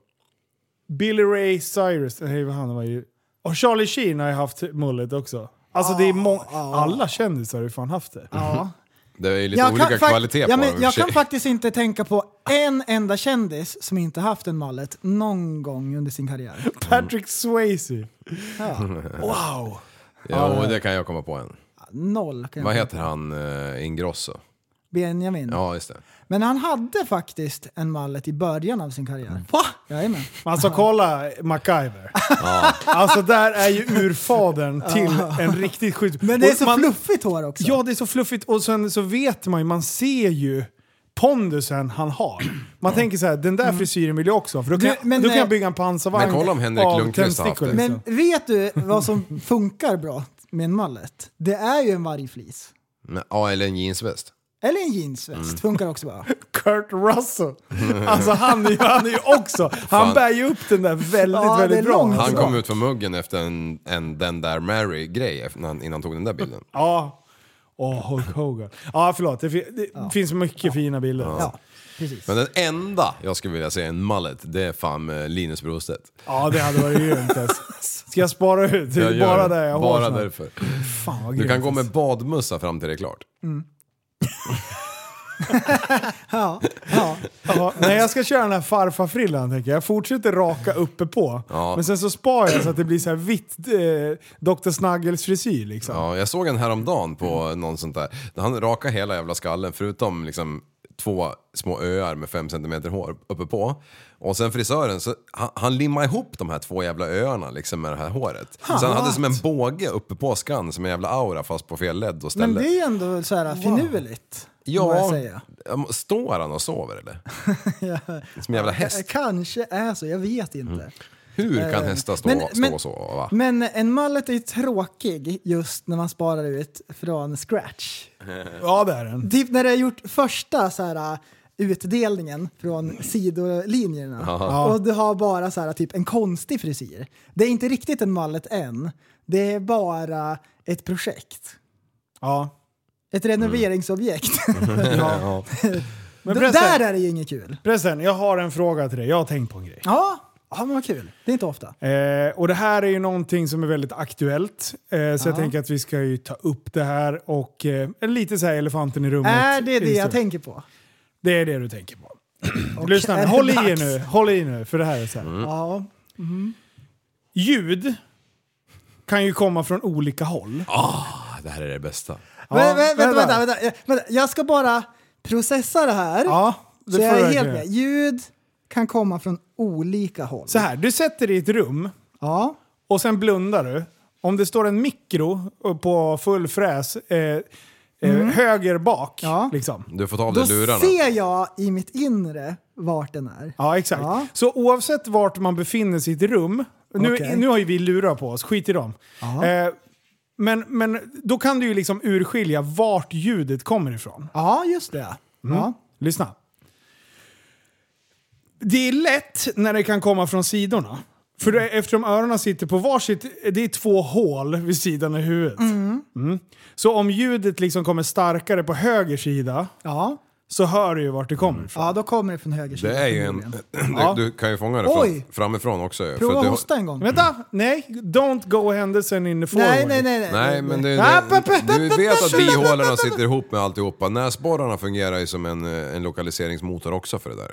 Speaker 5: Billy Ray Cyrus. Nej, vad han var ju... Och Charlie Sheen har ju haft mullet också. Alltså det är många... Alla kändisar har ju fan haft det.
Speaker 4: Ja.
Speaker 6: Det är ju lite
Speaker 4: Jag
Speaker 6: olika
Speaker 4: fak-
Speaker 6: kvalitet på
Speaker 4: ja,
Speaker 6: dem i och
Speaker 4: men, Jag
Speaker 6: för
Speaker 4: kan
Speaker 6: sig.
Speaker 4: faktiskt inte tänka på en enda kändis som inte haft en mallet någon gång under sin karriär.
Speaker 5: Patrick Swayze. Wow.
Speaker 6: Jo, det kan jag komma på en.
Speaker 4: Noll kan jag
Speaker 6: Vad
Speaker 4: säga.
Speaker 6: heter han? eh, Ingrosso?
Speaker 4: Benjamin.
Speaker 6: Ja, just det.
Speaker 4: Men han hade faktiskt en mallet i början av sin
Speaker 6: Mm.
Speaker 4: karriär. Va? Jajamän.
Speaker 5: Alltså kolla MacGyver. Alltså där är ju urfadern till en riktigt skit.
Speaker 4: Men det är
Speaker 5: Och
Speaker 4: så
Speaker 5: man,
Speaker 4: fluffigt hår också.
Speaker 5: Ja, det är så fluffigt och sen så vet man ju, man ser ju pondusen han har. Man tänker så här, den där frisyren vill jag också ha för då kan,
Speaker 4: Du,
Speaker 5: jag-
Speaker 4: Mm. men,
Speaker 5: då kan
Speaker 4: eh,
Speaker 5: jag bygga en pansarvagn
Speaker 6: Men kolla om Henrik
Speaker 5: av
Speaker 6: Lundqvist har haft
Speaker 5: tändstickor, liksom.
Speaker 6: det.
Speaker 4: Men vet du vad som funkar bra med en mallet? Det är ju en vargflis.
Speaker 6: Men, Ja, eller en jeansväst.
Speaker 4: Eller en jeansväst.
Speaker 6: Mm.
Speaker 4: Funkar också bra.
Speaker 5: Kurt Russell. Alltså han är ju han är ju också, han
Speaker 6: Fan.
Speaker 5: bär ju upp den där väldigt,
Speaker 4: Ja, det är
Speaker 5: väldigt bra.
Speaker 4: långt.
Speaker 6: Han
Speaker 4: Bra.
Speaker 6: kom ut från muggen efter en, en den där Mary-grej efter- innan, innan han tog den där bilden.
Speaker 5: Ja. Åh, Hulk Hogan. Ja, förlåt. Det, fi- det finns mycket fina bilder.
Speaker 4: Ja, precis.
Speaker 6: Men den enda jag skulle vilja se en mallet, det är fan eh, Linus Brostedt.
Speaker 5: Ja, det hade varit grymt. alltså. Ska jag spara ut? Det
Speaker 6: Jag
Speaker 5: är
Speaker 6: gör
Speaker 5: bara
Speaker 6: det.
Speaker 5: där jag har
Speaker 6: Bara
Speaker 5: såna.
Speaker 6: därför.
Speaker 5: Fan vad
Speaker 6: Du kan
Speaker 5: grymt.
Speaker 6: gå med badmössa fram till det är klart.
Speaker 4: Ja, ja.
Speaker 5: Ja, nej, jag ska köra den här farfarfrillan tänker jag. Jag fortsätter raka uppe på.
Speaker 6: Ja.
Speaker 5: Men sen så spar jag så att det blir så här vitt eh, Dr. Snuggles frisyr liksom.
Speaker 6: Ja, jag såg en häromdagen på
Speaker 4: Mm.
Speaker 6: någon sånt där. Han rakade hela jävla skallen förutom liksom två små öar med fem centimeter hår uppe på. Och sen frisören, så han, han limmade ihop de här två jävla öarna liksom med det här håret. så han hade som en båge uppe på skan som en jävla aura fast på fel led och
Speaker 4: Men
Speaker 6: ställe.
Speaker 4: det är ju ändå så här finurligt. Må jag säga.
Speaker 6: står han och sover eller? Som en jävla
Speaker 4: Det
Speaker 6: häst.
Speaker 4: kanske är så, jag vet inte. Ehm,
Speaker 6: Hur kan hästar stå,
Speaker 4: Eh, Men-
Speaker 6: stå
Speaker 4: men-
Speaker 6: och sova?
Speaker 4: Men en mallet är ju tråkig just när man sparar ut från scratch.
Speaker 5: Ja, det är den.
Speaker 4: Typ när du har gjort första så här, äh, utdelningen från sidolinjerna och du har bara så här, typ en konstig frisyr. Det är inte riktigt en mallet än. Det är bara ett projekt.
Speaker 5: Ja.
Speaker 4: Ett renoveringsobjekt.
Speaker 5: ja. Men
Speaker 4: D- Där
Speaker 5: pressen,
Speaker 4: är det ju inget kul.
Speaker 5: pressen, jag har en fråga till dig. Jag har tänkt på en grej.
Speaker 4: Ja, ja men vad kul. Det är inte ofta.
Speaker 5: Eh, och det här är ju någonting som är väldigt aktuellt. Eh, så jag tänker att vi ska ju ta upp det här och eh, lite så här elefanten i rummet.
Speaker 4: Är det det jag
Speaker 5: Historia.
Speaker 4: tänker på?
Speaker 5: Det är det du tänker på.
Speaker 4: Och
Speaker 5: Lyssna
Speaker 4: är
Speaker 5: nu,
Speaker 4: det
Speaker 5: håll i
Speaker 4: dags?
Speaker 5: er nu. Håll i nu, för det här är så här.
Speaker 4: Ja. Mm-hmm.
Speaker 5: Ljud kan ju komma från olika håll.
Speaker 6: Ah, det här är det bästa.
Speaker 4: Vä- vä- vänta,
Speaker 5: vänta.
Speaker 4: vänta, vänta, Jag- vänta. Jag ska bara processa det här.
Speaker 5: Ja, det
Speaker 4: så
Speaker 5: får
Speaker 4: jag är
Speaker 5: jag
Speaker 4: helt
Speaker 5: göra.
Speaker 4: med. Ljud kan komma från olika håll.
Speaker 5: Så här, du sätter dig i ett rum
Speaker 4: Ja.
Speaker 5: och sen blundar du. Om det står en mikro på full fräs eh, eh, höger bak,
Speaker 4: Mm. Ja.
Speaker 5: liksom.
Speaker 6: Du får ta av
Speaker 4: Då
Speaker 6: dig lurarna.
Speaker 4: ser jag i mitt inre vart den är.
Speaker 5: Ja, exakt.
Speaker 4: Ja.
Speaker 5: Så oavsett vart man befinner sig i ett rum, nu,
Speaker 4: Okej.
Speaker 5: nu har ju vi lurar på oss, skit i dem. Eh, men, men då kan du ju liksom urskilja vart ljudet kommer ifrån. Mm.
Speaker 4: Ja, just det. Ja.
Speaker 5: Lyssna. Det är lätt när det kan komma från sidorna. För det, eftersom öronen sitter på varsitt, det är två hål vid sidan av huvudet. Mm. Så om ljudet liksom kommer starkare på höger sida
Speaker 4: Ja. Mm.
Speaker 5: så hör du ju vart det kommer ifrån.
Speaker 4: ja, då kommer det från höger sida.
Speaker 6: Det är ju en...
Speaker 4: förmodligen.
Speaker 5: Ja.
Speaker 6: Du, du kan ju fånga det
Speaker 4: Oj.
Speaker 6: från, framifrån också. ju, för
Speaker 4: Prova
Speaker 6: att du-
Speaker 4: hosta en gång.
Speaker 5: Vänta! Nej, don't go händelsen in the forward.
Speaker 4: Nej, nej, nej. nej.
Speaker 6: Nej, men det,
Speaker 5: Nej,
Speaker 6: det,
Speaker 5: Ah, pappa,
Speaker 6: du
Speaker 5: pappa,
Speaker 6: vet att
Speaker 5: pappa,
Speaker 6: bihålorna sitter ihop med alltihopa. Näsborrarna fungerar ju som en, eh, en lokaliseringsmotor också för det där.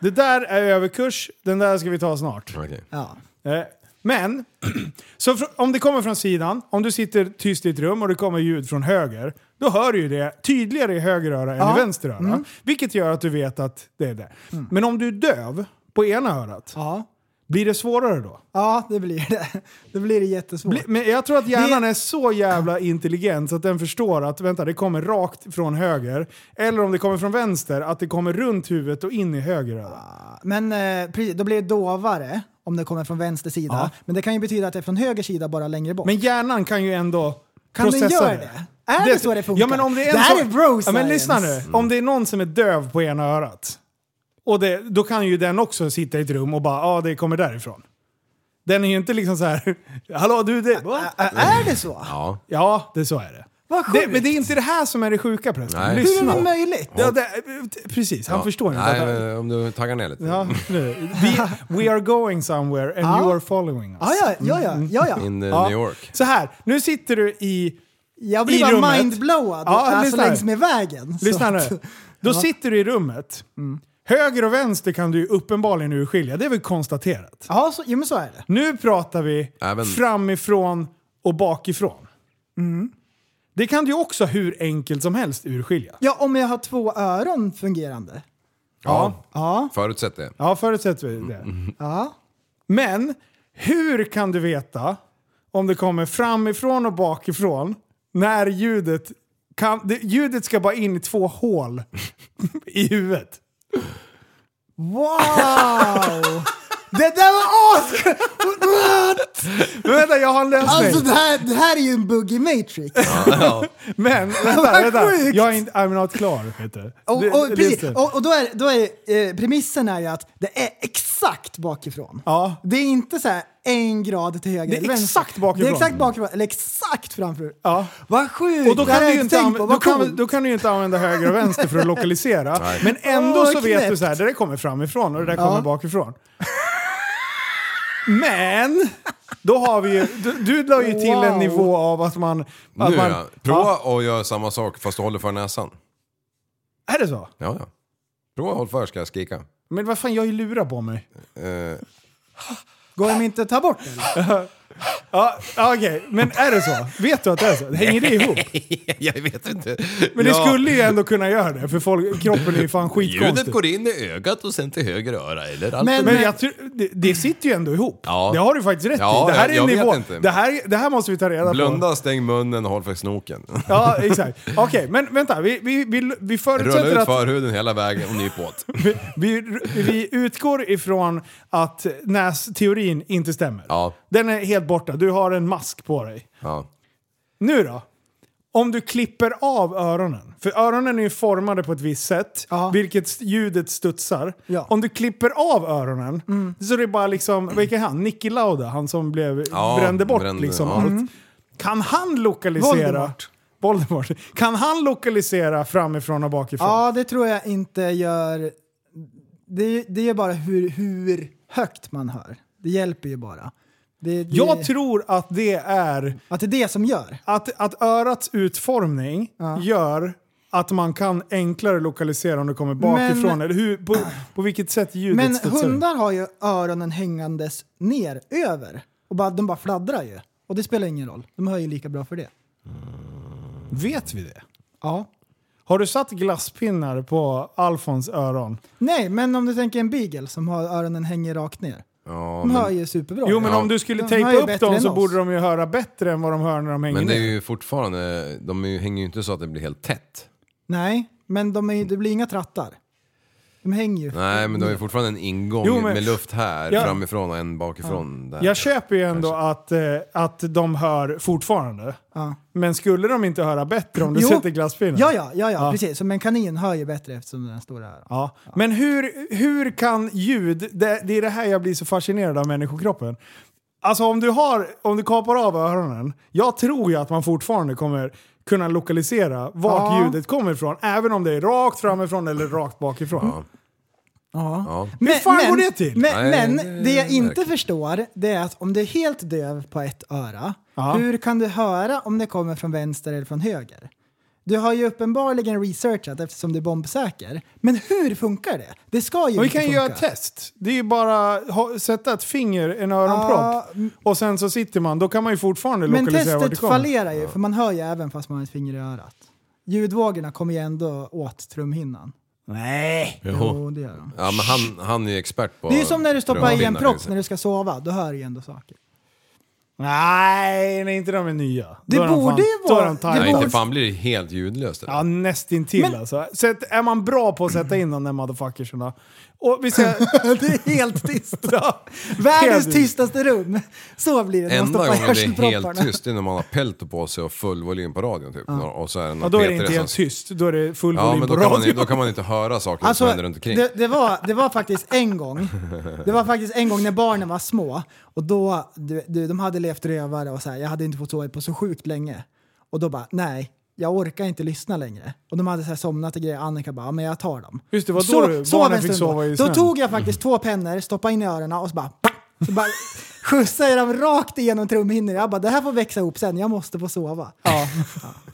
Speaker 5: Det där är överkurs, den där ska vi ta snart.
Speaker 6: Okej.
Speaker 4: Ja.
Speaker 5: Eh, Men, så fr- om det kommer från sidan, om du sitter tyst i ett rum och det kommer ljud från höger, då hör du ju det tydligare i höger öra än i vänster öra.
Speaker 4: Mm.
Speaker 5: Vilket gör att du vet att det är det. Men om du är döv på ena örat,
Speaker 4: Ja.
Speaker 5: blir det svårare då?
Speaker 4: ja, det blir det. Det blir det jättesvårt.
Speaker 5: Bli- Men jag tror att hjärnan är så jävla intelligent så att den förstår att vänta, det kommer rakt från höger. Eller om det kommer från vänster, att det kommer runt huvudet och in i höger öra.
Speaker 4: Men eh, precis, då blir det dovare om det kommer från vänster sida.
Speaker 5: Ja.
Speaker 4: Men det kan ju betyda att det är från höger sida, bara längre bort.
Speaker 5: Men hjärnan kan ju ändå
Speaker 4: Kan den
Speaker 5: processa
Speaker 4: göra det? Är det så det funkar?
Speaker 5: Ja, men om det, är en
Speaker 4: Det här
Speaker 5: som-
Speaker 4: är bro
Speaker 5: ja, men
Speaker 4: science. Mm.
Speaker 5: lyssna nu. Om det är någon som är döv på ena örat, och det, då kan ju den också sitta i ett rum och bara ja, ah, det kommer därifrån. Den är ju inte liksom så här, hallå du, det...
Speaker 4: Ä- ä- är det så?
Speaker 6: Ja.
Speaker 5: Ja, det så är det.
Speaker 4: Vad
Speaker 5: det
Speaker 4: sjukt.
Speaker 5: men det är inte det här som är det sjuka prästen.
Speaker 6: Nej.
Speaker 4: Hur är
Speaker 5: Lyssna.
Speaker 4: det möjligt?
Speaker 5: Det, det, precis, han
Speaker 6: Ja.
Speaker 5: förstår inte.
Speaker 6: Nej,
Speaker 5: att-
Speaker 6: men eh, om du taggar ner lite.
Speaker 5: Ja, nu. We, we are going somewhere and
Speaker 4: Ja.
Speaker 5: you are following us.
Speaker 4: Ja, ja, ja, ja, ja, ja.
Speaker 6: In eh,
Speaker 5: Ja.
Speaker 6: New York.
Speaker 5: Så här, nu sitter du i...
Speaker 4: Jag
Speaker 5: i
Speaker 4: blir bara
Speaker 5: rummet.
Speaker 4: mindblowad
Speaker 5: Ja,
Speaker 4: alltså
Speaker 5: lyssna här.
Speaker 4: längs med vägen. Så
Speaker 5: Lyssna nu.
Speaker 4: att- Mm.
Speaker 5: Då sitter du i rummet. Höger och vänster kan du ju uppenbarligen urskilja, det är väl konstaterat.
Speaker 4: Ja, så, jo, men så är det.
Speaker 5: Nu pratar vi
Speaker 6: Även-
Speaker 5: framifrån och bakifrån.
Speaker 4: Mm.
Speaker 5: Det kan du ju också hur enkelt som helst urskilja.
Speaker 4: Ja, om jag har två öron fungerande.
Speaker 6: Ja.
Speaker 4: Ja.
Speaker 6: Förutsätt det.
Speaker 5: Ja, förutsätter vi det.
Speaker 4: Ja.
Speaker 5: Men hur kan du veta om det kommer framifrån och bakifrån när ljudet kan, det, ljudet ska bara in i två hål i huvudet?
Speaker 4: Wow! det där var askul!
Speaker 5: Men vänta, jag har en lösning.
Speaker 4: Alltså det här, det här är ju en bugg i Matrix.
Speaker 5: Men vänta,
Speaker 4: Vad
Speaker 5: vänta.
Speaker 4: sjukt!
Speaker 5: Jag är inte, I'm not klar. Peter.
Speaker 4: Och,
Speaker 5: Det-
Speaker 4: och,
Speaker 5: det-
Speaker 4: precis,
Speaker 5: det-
Speaker 4: och, och då är, då är eh, premissen är ju att det är exakt bakifrån.
Speaker 5: Ja.
Speaker 4: Det är inte så här en grad till höger
Speaker 5: Det är
Speaker 4: eller vänster.
Speaker 5: exakt bakifrån.
Speaker 4: Det är exakt bakifrån, eller exakt framför.
Speaker 5: Ja.
Speaker 4: Vad sjukt!
Speaker 5: Och då
Speaker 4: Det här
Speaker 5: kan,
Speaker 4: har
Speaker 5: du
Speaker 4: jag
Speaker 5: ju inte
Speaker 4: tänkt
Speaker 5: använda,
Speaker 4: på.
Speaker 5: då,
Speaker 4: Vad
Speaker 5: kan,
Speaker 4: coolt!
Speaker 5: då kan du ju inte använda höger och vänster för att lokalisera. Men ändå
Speaker 4: Åh,
Speaker 5: så vet du
Speaker 4: knäppt.
Speaker 5: så här, det där kommer framifrån och det där kommer bakifrån. Men, då har vi ju, du, du la ju till en
Speaker 4: Wow.
Speaker 5: nivå av att man... Att
Speaker 6: Nu
Speaker 5: man
Speaker 6: ja. Prova och gör samma sak fast du håller för näsan.
Speaker 5: Är det så?
Speaker 6: Ja, ja. Prova och håll för ska jag skrika.
Speaker 5: Men vad fan, jag har ju lurat på mig.
Speaker 6: Eh,
Speaker 4: Går de inte att ta bort eller?
Speaker 5: Ja, ja, okej. Men är det så? Vet du att det är så? Hänger det ihop?
Speaker 6: jag vet inte.
Speaker 5: Men
Speaker 6: Ja.
Speaker 5: det skulle ju ändå kunna göra det, för folk, kroppen är ju fan
Speaker 6: Ljudet
Speaker 5: skitkonstig.
Speaker 6: går in i ögat och sen till höger öra eller allt.
Speaker 4: Men-
Speaker 5: Men jag tror, det, det sitter ju ändå ihop.
Speaker 6: Ja.
Speaker 5: Det har du faktiskt rätt
Speaker 6: Ja,
Speaker 5: i. Det här är
Speaker 6: jag
Speaker 5: en
Speaker 6: vet
Speaker 5: nivå.
Speaker 6: inte.
Speaker 5: Det här, det här måste vi ta reda på.
Speaker 6: Blunda, stäng munnen och håll för snoken.
Speaker 5: Ja, exakt. Okej, men vänta. Vi, vi, vi, vi
Speaker 6: Rulla
Speaker 5: förutsätter
Speaker 6: ut
Speaker 5: att...
Speaker 6: förhuden hela vägen och nyp åt.
Speaker 5: Vi, vi, vi utgår ifrån att nästeorin inte stämmer.
Speaker 6: Ja.
Speaker 5: Den är helt borta. Du har en mask på dig.
Speaker 6: Ja.
Speaker 5: Nu då? Om du klipper av öronen, för öronen är ju formade på ett visst sätt,
Speaker 4: Ja.
Speaker 5: vilket st- ljudet studsar.
Speaker 4: Ja. Mm.
Speaker 5: Om du klipper av öronen, så det är bara liksom, vilken är han? Nicky Lauda, han som blev,
Speaker 6: Ja,
Speaker 5: brände bort
Speaker 6: brände,
Speaker 5: liksom
Speaker 6: ja.
Speaker 5: allt. Kan han lokalisera...
Speaker 4: Voldemort.
Speaker 5: Voldemort. Kan han lokalisera framifrån och bakifrån?
Speaker 4: Ja, det tror jag inte gör... Det, det är bara hur, hur högt man hör. Det hjälper ju bara. Det, det,
Speaker 5: Jag tror att det är...
Speaker 4: att det är det som gör.
Speaker 5: Att, att örats utformning gör att man kan enklare lokalisera om det kommer bakifrån.
Speaker 4: Men-
Speaker 5: eller hur, på, på vilket sätt ljudet
Speaker 4: Men
Speaker 5: studsar ut.
Speaker 4: hundar har ju öronen hängandes ner över. Och bara, de bara fladdrar ju. Och det spelar ingen roll. De hör ju lika bra för det.
Speaker 5: Vet vi det?
Speaker 4: Ja.
Speaker 5: Har du satt glasspinnar på Alfons öron?
Speaker 4: Nej, men om du tänker en beagle som har öronen hänger rakt ner.
Speaker 6: Ja,
Speaker 4: De hör
Speaker 6: men,
Speaker 4: ju superbra.
Speaker 5: Jo, men
Speaker 6: Ja.
Speaker 5: om du skulle
Speaker 4: De hör ju
Speaker 5: tejpa upp
Speaker 4: bättre
Speaker 5: dem
Speaker 4: än
Speaker 5: så
Speaker 4: oss.
Speaker 5: borde de ju höra bättre än vad de hör när de hänger
Speaker 6: men det är
Speaker 5: ner.
Speaker 6: ju fortfarande, de är ju, hänger ju inte så att det blir helt tätt.
Speaker 4: Nej, men de är, ju- det blir inga trattar. De hänger ju.
Speaker 6: Nej, men de
Speaker 4: Mm.
Speaker 6: har ju fortfarande en ingång
Speaker 5: Jo, men-
Speaker 6: med luft här
Speaker 5: Ja.
Speaker 6: framifrån och en bakifrån där.
Speaker 5: Jag köper ju ändå att, eh, att de hör fortfarande.
Speaker 4: Ja.
Speaker 5: Men skulle de inte höra bättre om du
Speaker 4: Jo.
Speaker 5: sätter glasspinnar?
Speaker 4: Ja, ja, ja, ja,
Speaker 5: Ja.
Speaker 4: precis. Som en kanin hör ju bättre eftersom den står där.
Speaker 5: Ja. Men hur, hur kan ljud, det, det är det här jag blir så fascinerad av människokroppen. Alltså om du, har, om du kapar av öronen, jag tror ju att man fortfarande kommer kunna lokalisera vart
Speaker 4: Ja.
Speaker 5: ljudet kommer ifrån. Även om det är rakt framifrån eller rakt bakifrån.
Speaker 4: Ja.
Speaker 6: Ja.
Speaker 4: Men,
Speaker 5: Hur fan går det till?
Speaker 4: Men,
Speaker 6: Nej,
Speaker 4: men det jag inte förstår det är att om du är helt döv på ett öra,
Speaker 5: Ja.
Speaker 4: hur kan du höra om det kommer från vänster eller från höger? Du har ju uppenbarligen researchat eftersom du är bombsäker. Men hur funkar det? Det ska ju
Speaker 5: Och vi
Speaker 4: inte
Speaker 5: kan ju
Speaker 4: funka.
Speaker 5: göra ett test. Det är ju bara ha, sätta ett finger, en öronpropp
Speaker 4: Ja, m-
Speaker 5: och sen så sitter man. Då kan man ju fortfarande
Speaker 4: Men
Speaker 5: lokalisera vart det
Speaker 4: testet
Speaker 5: kommer.
Speaker 4: fallerar ju, för man hör ju även fast man har ett finger i örat. Ljudvågorna kommer ju ändå åt trumhinnan.
Speaker 5: Nej!
Speaker 4: Jo, det gör de.
Speaker 6: Ja, men han, han är ju expert på...
Speaker 4: Det är ju som när du stoppar i en
Speaker 6: trumhinnan,
Speaker 4: propp
Speaker 6: liksom.
Speaker 4: när du ska sova, då hör du ju ändå saker.
Speaker 5: Nej, nej inte de är nya.
Speaker 4: Det
Speaker 5: Då är de
Speaker 4: borde ju
Speaker 5: då är
Speaker 4: vara-
Speaker 5: de
Speaker 4: det
Speaker 5: tajta.
Speaker 6: Nej, inte
Speaker 4: borde-
Speaker 6: fan blir det helt ljudlöst.
Speaker 5: Ja, nästintill
Speaker 4: Men-
Speaker 5: alltså. Så att, är man bra på att sätta in de där motherfuckerserna. Och vi säger...
Speaker 4: det är helt tyst. Världens
Speaker 5: Helt-
Speaker 4: tystaste rum. Så blir det när man
Speaker 6: Enda
Speaker 4: stoppar i
Speaker 6: gången det är
Speaker 4: hörselpropparna.
Speaker 6: helt tyst det är när man har pelto på sig och full volym på radion typ. Och så är det någon
Speaker 5: Ja, då är det
Speaker 6: P3
Speaker 5: inte
Speaker 6: som-
Speaker 5: helt tyst. Då är det full
Speaker 6: Ja,
Speaker 5: volym
Speaker 6: men
Speaker 5: på
Speaker 6: då kan, man,
Speaker 5: radio.
Speaker 6: ju- då kan man inte höra saker som Alltså, händer runt omkring.
Speaker 4: Alltså, det, det, var, det var faktiskt en gång. Det var faktiskt en gång när barnen var små. Och då, du, du, de hade levt rövare och så här, jag hade inte fått sova på så sjukt länge. Och då bara, nej, jag orkar inte lyssna längre. Och de hade så här somnat och grejer. Annika bara, "Ja, men jag tar dem.
Speaker 5: Just det, vad då du-
Speaker 4: sov
Speaker 5: barnen
Speaker 4: en
Speaker 5: fick
Speaker 4: stund
Speaker 5: sova i
Speaker 4: Då
Speaker 5: snön.
Speaker 4: tog jag faktiskt två pennor, stoppade in i öronen och så bara, så bara skjutsade jag dem rakt igenom trumhinnor. Jag bara, det här får växa ihop sen, jag måste få sova. Ja.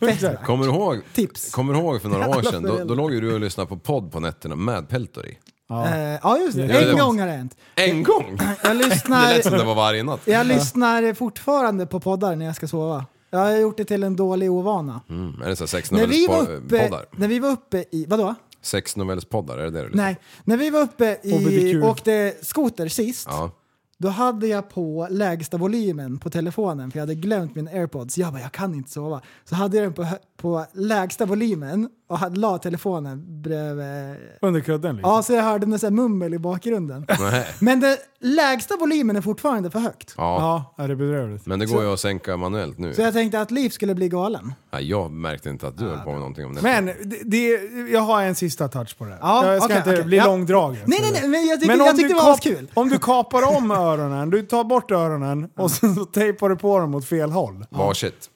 Speaker 4: fett bra.
Speaker 6: Kommer du ihåg,
Speaker 4: Tips.
Speaker 6: Kommer du ihåg för några år
Speaker 4: Alla
Speaker 6: sedan? Då, då
Speaker 4: föräldrar.
Speaker 6: låg ju du och lyssnade på podd på nätterna med pelto i.
Speaker 4: Eh, ja, just det.
Speaker 6: Ja, det
Speaker 4: En
Speaker 6: var-
Speaker 4: gång har det hänt.
Speaker 6: En gång!
Speaker 4: Jag
Speaker 6: Det lät som
Speaker 4: lyssnar,
Speaker 6: det var varje natt.
Speaker 4: jag lyssnar fortfarande på poddar när jag ska sova. Jag har gjort det till en dålig ovana.
Speaker 6: Mm, är det så här
Speaker 4: När vi, var
Speaker 6: sexnovellspoddar?
Speaker 4: uppe, när vi var uppe i... Vadå?
Speaker 6: Sexnovellspoddar, är det det du liksom? lyssnar
Speaker 4: Nej. När vi var uppe i...
Speaker 5: HBTQ.
Speaker 4: Åkte skoter sist.
Speaker 6: på? Ja.
Speaker 4: Då hade jag på lägsta volymen på telefonen för jag hade glömt min airpods. Jag bara, jag kan inte sova. Så hade jag den på, hö- på lägsta volymen och hade, la telefonen bredvid
Speaker 5: Under kudden liksom.
Speaker 4: Ja, så jag hörde något så här mummel i bakgrunden.
Speaker 6: Nej.
Speaker 4: Men den lägsta volymen är fortfarande för högt.
Speaker 6: ja.
Speaker 5: Ja, är det är bedrövligt.
Speaker 6: Men det går ju att sänka manuellt nu.
Speaker 4: Så jag tänkte att Liv skulle bli galen.
Speaker 6: Nej, jag märkte inte att du höll på med någonting om det.
Speaker 5: Men det, det, jag har en sista touch på det här.
Speaker 4: Ja,
Speaker 5: jag ska
Speaker 4: okej,
Speaker 5: inte
Speaker 4: okej.
Speaker 5: bli
Speaker 4: Ja.
Speaker 5: långdragen.
Speaker 4: Nej, nej, nej, men jag tyckte,
Speaker 5: Men om
Speaker 4: jag
Speaker 5: du
Speaker 4: tyckte det var
Speaker 5: kap-
Speaker 4: askul.
Speaker 5: Om du kapar om öronen, du tar bort öronen och sen så tejpar du på dem åt fel håll.
Speaker 6: Varsitt.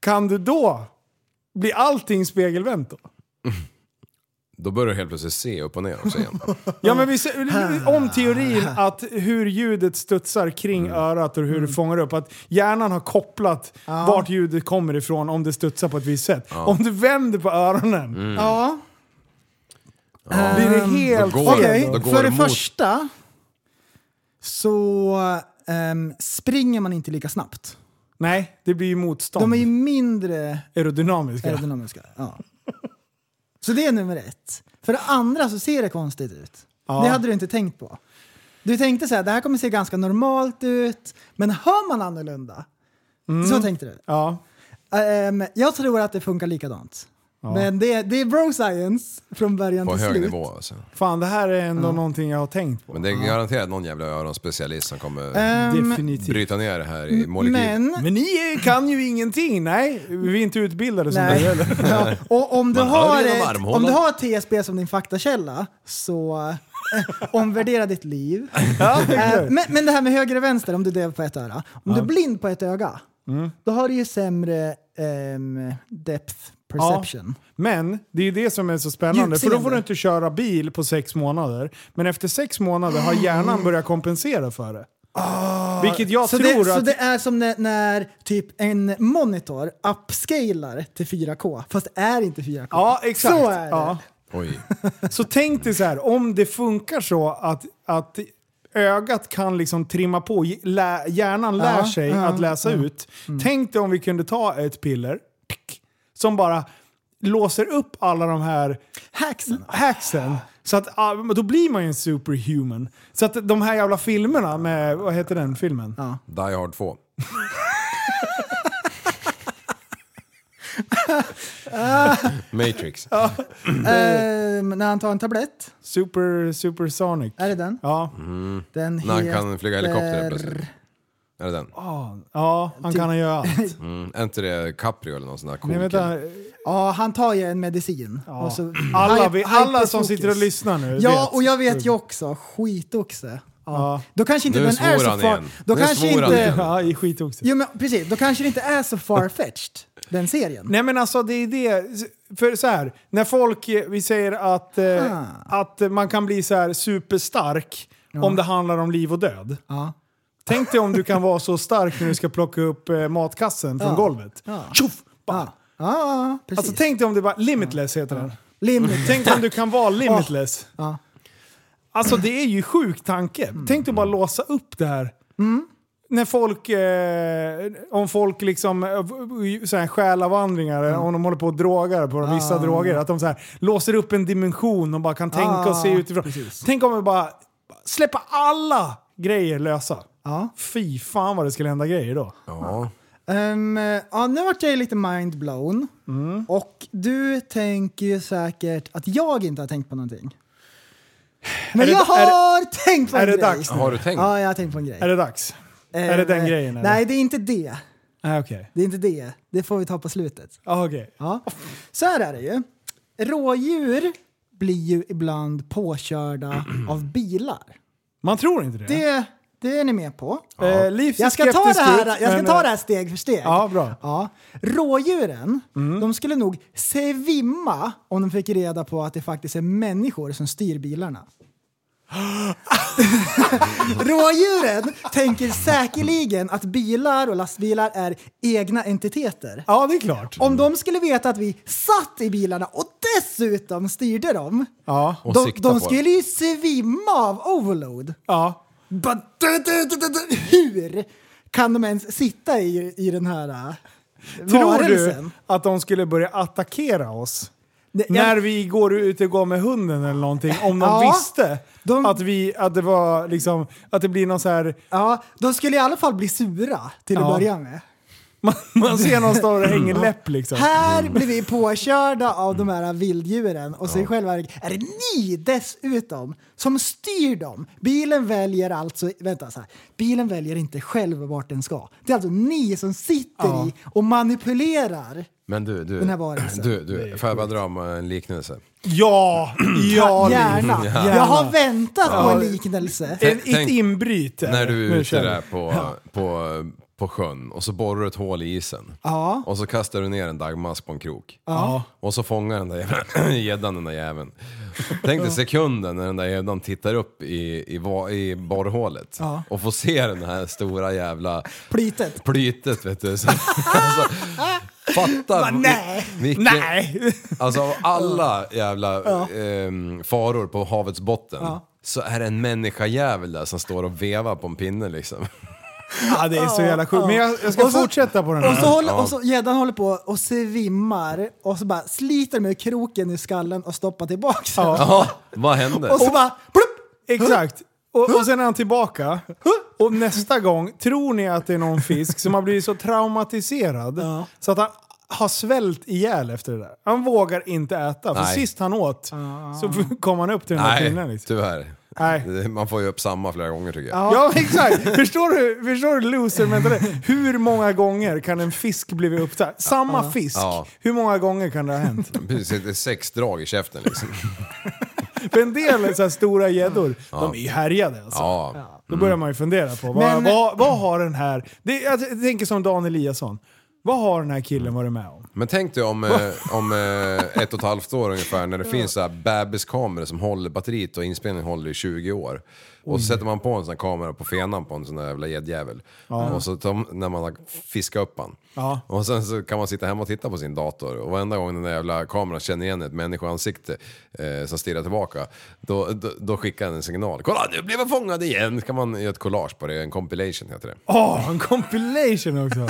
Speaker 5: Kan du då? Blir allting spegelvänt då?
Speaker 6: Då börjar du helt plötsligt se upp och ner också igen.
Speaker 5: Ja men vi, ser- om teorin
Speaker 4: Ah.
Speaker 5: att hur ljudet studsar kring
Speaker 4: Mm.
Speaker 5: örat och hur det fångar upp. Att hjärnan har kopplat vart ljudet kommer ifrån om det studsar på ett visst sätt. Om du vänder på öronen
Speaker 4: Ja,
Speaker 5: blir det helt
Speaker 6: Då går
Speaker 4: okej.
Speaker 6: Då går
Speaker 4: För
Speaker 6: det
Speaker 4: det
Speaker 6: mot-
Speaker 4: första så ehm, springer man inte lika snabbt.
Speaker 5: Nej, det blir ju motstånd.
Speaker 4: De är ju mindre
Speaker 5: aerodynamiska.
Speaker 4: aerodynamiska. Ja. Så det är nummer ett. För det andra så ser det konstigt ut. Det hade du inte tänkt på. Du tänkte så här, det här kommer se ganska normalt ut, men hör man annorlunda? Så tänkte du?
Speaker 5: Ja.
Speaker 4: Ehm, jag tror att det funkar likadant. Men det, det är bro science från början
Speaker 6: På
Speaker 4: till
Speaker 6: hög
Speaker 4: slut.
Speaker 6: nivå alltså.
Speaker 5: Fan, det här är ändå någonting jag har tänkt på.
Speaker 6: Men det är garanterat någon jävla öronspecialist som kommer
Speaker 4: Ehm,
Speaker 5: Definitivt.
Speaker 6: bryta ner det här i molekyl.
Speaker 4: Eh, typ. Men,
Speaker 5: Men ni är- kan ju ingenting, nej. Vi är inte utbildade som
Speaker 4: nej.
Speaker 5: du heller.
Speaker 4: Ja, och om du,
Speaker 6: Man hör
Speaker 4: har
Speaker 6: genom
Speaker 4: ett, om
Speaker 6: armhålan.
Speaker 4: du har TSB som din faktakälla så eh, omvärdera ditt liv. Eh, men, men det här med höger och vänster, om du är döv på ett öra. Om du är blind på ett öga, då har du ju sämre ehm, depth perception.
Speaker 5: Men det är ju det som är så spännande, för då får
Speaker 4: Djupseende.
Speaker 5: du inte köra bil på sex månader. Men efter sex månader har hjärnan börjat kompensera för det. Vilket jag
Speaker 4: Ah, Så
Speaker 5: tror
Speaker 4: det, så
Speaker 5: att...
Speaker 4: det är som när, när typ en monitor upscalar till 4K, fast det är inte 4K.
Speaker 5: Ja, exakt.
Speaker 4: Så är det.
Speaker 5: Ja.
Speaker 6: Oj.
Speaker 5: Så tänk dig så här, om det funkar så att, att ögat kan liksom trimma på, lä, hjärnan lär
Speaker 4: Ja,
Speaker 5: sig
Speaker 4: ja, Mm.
Speaker 5: att läsa ut. Tänk dig om vi kunde ta ett piller pick, som bara låser upp alla de här
Speaker 4: Hacksen.
Speaker 5: hacksen. Så att, ah, men då blir man ju en superhuman. Så att de här jävla filmerna med, vad heter den filmen?
Speaker 6: Die Hard 2. Matrix.
Speaker 4: Ehm, när han tar en tablett,
Speaker 5: Super, supersonic.
Speaker 4: är det den?
Speaker 5: Ja,
Speaker 4: Den
Speaker 6: När han
Speaker 4: heter...
Speaker 6: kan flyga helikopter helt plötsligt. Är det den?
Speaker 5: ja han
Speaker 4: Typ.
Speaker 5: kan göra allt.
Speaker 6: Mm. Är inte det Caprio eller någon sån där cool
Speaker 5: Men
Speaker 6: kille?
Speaker 5: vänta,
Speaker 4: Ja, han tar ju en medicin. Och så,
Speaker 5: alla, vi,
Speaker 4: Hyper-
Speaker 5: alla som
Speaker 4: hyperfokus.
Speaker 5: sitter och lyssnar nu
Speaker 4: Ja,
Speaker 5: vet.
Speaker 4: och jag vet ju också. Skitoxe. Ja.
Speaker 5: Ja.
Speaker 4: Då kanske inte
Speaker 6: Nu
Speaker 4: den är
Speaker 6: svor
Speaker 4: så
Speaker 6: han
Speaker 4: far...
Speaker 6: igen.
Speaker 4: Då
Speaker 6: Nu
Speaker 4: kanske
Speaker 6: svor han
Speaker 4: inte...
Speaker 6: igen.
Speaker 5: Ja, i skit också.
Speaker 4: Jo, men precis. Då kanske det inte är så farfetched den serien.
Speaker 5: Nej men alltså det är det, för så här, när folk, eh, vi säger att, eh,
Speaker 4: Ah.
Speaker 5: att man kan bli så här superstark om det handlar om liv och död.
Speaker 4: Ja.
Speaker 5: Tänk dig om du kan vara så stark när du ska plocka upp eh, matkassen från
Speaker 4: Ja.
Speaker 5: golvet.
Speaker 4: Ja.
Speaker 5: Tjoff! Bara,
Speaker 4: Ja. Ja, ja, precis.
Speaker 5: Alltså tänk dig om det var limitless heter den.
Speaker 4: Limit.
Speaker 5: Tänk dig om du kan vara limitless.
Speaker 4: Ja. Mm.
Speaker 5: Alltså det är ju sjuk tanke. Tänk dig bara låsa upp det här. När folk, eh, om folk liksom, eh, v- så här, själavandringar,
Speaker 4: Mm.
Speaker 5: eh, om de håller på och drogar på vissa droger, att de så här, låser upp en dimension och bara kan tänka och se
Speaker 4: Ah,
Speaker 5: utifrån.
Speaker 4: precis.
Speaker 5: Tänk om vi bara släpper alla grejer lösa.
Speaker 4: Ja.
Speaker 5: Fy fan vad det skulle hända grejer då.
Speaker 6: Ja.
Speaker 4: Ehm, ja, nu vart jag ju lite mindblown.
Speaker 5: Mm.
Speaker 4: Och du tänker ju säkert att jag inte har tänkt på någonting. Men
Speaker 5: det-
Speaker 4: jag
Speaker 5: är det-
Speaker 4: har tänkt på
Speaker 5: är
Speaker 4: en
Speaker 5: det
Speaker 4: grej.
Speaker 5: dags
Speaker 6: Har du tänkt?
Speaker 4: Ja, jag har tänkt på en grej.
Speaker 5: Är det dags? är det den
Speaker 4: Ehm,
Speaker 5: grejen, eller?
Speaker 4: Nej, det är inte det.
Speaker 5: Ah, Okej.
Speaker 4: Det är inte det. Det får vi ta på slutet.
Speaker 5: Ah, okej.
Speaker 4: Ja. Så här är det ju. Rådjur blir ju ibland påkörda av bilar.
Speaker 5: Man tror inte det.
Speaker 4: Det, det är ni med på.
Speaker 5: Eh, Livs är
Speaker 4: Jag ska, ta det
Speaker 5: skeptisk
Speaker 4: här,
Speaker 5: ut,
Speaker 4: jag ska
Speaker 5: men,
Speaker 4: ta
Speaker 5: eh,
Speaker 4: det här steg för steg.
Speaker 5: Ja, bra. Mm.
Speaker 4: Ja. Rådjuren, de skulle nog svimma om de fick reda på att det faktiskt är människor som styr bilarna. Rådjuren tänker säkerligen att bilar och lastbilar är egna entiteter.
Speaker 5: Ja, det är klart.
Speaker 4: Om de skulle veta att vi satt i bilarna och dessutom styrde dem,
Speaker 5: Ja.
Speaker 6: Och
Speaker 4: de,
Speaker 6: sikta
Speaker 4: de
Speaker 6: på.
Speaker 4: skulle ju svimma av overload.
Speaker 5: Ja.
Speaker 4: Ba- du- du- du- du- du- Hur kan de ens sitta i, i den här äh,
Speaker 5: Tror
Speaker 4: varelsen?
Speaker 5: du att de skulle börja attackera oss?
Speaker 4: Det- jag-
Speaker 5: När vi går ut och går med hunden eller någonting, om de
Speaker 4: Ja.
Speaker 5: visste
Speaker 4: De-
Speaker 5: att, vi, att det var liksom, att det blir någon så här,
Speaker 4: Ja, de skulle i alla fall bli sura till att
Speaker 5: Ja.
Speaker 4: börja med.
Speaker 5: man, man ser någon stå och hänger läpp liksom.
Speaker 4: Här blir vi påkörda av de här vilddjuren och så i själva verket är det ni dessutom som styr dem. Bilen väljer alltså, vänta så här, bilen väljer inte själv vart den ska. Det är alltså ni som sitter i och manipulerar.
Speaker 6: Men du, du,
Speaker 4: Den här alltså. varelsen.
Speaker 6: du, du får jag bara dra om en liknelse?
Speaker 5: Ja, ja, Liv.
Speaker 4: Gärna. Jag har väntat på en liknelse.
Speaker 5: En, ett
Speaker 6: Tänk-
Speaker 5: inbryt. är det.
Speaker 6: När du är
Speaker 5: Nu
Speaker 6: ute
Speaker 5: kör vi.
Speaker 6: där på, på, på sjön och så borrar du ett hål i isen.
Speaker 4: Ja.
Speaker 6: Och så kastar du ner en dagmask på en krok.
Speaker 5: Ja.
Speaker 6: Och så fångar den där jävla- gäddan den där jäveln. Tänk dig sekunden när den där gäddan tittar upp i, i, va- i borrhålet och får se den här stora jävla
Speaker 4: Plytet.
Speaker 6: plytet vet du. Så, alltså, fatta
Speaker 4: Va, nej.
Speaker 6: vi- vilken,
Speaker 5: Nej!
Speaker 6: Alltså av alla jävla ehm, faror på havets botten så är det en människajävel där som står och vevar på en pinne liksom.
Speaker 5: Ja, det är så jävla sjukt. Men jag, jag ska
Speaker 4: Och så-
Speaker 5: fortsätta på den här.
Speaker 4: Och så håller, och så, gäddan håller på och svimmar och så bara sliter med kroken ur skallen och stoppar tillbaka den.
Speaker 6: Ja, vad hände?
Speaker 4: Och så bara plupp!
Speaker 5: Exakt. Och, och sen är han tillbaka. Och nästa gång, tror ni att det är någon fisk som har blivit så traumatiserad så att han har svällt ihjäl efter det där? Han vågar inte äta. För
Speaker 6: Nej. Ah.
Speaker 5: sist han åt så kom han upp till den där pinnen.
Speaker 6: Nej,
Speaker 5: Liksom.
Speaker 6: tyvärr.
Speaker 5: Nej.
Speaker 6: Det- Man får ju upp samma flera gånger tycker jag.
Speaker 5: Ja exakt! Förstår du, förstår du loser Hur många gånger kan en fisk bli upptagen? Samma fisk,
Speaker 6: Ja.
Speaker 5: hur många gånger kan det ha hänt?
Speaker 6: Precis, det är sex drag i käften liksom.
Speaker 5: För en del så här stora gäddor, de är ju härjade alltså.
Speaker 6: Ja.
Speaker 5: Då börjar man ju fundera på vad,
Speaker 4: Men-
Speaker 5: vad, vad har den här... Det, jag tänker som Dan Eliasson. Vad har den här killen varit med om?
Speaker 6: Men tänk dig om, eh, om eh, ett och ett halvt år ungefär när det finns så här bebiskameror som håller batteriet och inspelningen håller i 20 år. Och så sätter man på en sån här kamera på fenan på en sån där jävla gäddjävel. Och så tar, när man har fiskat upp han.
Speaker 5: Ja.
Speaker 6: Och sen så kan man sitta hemma och titta på sin dator och varenda gång den där jävla kameran känner igen ett människoansikte eh, som stirrar tillbaka, då, då, då skickar den en signal. Kolla nu blev jag fångad igen! Så kan man göra ett collage på det, en compilation heter det.
Speaker 5: Åh, en compilation också!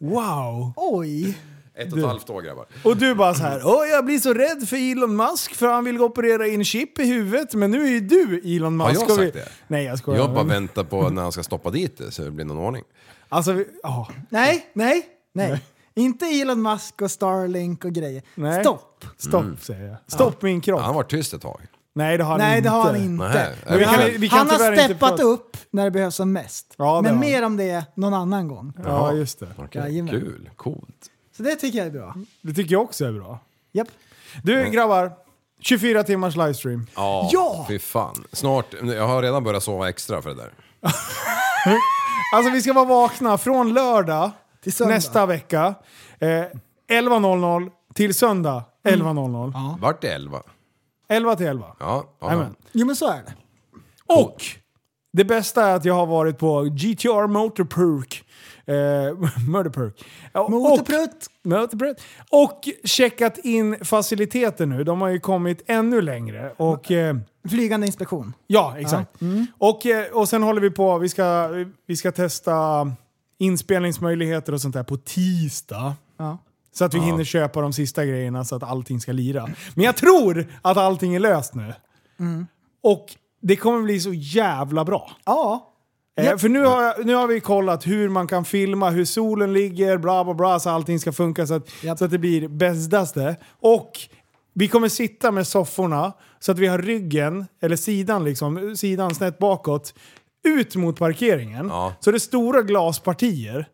Speaker 5: Wow!
Speaker 4: Oj!
Speaker 6: Ett och ett halvt år grabbar.
Speaker 5: Och du bara så här, åh jag blir så rädd för Elon Musk för han vill operera in chip i huvudet men nu är ju du Elon Musk.
Speaker 6: Har jag
Speaker 5: och vi-
Speaker 6: sagt det?
Speaker 5: Nej jag skojar.
Speaker 6: Jag bara
Speaker 5: Men-
Speaker 6: väntar på när han ska stoppa dit det så det blir någon ordning.
Speaker 5: Alltså, vi- ja.
Speaker 4: Nej, nej, nej. Inte Elon Musk och Starlink och grejer.
Speaker 5: Nej.
Speaker 4: Stopp!
Speaker 5: Stopp
Speaker 6: Mm.
Speaker 5: säger jag. Stopp min kropp.
Speaker 6: Han var tyst ett tag.
Speaker 5: Nej det har han
Speaker 4: Nej,
Speaker 5: inte.
Speaker 4: det har han inte.
Speaker 6: Nej,
Speaker 5: Mm. Men vi
Speaker 6: jag
Speaker 5: kan,
Speaker 6: vet.
Speaker 5: vi kan
Speaker 4: han har
Speaker 5: tyvärr inte
Speaker 4: steppat
Speaker 5: prata-
Speaker 4: upp när det behövs som mest.
Speaker 5: Ja, det har
Speaker 4: Men
Speaker 5: han.
Speaker 4: mer om det någon annan gång.
Speaker 5: Ja just det.
Speaker 6: Okej,
Speaker 4: Jajamän.
Speaker 6: kul, coolt.
Speaker 4: Så det tycker jag är bra.
Speaker 5: Det tycker jag också är bra.
Speaker 4: Japp.
Speaker 5: Du grabbar, 24 timmars livestream.
Speaker 6: Ja,
Speaker 4: Ja!
Speaker 6: Fy fan. Snart, jag har redan börjat sova extra för det där.
Speaker 5: Alltså vi ska vara vakna från lördag
Speaker 4: Till söndag.
Speaker 5: nästa vecka. Eh, 11.00 till söndag 11.00.
Speaker 4: Mm.
Speaker 6: Vart det 11?
Speaker 5: 11 till 11.
Speaker 6: Ja, ja.
Speaker 5: Jajamän.
Speaker 4: Jo men så är det.
Speaker 5: Och det bästa är att jag har varit på GTR Motor Perk. Eh, murder perk. Och-
Speaker 4: Motorprutt!
Speaker 5: Mötebread. Och checkat in faciliteten nu. De har ju kommit ännu längre. Och, eh,
Speaker 4: Flygande inspektion.
Speaker 5: ja, exakt. Och, eh, och sen håller vi på, vi ska, vi ska testa inspelningsmöjligheter och sånt där på tisdag.
Speaker 4: Ja.
Speaker 5: Så att vi hinner köpa de sista grejerna så att allting ska lira. Men jag tror att allting är löst nu. Och det kommer bli så jävla bra.
Speaker 4: Ja.
Speaker 5: Eh, för nu har, jag, nu har vi kollat hur man kan filma, hur solen ligger, bla bla bla, så allting ska funka så att,
Speaker 4: Japp.
Speaker 5: så att det blir bästaste. Och vi kommer sitta med sofforna så att vi har ryggen, eller sidan liksom, sidan snett bakåt, ut mot parkeringen.
Speaker 6: Ja.
Speaker 5: Så det är stora glaspartier.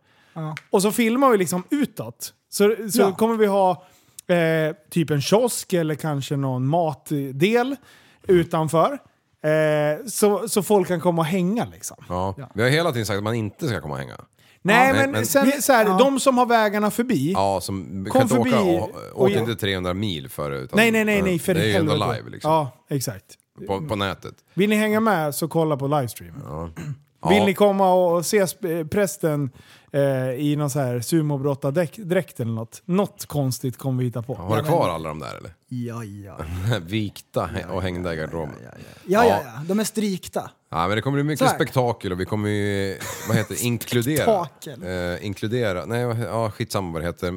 Speaker 5: Och så filmar vi liksom utåt. Så, så
Speaker 4: Ja.
Speaker 5: kommer vi ha eh, typ en kiosk eller kanske någon matdel utanför. Eh, så, så folk kan komma och hänga liksom.
Speaker 6: Ja. Vi har hela tiden sagt att man inte ska komma och hänga.
Speaker 5: Nej,
Speaker 6: Ja.
Speaker 5: men,
Speaker 6: Men- men-
Speaker 5: sen så här, de som har vägarna förbi.
Speaker 6: Ja, som
Speaker 5: Kom
Speaker 6: kan inte åka,
Speaker 5: förbi
Speaker 6: och,
Speaker 5: och-
Speaker 6: åk inte 300 mil för det. utan-
Speaker 5: Nej, nej, nej, nej, för
Speaker 6: Det är ju
Speaker 5: helvete.
Speaker 6: ändå live liksom,
Speaker 5: Ja, exakt.
Speaker 6: på, på nätet.
Speaker 5: Vill ni hänga med så kolla på livestreamen.
Speaker 6: Ja.
Speaker 5: Vill ni komma och se sp- eh, prästen eh, i någon så här sumobrottardräkt eller något? Något konstigt kommer vi hitta på.
Speaker 6: Har du kvar alla de där eller?
Speaker 4: Ja, ja.
Speaker 6: Vikta hä- och hängda i garderoben. Ja,
Speaker 4: Ja, ja, ja. De är strykta.
Speaker 6: men det kommer bli mycket
Speaker 4: Så här.
Speaker 6: spektakel och vi kommer ju, vad heter det, inkludera...
Speaker 4: Spektakel.
Speaker 6: eh, inkludera, nej vad- ja, skitsamma vad det heter,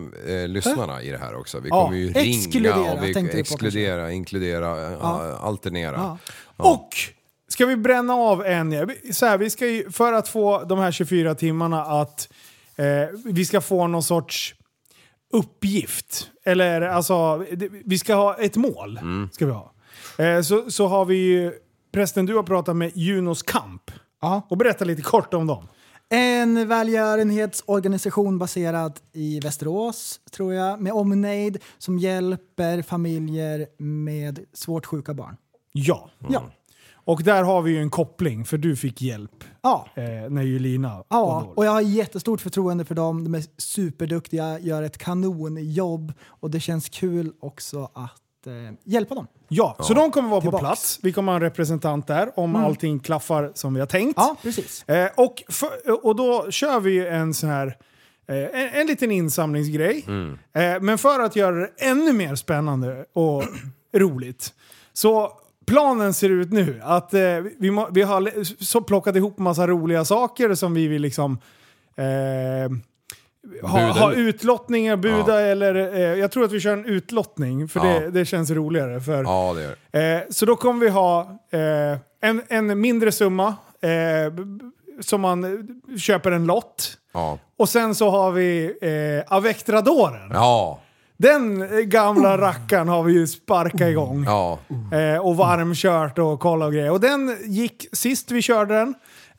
Speaker 6: eh, lyssnarna i det här också. Vi
Speaker 5: Ja,
Speaker 6: kommer ju
Speaker 4: exkludera,
Speaker 6: ringa och vi
Speaker 4: tänkte jag på
Speaker 6: exkludera, inkludera, eh, alternera.
Speaker 5: Och ska vi bränna av en... Så här, vi ska ju, för att få de här 24 timmarna att... Eh, vi ska få någon sorts uppgift. Eller alltså, det- vi ska ha ett mål. Ska vi ha. Eh, så, så har vi ju... Prästen, du har pratat med Junos Kamp.
Speaker 4: Ja.
Speaker 5: Och berätta lite kort om dem.
Speaker 4: En välgörenhetsorganisation baserad i Västerås, tror jag, med omnejd som hjälper familjer med svårt sjuka barn.
Speaker 5: Ja.
Speaker 4: Ja.
Speaker 5: Och där har vi ju en koppling, för du fick hjälp
Speaker 4: Ja.
Speaker 5: eh, när Julina var
Speaker 4: Ja,
Speaker 5: dålig.
Speaker 4: och jag har jättestort förtroende för dem. De är superduktiga, gör ett kanonjobb och det känns kul också att eh, hjälpa dem.
Speaker 5: Ja, så de kommer vara
Speaker 4: Tillbaks. Mm.
Speaker 5: på plats. Vi kommer ha en representant där om allting klaffar som vi har tänkt.
Speaker 4: Ja, precis.
Speaker 5: Eh, och, för, och då kör vi ju en sån här eh, en, en liten insamlingsgrej.
Speaker 6: Mm.
Speaker 5: Eh, men för att göra det ännu mer spännande och roligt. Så planen ser ut nu att eh, vi, må, vi har le- så plockat ihop massa roliga saker som vi vill liksom eh, ha,
Speaker 6: Buda
Speaker 5: ha
Speaker 6: ut.
Speaker 5: utlottningar, buda
Speaker 6: Ja.
Speaker 5: eller... Eh, jag tror att vi kör en utlottning för
Speaker 6: Ja.
Speaker 5: det, det känns roligare. För,
Speaker 6: Ja, det gör det.
Speaker 5: Eh, så då kommer vi ha eh, en, en mindre summa eh, b- b- som man eh, köper en lott.
Speaker 6: Ja.
Speaker 5: Och sen så har vi eh, Avectradoren.
Speaker 6: Ja, Oh.
Speaker 5: Den eh, gamla rackaren har vi ju sparkat igång.
Speaker 6: Mm. ja.
Speaker 5: Eh, och varmkört och kolla och grejer. Och den gick sist vi körde den.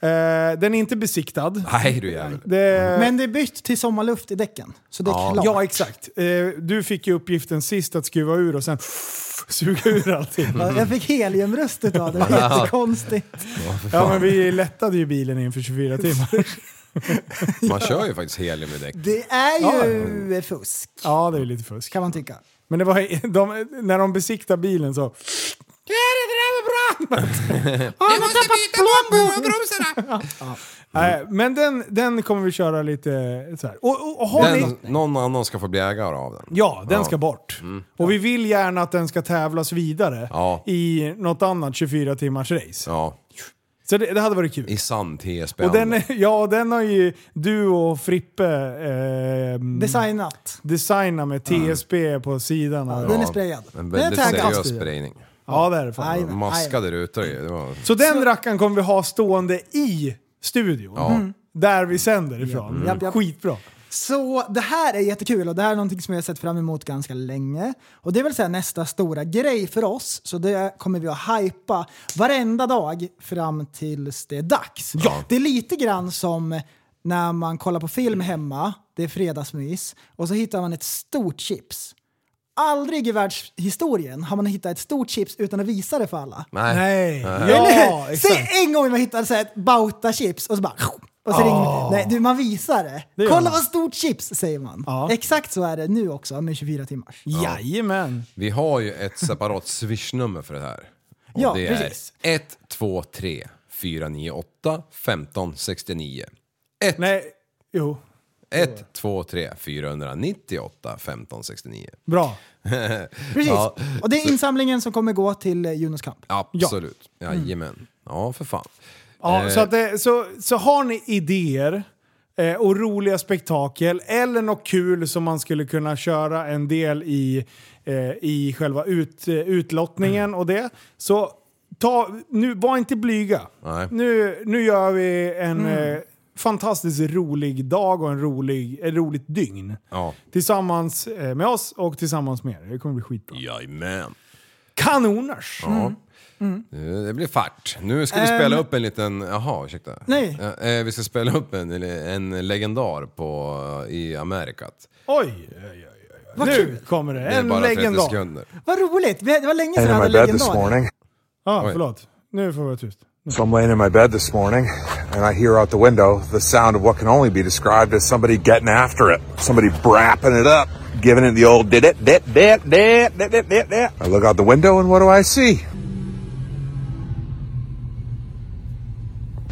Speaker 5: Eh, den är inte besiktad.
Speaker 6: Nej du jävel.
Speaker 5: Det,
Speaker 4: Eh, Men det är bytt till sommarluft i däcken, så det är klart.
Speaker 5: Ja, exakt. Eh, du fick ju uppgiften sist att skruva ur och sen suga ur allting.
Speaker 4: Ja,
Speaker 6: Mm.
Speaker 4: Jag fick heliumröstet av det, det var jättekonstigt.
Speaker 5: Ja, men vi lättade ju bilen inför 24 timmar.
Speaker 6: Man kör ju faktiskt helium i däck.
Speaker 4: Det är ju fusk,
Speaker 5: Ja, det är lite fusk.
Speaker 4: kan man tycka.
Speaker 5: Men det var, de, när de besiktar bilen så... Ja, det där var bra!
Speaker 7: Vi måste byta plånboksbromsarna!
Speaker 5: Nej, men den, den kommer vi köra lite så här. Och, och, och har ni...
Speaker 6: Den, någon annan ska få bli ägare av den.
Speaker 5: Ja, den
Speaker 6: Ja.
Speaker 5: ska bort. Och vi vill gärna att den ska tävlas vidare
Speaker 6: Ja.
Speaker 5: i något annat 24 timmars race.
Speaker 6: Ja,
Speaker 5: Så det, det hade varit kul.
Speaker 6: i sann TSB.
Speaker 5: Och den, är- ja, den har ju du och Frippe eh,
Speaker 4: Designat.
Speaker 5: designat med TSB på sidan. här.
Speaker 4: Den är sprayad.
Speaker 6: En
Speaker 4: Den är
Speaker 6: väldigt seriös
Speaker 4: taggad.
Speaker 6: sprayning.
Speaker 5: Ja, det är det fan.
Speaker 4: Aj.
Speaker 6: Maskade rutor i. Det var...
Speaker 5: Så den rackaren kommer vi ha stående i studion. Mm.
Speaker 6: Ja.
Speaker 5: Där vi sänder ifrån.
Speaker 4: Japp, japp.
Speaker 5: Mm. Skitbra.
Speaker 4: Så det här är jättekul och det här är någonting som jag har sett fram emot ganska länge. Och det är väl så här nästa stora grej för oss, så det kommer vi att hypa varenda dag fram tills det är dags.
Speaker 6: Ja.
Speaker 4: Det är lite grann som när man kollar på film hemma, det är fredagsmys, och så hittar man ett stort chips. Aldrig i världshistorien har man hittat ett stort chips utan att visa det för alla.
Speaker 6: Nej.
Speaker 5: Nej. Ja,
Speaker 4: Eller hur?
Speaker 5: exakt.
Speaker 4: Säg en gång man hittar så här ett Bauta-chips och så bara... Och så ringer, nej, du, man visar det.
Speaker 5: gör
Speaker 4: Kolla
Speaker 5: man.
Speaker 4: vad stort chips, säger man.
Speaker 5: Ja.
Speaker 4: Exakt så är det nu också med 24 timmars.
Speaker 5: Jajamän.
Speaker 6: Vi har ju ett separat swishnummer för det här. Och
Speaker 4: Ja,
Speaker 6: det
Speaker 4: precis.
Speaker 6: är 123 498 1569. Ett,
Speaker 5: Nej, Jo,
Speaker 6: 1, 2, 3, 498, 1569.
Speaker 5: bra.
Speaker 4: Precis.
Speaker 6: Ja.
Speaker 4: Och det är insamlingen som kommer gå till eh, Junos kamp.
Speaker 6: Absolut. Jajamän. Ja, för fan.
Speaker 5: Ja,
Speaker 6: Eh,
Speaker 5: så, att det, så, så har ni idéer eh, och roliga spektakel eller något kul som man skulle kunna köra en del i, eh, i själva ut, eh, utlottningen och det. Så ta, nu, var inte blyga.
Speaker 6: Nej.
Speaker 5: Nu, nu gör vi en
Speaker 4: Mm.
Speaker 5: eh, fantastiskt rolig dag och en rolig, ett roligt dygn.
Speaker 6: Ja.
Speaker 5: Tillsammans eh, med oss och tillsammans med er. Det kommer bli skitbra.
Speaker 6: Jajamän.
Speaker 5: Kanoners!
Speaker 6: Ja. Eh, Det blir fart. Nu ska vi spela upp en liten... Jaha, ursäkta.
Speaker 4: Nej.
Speaker 6: Eh, eh, Vi ska spela upp en, en legendar på, i Amerikat.
Speaker 5: Oj! oj, oj, oj.
Speaker 4: Vad
Speaker 5: Nu
Speaker 4: kul.
Speaker 5: kommer det.
Speaker 6: Det är
Speaker 5: En
Speaker 6: bara 30
Speaker 5: legendar.
Speaker 6: sekunder.
Speaker 4: Vad roligt! Vi- Det var länge sedan
Speaker 8: laying
Speaker 4: jag hade
Speaker 8: in my bed this
Speaker 4: legendarer.
Speaker 8: morning.
Speaker 5: Ja,
Speaker 6: Oj.
Speaker 5: Ah, förlåt. Nu får vi vara tyst.
Speaker 8: So I'm laying in my bed this morning, and I hear out the window the sound of what can only be described as somebody getting after it, somebody brapping it up, giving it the old dit dit dit dit dit dit dit dit. dit. I look out the window, and what do I see?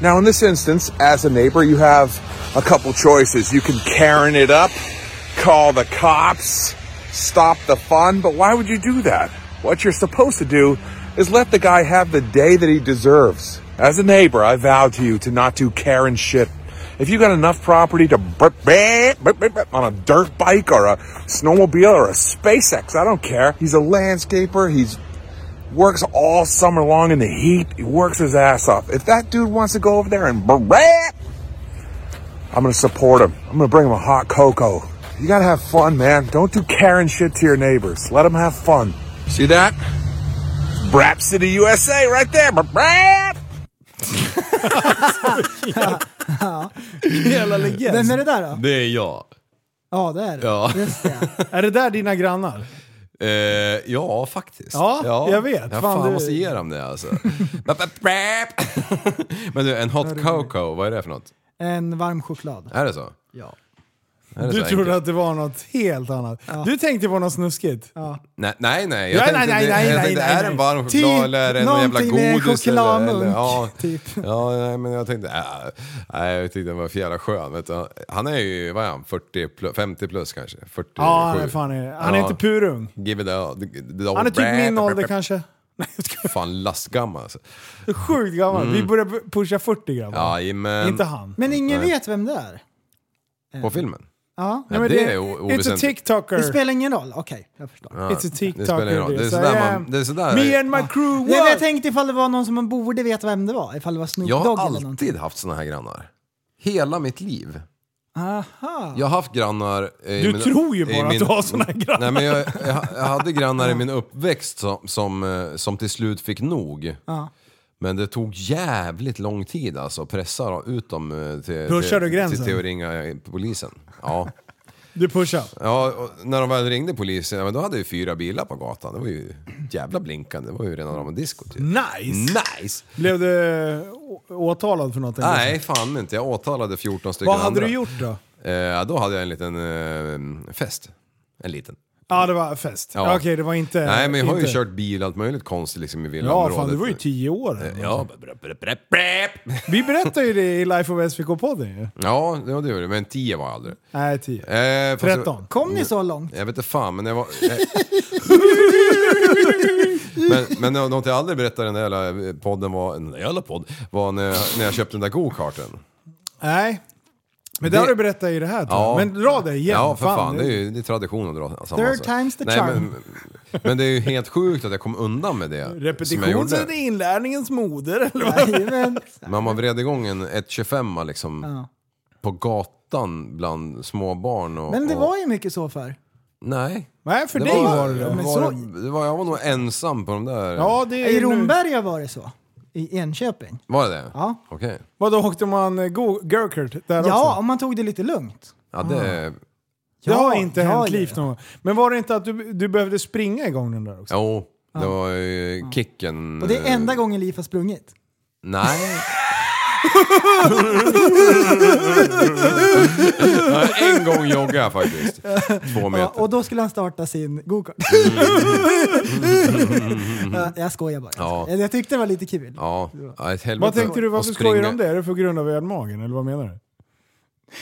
Speaker 8: Now, in this instance, as a neighbor, you have a couple choices. You can Karen it up, call the cops, stop the fun, but why would you do that? What you're supposed to do is let the guy have the day that he deserves. As a neighbor, I vow to you to not do Karen shit. If you got enough property to burp, burp, burp, burp, burp on a dirt bike or a snowmobile or a SpaceX, I don't care. He's a landscaper. He's works all summer long in the heat. He works his ass off. If that dude wants to go over there and brat, I'm gonna support him. I'm gonna bring him a hot cocoa. You gotta have fun, man. Don't do Karen shit to your neighbors. Let them have fun. See that? Brap City, USA, right there. Brap.
Speaker 5: Jävla legend.
Speaker 4: Vem är det där då?
Speaker 6: Det är jag.
Speaker 4: Ja, det är det.
Speaker 6: Ja.
Speaker 4: Just det.
Speaker 5: Är det där dina grannar?
Speaker 6: Eh, ja, faktiskt.
Speaker 5: Ja, jag vet.
Speaker 6: Ja,
Speaker 5: Fan,
Speaker 6: fan,
Speaker 5: du-
Speaker 6: måste ge dem det alltså. Bap, bap, bap. Men du, en hot cocoa, vad är det för något?
Speaker 4: En varm choklad.
Speaker 6: Är det så?
Speaker 4: Ja.
Speaker 6: Är det
Speaker 5: Du
Speaker 6: så
Speaker 5: trodde
Speaker 6: enkelt?
Speaker 5: att det var något helt annat. Du tänkte på något snuskigt.
Speaker 6: Nej, nej, nej.
Speaker 5: Ja,
Speaker 6: Jag tänkte,
Speaker 5: nej, nej,
Speaker 6: det-
Speaker 5: nej,
Speaker 6: jag
Speaker 5: nej,
Speaker 6: tänkte
Speaker 5: nej,
Speaker 6: är det
Speaker 5: nej.
Speaker 6: en varm
Speaker 4: Typ
Speaker 6: choklad eller är det någon jävla
Speaker 4: någonting med
Speaker 6: godis? Eller,
Speaker 4: chokladmunk,
Speaker 6: eller, ja,
Speaker 4: typ.
Speaker 6: ja, nej, men jag tänkte, äh, nej, jag tyckte den var för jävla skön. Vet du. Han är ju, vad är han, 40 plus, 50 plus kanske? 47.
Speaker 5: Ja, han är, fan, han är
Speaker 6: Ja.
Speaker 5: inte purung.
Speaker 6: Give it a, the, the
Speaker 5: Han är typ min ålder
Speaker 6: kanske.
Speaker 5: kanske. Nej, jag
Speaker 6: Fan lastgammal alltså.
Speaker 5: skojar. Sjukt gammal.
Speaker 6: Mm.
Speaker 5: Vi börjar pusha 40 grabbar.
Speaker 6: Jajamän.
Speaker 5: Inte han.
Speaker 4: Men ingen vet vem det är.
Speaker 6: På filmen?
Speaker 4: Ja.
Speaker 6: Ja, det är o-
Speaker 5: It's a
Speaker 6: oväsentligt.
Speaker 5: TikToker.
Speaker 4: Det spelar ingen roll. Okej, jag förstår.
Speaker 6: Ja,
Speaker 5: It's a
Speaker 6: Det spelar ingen
Speaker 5: TikToker.
Speaker 6: roll. Det är
Speaker 5: this. I
Speaker 6: sådär
Speaker 5: am.
Speaker 6: man... Det är sådär.
Speaker 5: Me and my crew
Speaker 4: Nej, men jag
Speaker 5: work.
Speaker 4: tänkte ifall det var någon som man borde veta vem det var. Ifall det var Snoop
Speaker 6: jag
Speaker 4: Dogg
Speaker 6: har
Speaker 4: eller någonting.
Speaker 6: alltid haft såna här grannar. Hela mitt liv.
Speaker 4: Aha.
Speaker 6: Jag har haft grannar... eh, i
Speaker 5: Du tror ju
Speaker 6: i
Speaker 5: bara att du har såna här grannar.
Speaker 6: Nej, men jag, jag, jag hade grannar i min uppväxt som, som, eh, som till slut fick nog. Men det tog jävligt lång tid alltså att pressa ut dem eh, till,
Speaker 5: Pushar du
Speaker 6: till,
Speaker 5: gränsen?
Speaker 6: till att ringa polisen. Ja.
Speaker 5: Du pushar.
Speaker 6: Ja, och när de väl ringde polisen, ja, men då hade vi fyra bilar på gatan. Det var ju jävla blinkande. Det var ju rena rama diskot ju. Mm.
Speaker 5: Nice!
Speaker 6: Nice!
Speaker 5: Blev du å- åtalad för något? eller?
Speaker 6: Nej, fan inte. Jag åtalade 14 stycken
Speaker 5: Vad hade
Speaker 6: andra.
Speaker 5: du gjort då?
Speaker 6: Eh, då hade jag en liten eh, fest. En liten.
Speaker 5: Ja, det var fest.
Speaker 6: Ja.
Speaker 5: Okej, det var inte...
Speaker 6: Nej, men jag har ju
Speaker 5: inte-
Speaker 6: kört bil och allt möjligt konstigt liksom i
Speaker 5: Ja,
Speaker 6: villaområdet.
Speaker 5: fan du var ju typ- tio år. eller?
Speaker 6: Ja, brep, brep, brep, brep.
Speaker 5: Vi berättar ju det i Life of SVK-podden ju.
Speaker 6: ja, det var det. Men 10 var jag aldrig.
Speaker 5: Nej, tio.
Speaker 6: Eh, fast-
Speaker 5: 13.
Speaker 4: Kom ni så långt?
Speaker 6: Jag vet inte fan, men jag var... eh. men, men något jag aldrig berättade i den där jävla eh, podden var, den där jävla podden, var när jag, när jag köpte den där go-karten.
Speaker 5: Nej. Men det, har du berättat i det här tror jag. Men dra det igen.
Speaker 6: Ja, för fan. det, är ju, det är tradition att dra samma
Speaker 4: Third
Speaker 6: sak.
Speaker 4: time's the charm.
Speaker 6: Men, men det är ju helt sjukt att jag kom undan med det. som jag
Speaker 5: Repetition
Speaker 6: gjorde.
Speaker 5: är inlärningens moder, eller vad?
Speaker 4: Jajamän.
Speaker 6: Men man vred igång en 125 liksom
Speaker 4: Ja.
Speaker 6: på gatan bland småbarn. Och,
Speaker 4: Men det
Speaker 6: och,
Speaker 4: var ju mycket så för.
Speaker 6: Nej.
Speaker 5: Nej, för dig var det det.
Speaker 6: var,
Speaker 5: Men
Speaker 6: var,
Speaker 5: så-
Speaker 6: det var, Jag var nog ensam på de där.
Speaker 5: Ja, det är
Speaker 4: I
Speaker 5: ju nu.
Speaker 4: Romberga var det så. I Enköping.
Speaker 6: Var det det?
Speaker 4: Ja.
Speaker 6: Okej.
Speaker 5: Vadå, åkte man eh, go- go-kart där
Speaker 4: Ja,
Speaker 5: också?
Speaker 4: om man tog det lite lugnt.
Speaker 6: Ja, det...
Speaker 5: Det
Speaker 4: Ja,
Speaker 5: har inte
Speaker 4: ja,
Speaker 5: hänt
Speaker 4: ja,
Speaker 5: livet
Speaker 4: ja.
Speaker 5: någon gång. Men var det inte att du, du behövde springa igång den där också?
Speaker 6: Jo,
Speaker 5: Ah.
Speaker 6: det var ju kicken.
Speaker 4: Och det är
Speaker 5: Mm.
Speaker 4: enda gången Liv har sprungit.
Speaker 6: Nej. Ja, en gång joggade jag faktiskt. Två
Speaker 4: Ja,
Speaker 6: meter.
Speaker 4: och då skulle han starta sin gokart.
Speaker 5: Mm.
Speaker 4: Ja, jag skojar bara.
Speaker 6: Ja.
Speaker 4: Jag tyckte det var lite kul.
Speaker 6: Ja, ja, ett helvete.
Speaker 5: Vad tänkte du,
Speaker 6: att
Speaker 5: varför
Speaker 6: springa-
Speaker 5: skojar du om det? Är det på grund av ölmagen, eller vad menar du?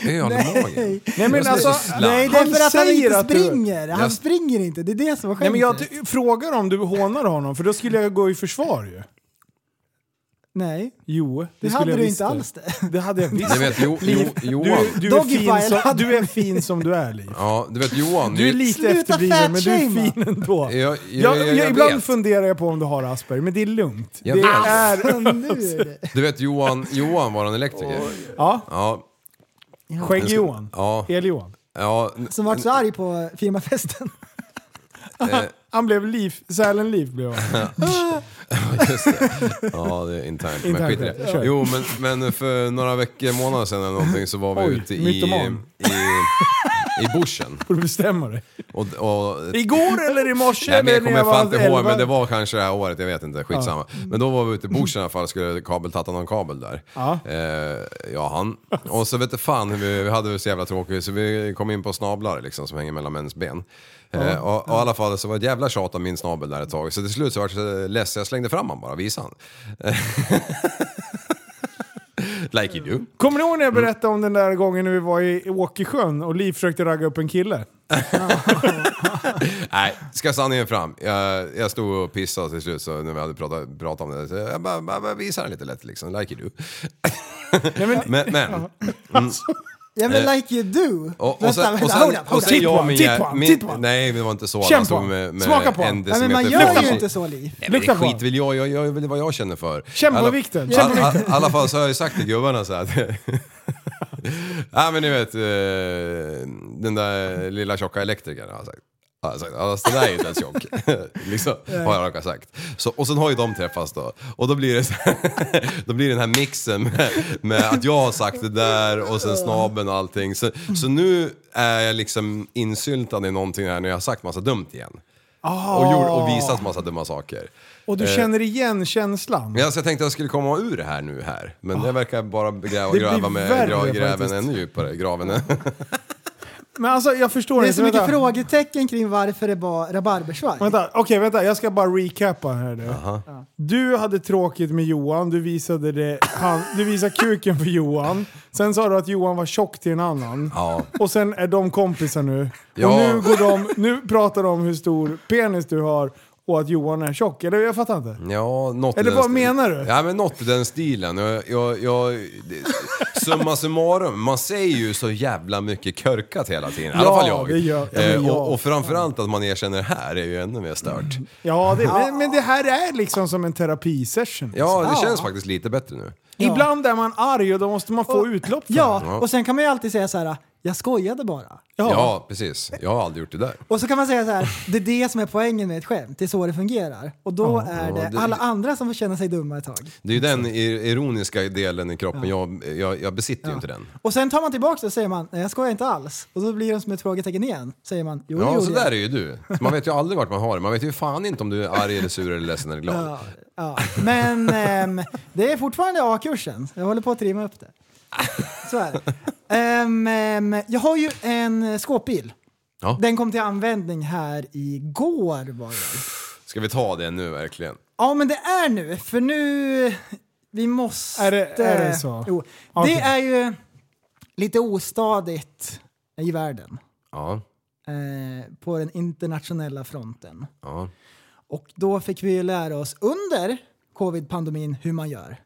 Speaker 6: Det är ölmagen.
Speaker 5: Nej, men
Speaker 6: Jag
Speaker 5: alltså,
Speaker 6: ska slå
Speaker 5: nej,
Speaker 4: Det är för att han
Speaker 5: säger
Speaker 4: inte
Speaker 5: att du-
Speaker 4: springer. Han
Speaker 6: Jag-
Speaker 4: springer inte. Det är det som var
Speaker 5: Nej,
Speaker 4: skämtet.
Speaker 5: men jag t- frågar om du hånar honom, för då skulle jag gå i försvar ju.
Speaker 4: Nej,
Speaker 5: Jo, det,
Speaker 4: det
Speaker 5: skulle
Speaker 4: hade
Speaker 5: jag
Speaker 4: du
Speaker 5: visst
Speaker 4: inte alls det.
Speaker 5: Det hade jag visst.
Speaker 6: Du vet, jo, jo, Johan.
Speaker 5: Du, du, är
Speaker 4: Doggy
Speaker 5: fin
Speaker 4: file
Speaker 5: som,
Speaker 4: hade-
Speaker 5: du är fin som du är, Liv.
Speaker 6: Ja, du vet Johan.
Speaker 5: Du är
Speaker 6: ni-
Speaker 5: lite
Speaker 4: Sluta
Speaker 5: efterbliven, men du är
Speaker 4: fatshamea.
Speaker 5: fin ändå.
Speaker 6: Ja, ja,
Speaker 5: Jag-
Speaker 6: ja,
Speaker 5: jag-
Speaker 6: jag
Speaker 5: ibland
Speaker 6: vet.
Speaker 5: funderar jag på om du har Asperger, men det är lugnt.
Speaker 6: Jag
Speaker 5: det
Speaker 6: vet.
Speaker 5: är...
Speaker 4: Nu är det.
Speaker 6: Du vet Johan, Johan var en elektriker.
Speaker 5: Ja,
Speaker 6: Ja,
Speaker 5: Skägg-Johan.
Speaker 6: ja,
Speaker 5: El-Johan.
Speaker 6: ja.
Speaker 4: Som vart så arg på firmafesten.
Speaker 6: eh,
Speaker 5: Han blev liv, Sälen-Liv blev han.
Speaker 6: Just det. Ja, det är internt. Men
Speaker 5: Internt,
Speaker 6: skit i
Speaker 5: ja. Kör.
Speaker 6: det. Jo, men, men för några veckor, månader sedan eller någonting så var vi
Speaker 5: Oj,
Speaker 6: ute i,
Speaker 5: mytoman.
Speaker 6: i, i bushen.
Speaker 5: Får du bestämma dig.
Speaker 6: Och, och
Speaker 5: Igår eller i morse?
Speaker 6: Nej, men jag
Speaker 5: eller när
Speaker 6: kommer fan inte ihåg,
Speaker 5: elva?
Speaker 6: men det var kanske det här året, jag vet inte, skitsamma. Men då var vi ute i Bors i alla fall och skulle kabeltatta någon kabel där.
Speaker 5: Ja.
Speaker 6: Eh, ja, han. Och så vet du fan, hur vi, vi hade det så jävla tråkigt så vi kom in på snablar liksom som hänger mellan mäns ben. Eh, och, och i alla fall så var det ett jävla tjat om min snabel där ett tag. Så till slut så var jag så less, jag slängde fram han bara, visade han. like you do.
Speaker 5: Kommer ni ihåg när jag
Speaker 6: Mm.
Speaker 5: berättade om den där gången när vi var i Åkersjön och Liv försökte ragga upp en kille?
Speaker 6: Nej, ska sanningen fram. Jag, jag stod och pissade till slut så när vi hade pratat, pratat om det. Så jag bara, bara, bara visade den lite lätt liksom, like you do. men, men,
Speaker 4: Ja men like you do.
Speaker 6: Eh, och, och
Speaker 4: Vänta,
Speaker 6: sen, och
Speaker 4: vänta,
Speaker 6: sen,
Speaker 4: hold up,
Speaker 6: och
Speaker 4: hold up.
Speaker 6: sen jag och min,
Speaker 5: Titt på honom,
Speaker 6: min,
Speaker 5: titt på honom.
Speaker 6: Nej, det var inte så.
Speaker 5: Känn
Speaker 6: Han
Speaker 5: på
Speaker 6: stod
Speaker 5: honom,
Speaker 6: med, med
Speaker 5: smaka på honom.
Speaker 6: en
Speaker 4: Nej, men man
Speaker 6: decimeter
Speaker 4: gör ju
Speaker 6: framför.
Speaker 4: inte så Liv.
Speaker 6: Nej,
Speaker 5: Lukta
Speaker 6: men
Speaker 5: på
Speaker 6: skit vill jag, jag, jag vill vad jag känner för.
Speaker 5: Känn på
Speaker 6: Alla-
Speaker 5: vikten,
Speaker 6: I
Speaker 5: känn på
Speaker 6: alla- i alla fall så har jag ju sagt till gubbarna så här. att- Ja men ni vet, eh, den där lilla tjocka elektrikern har jag sagt. Har jag sagt, Alltså, den där är inte ens tjock. liksom, har jag råkat sagt. Så, och sen har ju de träffats då. Och då blir det, så här, då blir det den här mixen med, med att jag har sagt det där och sen snabeln och allting. Så, så nu är jag liksom insyltad i någonting här när jag har sagt massa dumt igen. Och, gjort, och eh. visat massa dumma saker.
Speaker 5: Och du känner igen känslan?
Speaker 6: Men alltså, jag tänkte att jag skulle komma ur det här nu här. Men det verkar bara gräva,
Speaker 5: blir
Speaker 6: gräva med
Speaker 5: värre
Speaker 6: gra, gräven
Speaker 5: faktiskt.
Speaker 6: ännu djupare. Graven.
Speaker 5: Men alltså jag förstår
Speaker 4: Det är
Speaker 5: inte.
Speaker 4: så mycket
Speaker 5: vänta.
Speaker 4: frågetecken kring varför det var rabarbersvaj.
Speaker 5: Vänta, okej vänta. Jag ska bara recapa här nu. Du hade tråkigt med Johan, du visade, det, han, du visade kuken för Johan. Sen sa du att Johan var tjock till en annan.
Speaker 6: Ja.
Speaker 5: Och sen är de kompisar nu. Och
Speaker 6: Ja.
Speaker 5: nu, går de, nu pratar de om hur stor penis du har och att Johan är tjock. Eller jag fattar inte.
Speaker 6: Ja, något i
Speaker 5: Eller
Speaker 6: den
Speaker 5: vad
Speaker 6: stil-
Speaker 5: menar du?
Speaker 6: Ja, men något i den stilen. Jag, jag, jag, det- summa summarum, man säger ju så jävla mycket körkat hela tiden. I alla
Speaker 5: Ja,
Speaker 6: fall jag.
Speaker 5: det gör- ja, men
Speaker 6: eh,
Speaker 5: jag. Mm.
Speaker 6: och, och framförallt att man erkänner det här är ju ännu mer stört.
Speaker 5: Ja, det, men- men det här är liksom som en terapisession. liksom.
Speaker 6: Ja, det känns faktiskt lite bättre nu.
Speaker 5: Ibland är man arg och då måste man få utlopp för det.
Speaker 4: Ja, och sen kan man ju alltid säga så här, jag skojade bara.
Speaker 6: Ja. precis. Jag har aldrig gjort det där.
Speaker 4: Och så kan man säga så här, det är det som är poängen med ett skämt, det är så det fungerar. Och då är det,
Speaker 6: Ja, det-
Speaker 4: alla andra som får känna sig dumma ett tag.
Speaker 6: Det är ju den ir- ironiska delen i kroppen. Jag, jag, jag besitter ju inte den.
Speaker 4: Och sen tar man tillbaka det och säger man, nej jag skojar inte alls. Och då blir det som ett frågetecken igen. Säger man, jo det
Speaker 6: Ja,
Speaker 4: gjorde
Speaker 6: så
Speaker 4: jag.
Speaker 6: där är ju du. Man vet ju aldrig vart man har det. Man vet ju fan inte om du är arg eller sur eller ledsen eller glad.
Speaker 4: Ja, ja. Men ehm, det är fortfarande A-kursen. Jag håller på att trimma upp det. Så är det. Ehm, ehm, jag har ju en skåpbil.
Speaker 6: Ja.
Speaker 4: Den kom till användning här igår var det.
Speaker 6: Ska vi ta det nu verkligen?
Speaker 4: Ja men det är nu, för nu... Vi måste...
Speaker 5: Är det- är det så?
Speaker 4: Jo.
Speaker 5: Okej.
Speaker 4: Det är ju lite ostadigt i världen.
Speaker 6: Ja.
Speaker 4: Eh, på den internationella fronten.
Speaker 6: ja.
Speaker 4: Och då fick vi ju lära oss under covid-pandemin hur man gör.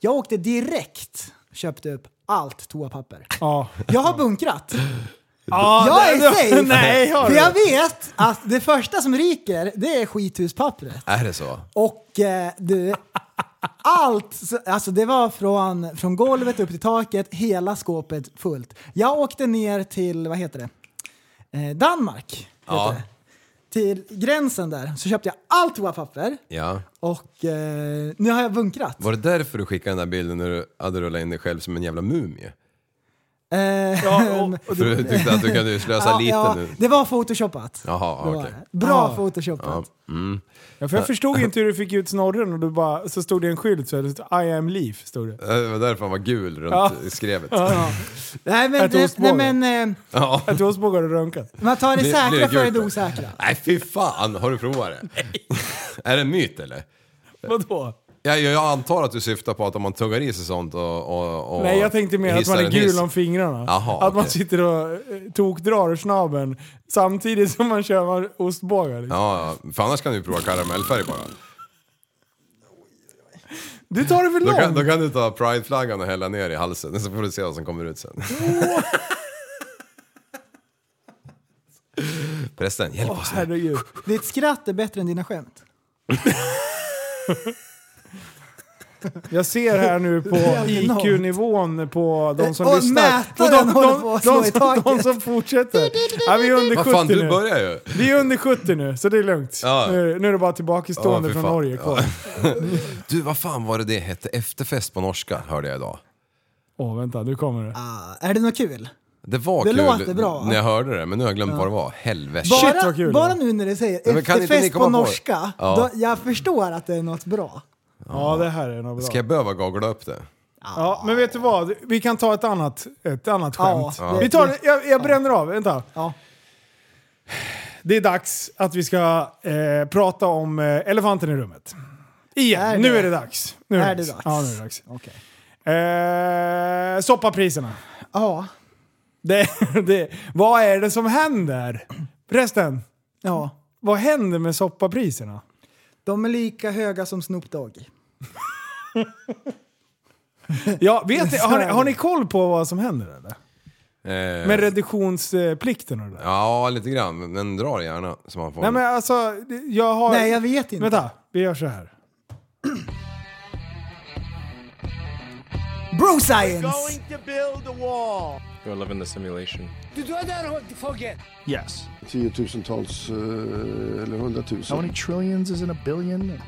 Speaker 4: Jag åkte direkt och köpte upp allt toapapper.
Speaker 5: Ja.
Speaker 4: Jag har bunkrat.
Speaker 5: Ja,
Speaker 4: Jag är
Speaker 5: det-
Speaker 4: safe!
Speaker 5: Nej, har
Speaker 4: För
Speaker 5: du?
Speaker 4: jag vet att det första som ryker, det är skithuspappret.
Speaker 6: Är det så?
Speaker 4: Och eh, du, allt, så- alltså det var från, från golvet upp till taket, hela skåpet fullt. Jag åkte ner till, vad heter det, eh, Danmark. Heter
Speaker 6: Ja.
Speaker 4: det. Till gränsen där, så köpte jag allt toapapper
Speaker 6: Ja.
Speaker 4: och eh, nu har jag bunkrat.
Speaker 6: Var det därför du skickade den där bilden när du hade rullat in dig själv som en jävla mumie?
Speaker 4: Eh,
Speaker 5: Ja, och, och
Speaker 6: För du tyckte att du kunde slösa
Speaker 4: ja,
Speaker 6: lite
Speaker 4: ja,
Speaker 6: nu.
Speaker 4: Det var photoshopat.
Speaker 6: Jaha,
Speaker 4: Det var
Speaker 6: okej.
Speaker 4: det. Bra
Speaker 5: Ah.
Speaker 4: photoshopat.
Speaker 5: Ja, för jag förstod inte hur du fick ut snorren och du bara, så stod det en skylt så här, det stod, I am Leaf. Stod det.
Speaker 6: Det var därför han var gul runt
Speaker 5: Ja.
Speaker 6: i skrevet.
Speaker 4: Nej men,
Speaker 5: Ett
Speaker 4: det, nej,
Speaker 5: ostbåge.
Speaker 4: men eh,
Speaker 6: Ja.
Speaker 5: Att Åsbåge hade röntgat.
Speaker 4: man tar det
Speaker 6: Blir-
Speaker 4: säkra
Speaker 6: blir det
Speaker 4: för
Speaker 6: gult
Speaker 4: det
Speaker 6: då?
Speaker 4: osäkra.
Speaker 6: Nej fy fan, har du provat det? är det en myt eller?
Speaker 5: Vadå?
Speaker 6: Jag, jag antar att du syftar på att om man tuggar i sig sånt och, och, och
Speaker 5: Nej, jag tänkte mer att
Speaker 6: hissar
Speaker 5: man är
Speaker 6: en
Speaker 5: gul
Speaker 6: hiss.
Speaker 5: om fingrarna.
Speaker 6: Jaha,
Speaker 5: att man
Speaker 6: okej.
Speaker 5: sitter och eh, tokdrar snabben samtidigt som man kör ostbågar. liksom.
Speaker 6: Ja, ja. för annars kan du prova karamellfärg bara.
Speaker 5: Du tar det för
Speaker 6: Då kan,
Speaker 5: långt.
Speaker 6: då kan du ta prideflaggan och hälla ner i halsen, så får du se vad som kommer ut sen. Prästen, hjälp oss nu.
Speaker 5: Herregud.
Speaker 4: Ditt skratt är bättre än dina skämt.
Speaker 5: Jag ser här nu på
Speaker 4: enormt.
Speaker 5: IQ-nivån på de som
Speaker 4: Eh, Och
Speaker 5: lyssnar.
Speaker 4: mätaren håller på att slå
Speaker 5: de,
Speaker 4: i
Speaker 5: som,
Speaker 4: taket.
Speaker 5: de som fortsätter. Ja, vi är under
Speaker 6: Vad fan,
Speaker 5: 70
Speaker 6: du
Speaker 5: nu.
Speaker 6: börjar ju.
Speaker 5: Vi är under 70 nu, så det är lugnt.
Speaker 6: Ja.
Speaker 5: Nu, nu är det bara tillbakastående
Speaker 6: Ja, fy
Speaker 5: från
Speaker 6: fan.
Speaker 5: Norge kvar.
Speaker 6: Du, vad fan var det det hette? Efterfest på norska hörde jag idag.
Speaker 5: Åh, vänta, nu kommer det.
Speaker 4: Ah, är det något kul?
Speaker 6: Det var
Speaker 4: Det
Speaker 6: kul
Speaker 4: låter bra.
Speaker 6: när jag hörde det, men nu har jag glömt vad det var. Helvete.
Speaker 5: Shit,
Speaker 4: Bara,
Speaker 5: vad kul det
Speaker 4: bara
Speaker 5: var.
Speaker 4: nu när du säger
Speaker 6: Ja, men kan inte ni
Speaker 4: efterfest
Speaker 6: komma
Speaker 4: på
Speaker 6: på det?
Speaker 4: norska,
Speaker 6: Ja.
Speaker 4: då, jag förstår att det är något bra.
Speaker 5: Ja, det här är nog bra.
Speaker 6: Ska jag behöva googla upp det?
Speaker 5: Ja, men vet du vad? Vi kan ta ett annat, ett annat
Speaker 4: Ja,
Speaker 5: skämt.
Speaker 4: det-
Speaker 5: Vi tar, jag, jag bränner av, vänta.
Speaker 4: Ja.
Speaker 5: Det är dags att vi ska eh, prata om eh, elefanten i rummet. Igen,
Speaker 4: Är
Speaker 5: nu
Speaker 4: det-
Speaker 5: är det dags. Nu är,
Speaker 4: är det dags?
Speaker 5: Ja, nu är det dags.
Speaker 4: Okej.
Speaker 5: Eh, soppapriserna.
Speaker 4: Ja.
Speaker 5: Det, det, vad är det som händer? Prästen,
Speaker 4: ja.
Speaker 5: vad händer med soppapriserna?
Speaker 4: De är lika höga som Snoop Dogg.
Speaker 5: Ja, vet ni, har, ni, har ni koll på vad som händer eller?
Speaker 6: Eh,
Speaker 5: Med reduktionsplikten och det där?
Speaker 6: Ja, lite grann. Men dra det gärna. Så man får
Speaker 5: Nej men alltså, det- jag har...
Speaker 4: Nej, jag vet inte.
Speaker 5: Vänta, vi gör så här.
Speaker 4: Bro science!
Speaker 9: You're living the simulation. Yes. How many trillions is in a billion?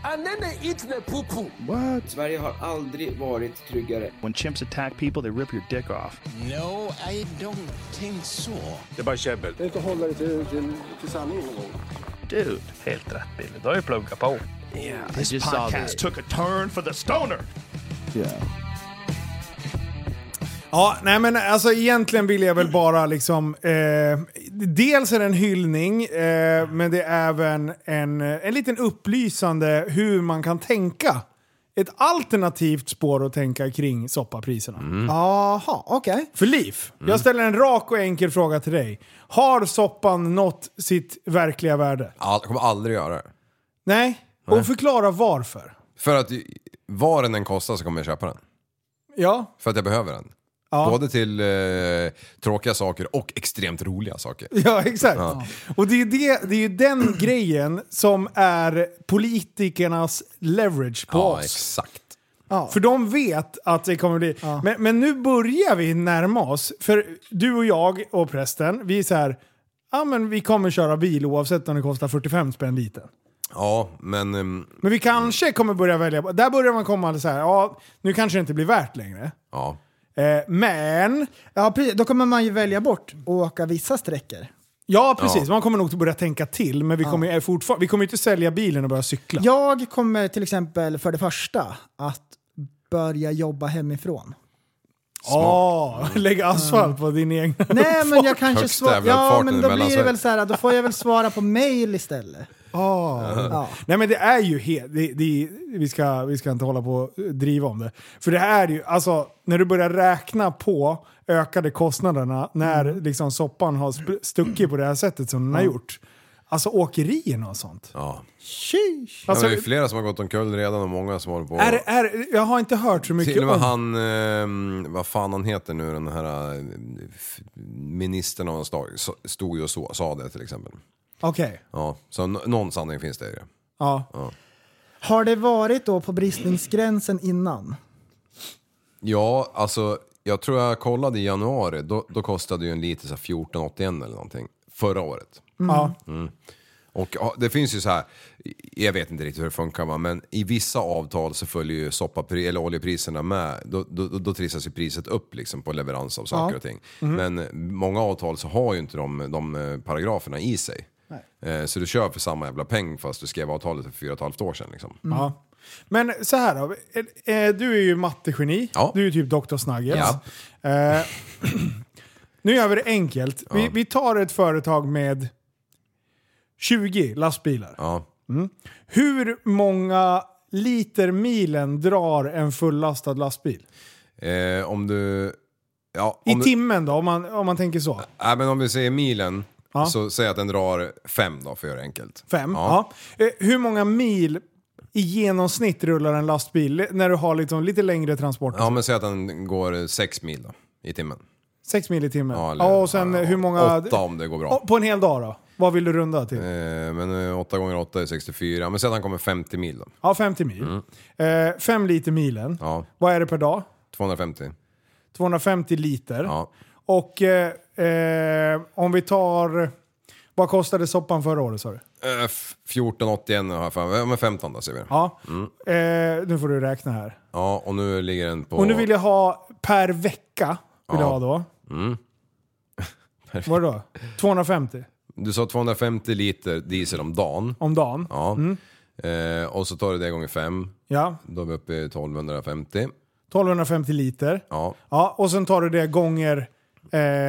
Speaker 9: What?
Speaker 7: Sverige har aldrig varit tryggare.
Speaker 9: When chimps attack people, they rip your dick off. No, I don't think so. Det är bara käbbel. Det är inte hålla dig till, till, sanningen någon gång. Dude. Helt rätt Billy, du har ju pluggat på. Yeah, this podcast took a turn for the stoner.
Speaker 5: Ja, nej men alltså egentligen vill jag väl bara liksom... Eh, dels är det en hyllning, eh, men det är även en, en liten upplysande hur man kan tänka. Ett alternativt spår att tänka kring soppapriserna.
Speaker 4: Mm. Jaha, okej.
Speaker 5: För liv.
Speaker 4: Mm.
Speaker 5: jag ställer en rak och enkel fråga till dig. Har soppan nått sitt verkliga värde?
Speaker 6: all, kommer aldrig göra det.
Speaker 5: Nej? Och förklara varför.
Speaker 6: För att ju- var den än kostar så kommer jag köpa den.
Speaker 5: Ja,
Speaker 6: För att jag behöver den. Både till eh, tråkiga saker och extremt roliga saker.
Speaker 5: Ja, exakt. Och det är, ju det, det är ju den grejen som är politikernas leverage på
Speaker 6: Ja,
Speaker 5: oss.
Speaker 6: exakt.
Speaker 5: För de vet att det kommer bli... Men, men nu börjar vi närma oss. För du och jag och prästen, vi är så här... Ja, men vi kommer köra bil oavsett om det kostar 45 spänn liten.
Speaker 6: Ja, men... ehm,
Speaker 5: Men vi kanske kommer börja välja... Där börjar man komma så här, ja, nu kanske det inte blir värt längre.
Speaker 6: ja.
Speaker 5: Eh, men...
Speaker 4: Ja, precis. Då kommer man ju välja bort att åka vissa sträckor.
Speaker 5: Ja, precis.
Speaker 6: Ja.
Speaker 5: Man kommer nog att börja tänka till, men vi kommer ju fortfar- vi kommer ju inte sälja bilen och börja cykla.
Speaker 4: Jag kommer till exempel för det första att börja jobba hemifrån.
Speaker 5: Ja, lägga asfalt på din egen...
Speaker 4: Nej men jag kanske
Speaker 6: Högst
Speaker 4: svarar...
Speaker 6: jävla
Speaker 4: Ja
Speaker 6: uppfarten
Speaker 4: men
Speaker 6: i
Speaker 4: då blir det
Speaker 6: Mellansverige.
Speaker 4: väl så här, då får jag väl svara på mail istället. Ja.
Speaker 5: Nej men det är ju helt... Det, det, vi, ska, vi ska inte hålla på och driva om det. För det här är ju, alltså när du börjar räkna på ökade kostnaderna när liksom soppan har sp- stuckit på det här sättet som den har gjort. Alltså åkerierna och sånt.
Speaker 6: ja.
Speaker 4: Sheesh.
Speaker 6: Ja, men
Speaker 5: Alltså,
Speaker 6: det är flera som har gått omkull redan och många som håller på...
Speaker 5: är, är, jag har inte hört så mycket
Speaker 6: Till och med
Speaker 5: om-
Speaker 6: han, ehm, vad fan han heter nu, den här eh, f- ministern av något slag, så- stod ju och så, sa det till exempel.
Speaker 5: Okej.
Speaker 6: Ja, så n- någon sanning finns det i det.
Speaker 5: Ja.
Speaker 4: Har det varit då på bristningsgränsen innan?
Speaker 6: Ja, alltså jag tror jag kollade i januari, då, då kostade ju en liter så här 14,81 eller någonting, förra året. Mm.
Speaker 5: ja.
Speaker 6: Och ja, det finns ju så här, jag vet inte riktigt hur det funkar va, men i vissa avtal så följer ju soppapri, eller oljepriserna med. Då, då, då då trissas ju priset upp liksom på leverans av saker och ting. Men många avtal så har ju inte de, de eh, paragraferna i sig. Eh, Så du kör för samma jävla peng fast du skrev avtalet för fyra och ett halvt år sedan. Liksom.
Speaker 5: Ja. Men så här då. Eh, eh, Du är ju mattegeni.
Speaker 6: Ja.
Speaker 5: Du är ju typ Dr. Snuggles.
Speaker 6: Ja.
Speaker 5: Eh, nu gör vi det enkelt. Vi, vi tar ett företag med 20 lastbilar.
Speaker 6: Ja.
Speaker 5: Hur många litermilen drar en fullastad lastbil?
Speaker 6: Eh, om du... Ja,
Speaker 5: I
Speaker 6: om du,
Speaker 5: timmen då, om man, om man tänker så.
Speaker 6: Nej, Äh, men om du säger milen,
Speaker 5: Ja.
Speaker 6: så säg att den drar fem då för att göra det enkelt.
Speaker 5: Fem?
Speaker 6: Ja.
Speaker 5: Ja. Eh, hur många mil i genomsnitt rullar en lastbil när du har liksom lite längre transporter?
Speaker 6: Ja, men säg att den går sex mil då, i timmen.
Speaker 5: Sex mil i timmen?
Speaker 6: Ja,
Speaker 5: Ja,
Speaker 6: eller-
Speaker 5: och sen
Speaker 6: ja,
Speaker 5: hur många...
Speaker 6: åtta om det går bra.
Speaker 5: Ja, På en hel dag då? Vad vill du runda till?
Speaker 6: Eh, men eh, åtta gånger åtta är 64, men säg att han kommer 50 mil då.
Speaker 5: Ja, 50 mil. Eh, fem liter milen.
Speaker 6: Mm. Ja,
Speaker 5: Vad är det per dag?
Speaker 6: 250.
Speaker 5: 250 liter.
Speaker 6: Ja.
Speaker 5: Och eh, eh, om vi tar... Vad kostade soppan förra året sa du?
Speaker 6: Eh, f- 1481 har jag för mig. Ja, men 15 då säger vi.
Speaker 5: Ja. Eh, nu får du räkna här.
Speaker 6: Ja, och nu ligger den på...
Speaker 5: Och nu vill jag ha per vecka. Vill
Speaker 6: Ja.
Speaker 5: jag ha då.
Speaker 6: Mm.
Speaker 5: Vad då? 250
Speaker 6: Du sa 250 liter diesel om dagen.
Speaker 5: om dagen.
Speaker 6: Ja. Eh, och så tar du det gånger fem.
Speaker 5: Ja.
Speaker 6: Då är vi uppe i 1250.
Speaker 5: 1250 liter.
Speaker 6: Ja,
Speaker 5: Ja, och sen tar du det gånger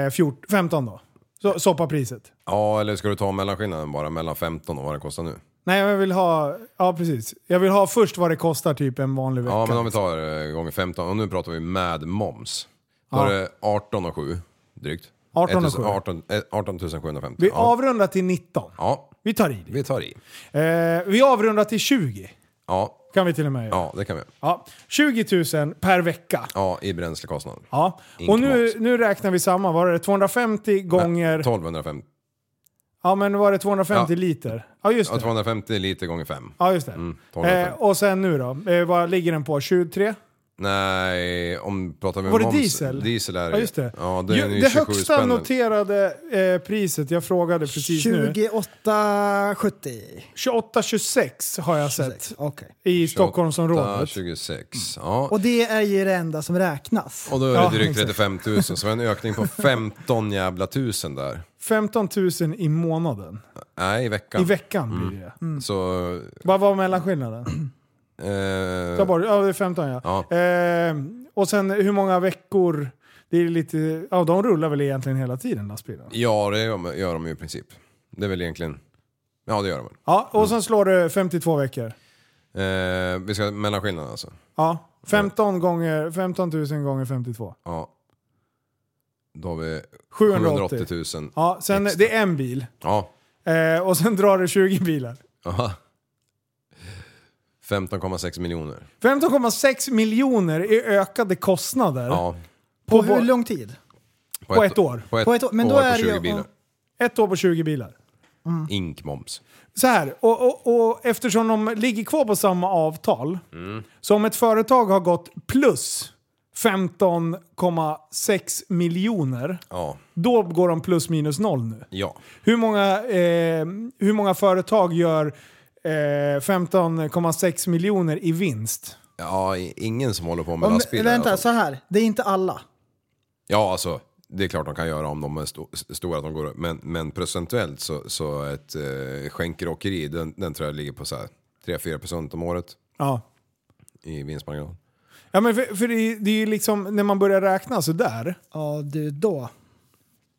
Speaker 5: eh, 14, 15 då. Så, soppapriset.
Speaker 6: ja eller ska du ta mellanskillnaden bara mellan 15 och vad det kostar nu?
Speaker 5: Nej, jag vill ha... Ja, precis. Jag vill ha först vad det kostar typ en vanlig vecka.
Speaker 6: Ja, men om vi tar eh, gånger 15 och nu pratar vi med moms. Då
Speaker 5: Ja.
Speaker 6: är det 18 och 7 drygt.
Speaker 5: 18 och
Speaker 6: 1000
Speaker 5: 7.
Speaker 6: 18, eh, 18 750.
Speaker 5: Vi
Speaker 6: ja.
Speaker 5: avrundar till 19.
Speaker 6: ja,
Speaker 5: Vi tar i det.
Speaker 6: vi tar i.
Speaker 5: Eh, vi avrundar till 20.
Speaker 6: Ja,
Speaker 5: Kan vi till och med göra. Ja.
Speaker 6: ja det kan vi.
Speaker 5: 20 000 per vecka.
Speaker 6: Ja, i bränslekostnaden.
Speaker 5: Ja. Och nu, nu räknar vi samma. Var det 250 gånger...
Speaker 6: 1250.
Speaker 5: Ja, men var det 250
Speaker 6: Ja.
Speaker 5: liter? Ja, just
Speaker 6: Ja,
Speaker 5: det.
Speaker 6: 250 liter gånger 5.
Speaker 5: Ja, just det.
Speaker 6: Mm, 250.
Speaker 5: eh, och sen nu då? Eh, vad ligger den på? 23?
Speaker 6: Nej, om pratar vi om
Speaker 5: Var det
Speaker 6: moms.
Speaker 5: diesel?
Speaker 6: Diesel är
Speaker 5: Ja, just det.
Speaker 6: Ja, det,
Speaker 5: Ju-
Speaker 6: är ju
Speaker 5: det
Speaker 6: 27
Speaker 5: högsta
Speaker 6: spänn.
Speaker 5: noterade eh, priset, jag frågade precis nu.
Speaker 4: 2870.
Speaker 5: 28-26 har jag sett
Speaker 4: Okej.
Speaker 5: i
Speaker 6: 28,
Speaker 5: Stockholmsområdet.
Speaker 6: 26. Ja.
Speaker 4: Och det är ju det enda som räknas.
Speaker 6: Och då är det
Speaker 5: Ja,
Speaker 6: drygt
Speaker 5: exakt.
Speaker 6: 35 000, så en ökning på 15 jävla tusen där.
Speaker 5: 15 000 i månaden.
Speaker 6: Nej, i veckan.
Speaker 5: I veckan
Speaker 6: Mm.
Speaker 5: blir det. Mm.
Speaker 6: Så...
Speaker 5: Vad var mellanskillnaden?
Speaker 6: Eh,
Speaker 5: Ta bort, ja, det är 15 ja.
Speaker 6: Ja.
Speaker 5: Eh, och sen hur många veckor? Det är lite, ja, de rullar väl egentligen hela tiden lastbilen?
Speaker 6: ja, det gör- gör de ju i princip. Det är väl egentligen... Ja, det gör de väl.
Speaker 5: Ja, och sen slår du 52 veckor.
Speaker 6: Eh, vi ska mellanskillnaden alltså.
Speaker 5: Ja, 15, gånger, 15 000 gånger 52.
Speaker 6: Ja. Då har vi
Speaker 5: 780.
Speaker 6: 780 000.
Speaker 5: Ja, sen,
Speaker 6: Extra.
Speaker 5: det är en bil.
Speaker 6: Ja.
Speaker 5: Eh, och sen drar du 20 bilar.
Speaker 6: Aha. 15,6 miljoner.
Speaker 5: 15,6 miljoner i ökade kostnader
Speaker 6: Ja.
Speaker 4: På hur lång tid?
Speaker 5: på ett år.
Speaker 6: På ett,
Speaker 4: På ett år. Men då
Speaker 6: år
Speaker 4: är
Speaker 6: på
Speaker 4: det
Speaker 6: 20
Speaker 4: ju-
Speaker 6: bilar.
Speaker 5: Ett år på 20 bilar.
Speaker 6: Inkmoms.
Speaker 5: Så här, och, och, och eftersom de ligger kvar på samma avtal. Så om ett företag har gått plus 15,6 miljoner,
Speaker 6: Ja.
Speaker 5: då går de plus minus noll nu.
Speaker 6: Ja.
Speaker 5: Hur många, eh, hur många företag gör eh, 15,6 miljoner i vinst?
Speaker 6: Ja, i- ingen som håller på med
Speaker 4: Om,
Speaker 6: lastbilar. alltså.
Speaker 4: vänta,
Speaker 6: i alla fall.
Speaker 4: så här. Det är inte alla.
Speaker 6: Ja, alltså. Det är klart de kan göra om de är sto- s- stora, att de går, men, men procentuellt så, så ett eh, skänkeråkeri, den, den tror jag ligger på så här 3-4% om året
Speaker 5: Ja.
Speaker 6: i vinstmarginal.
Speaker 5: Ja men för, för det, är- det är ju liksom, när man börjar räkna sådär.
Speaker 4: Ja, du då.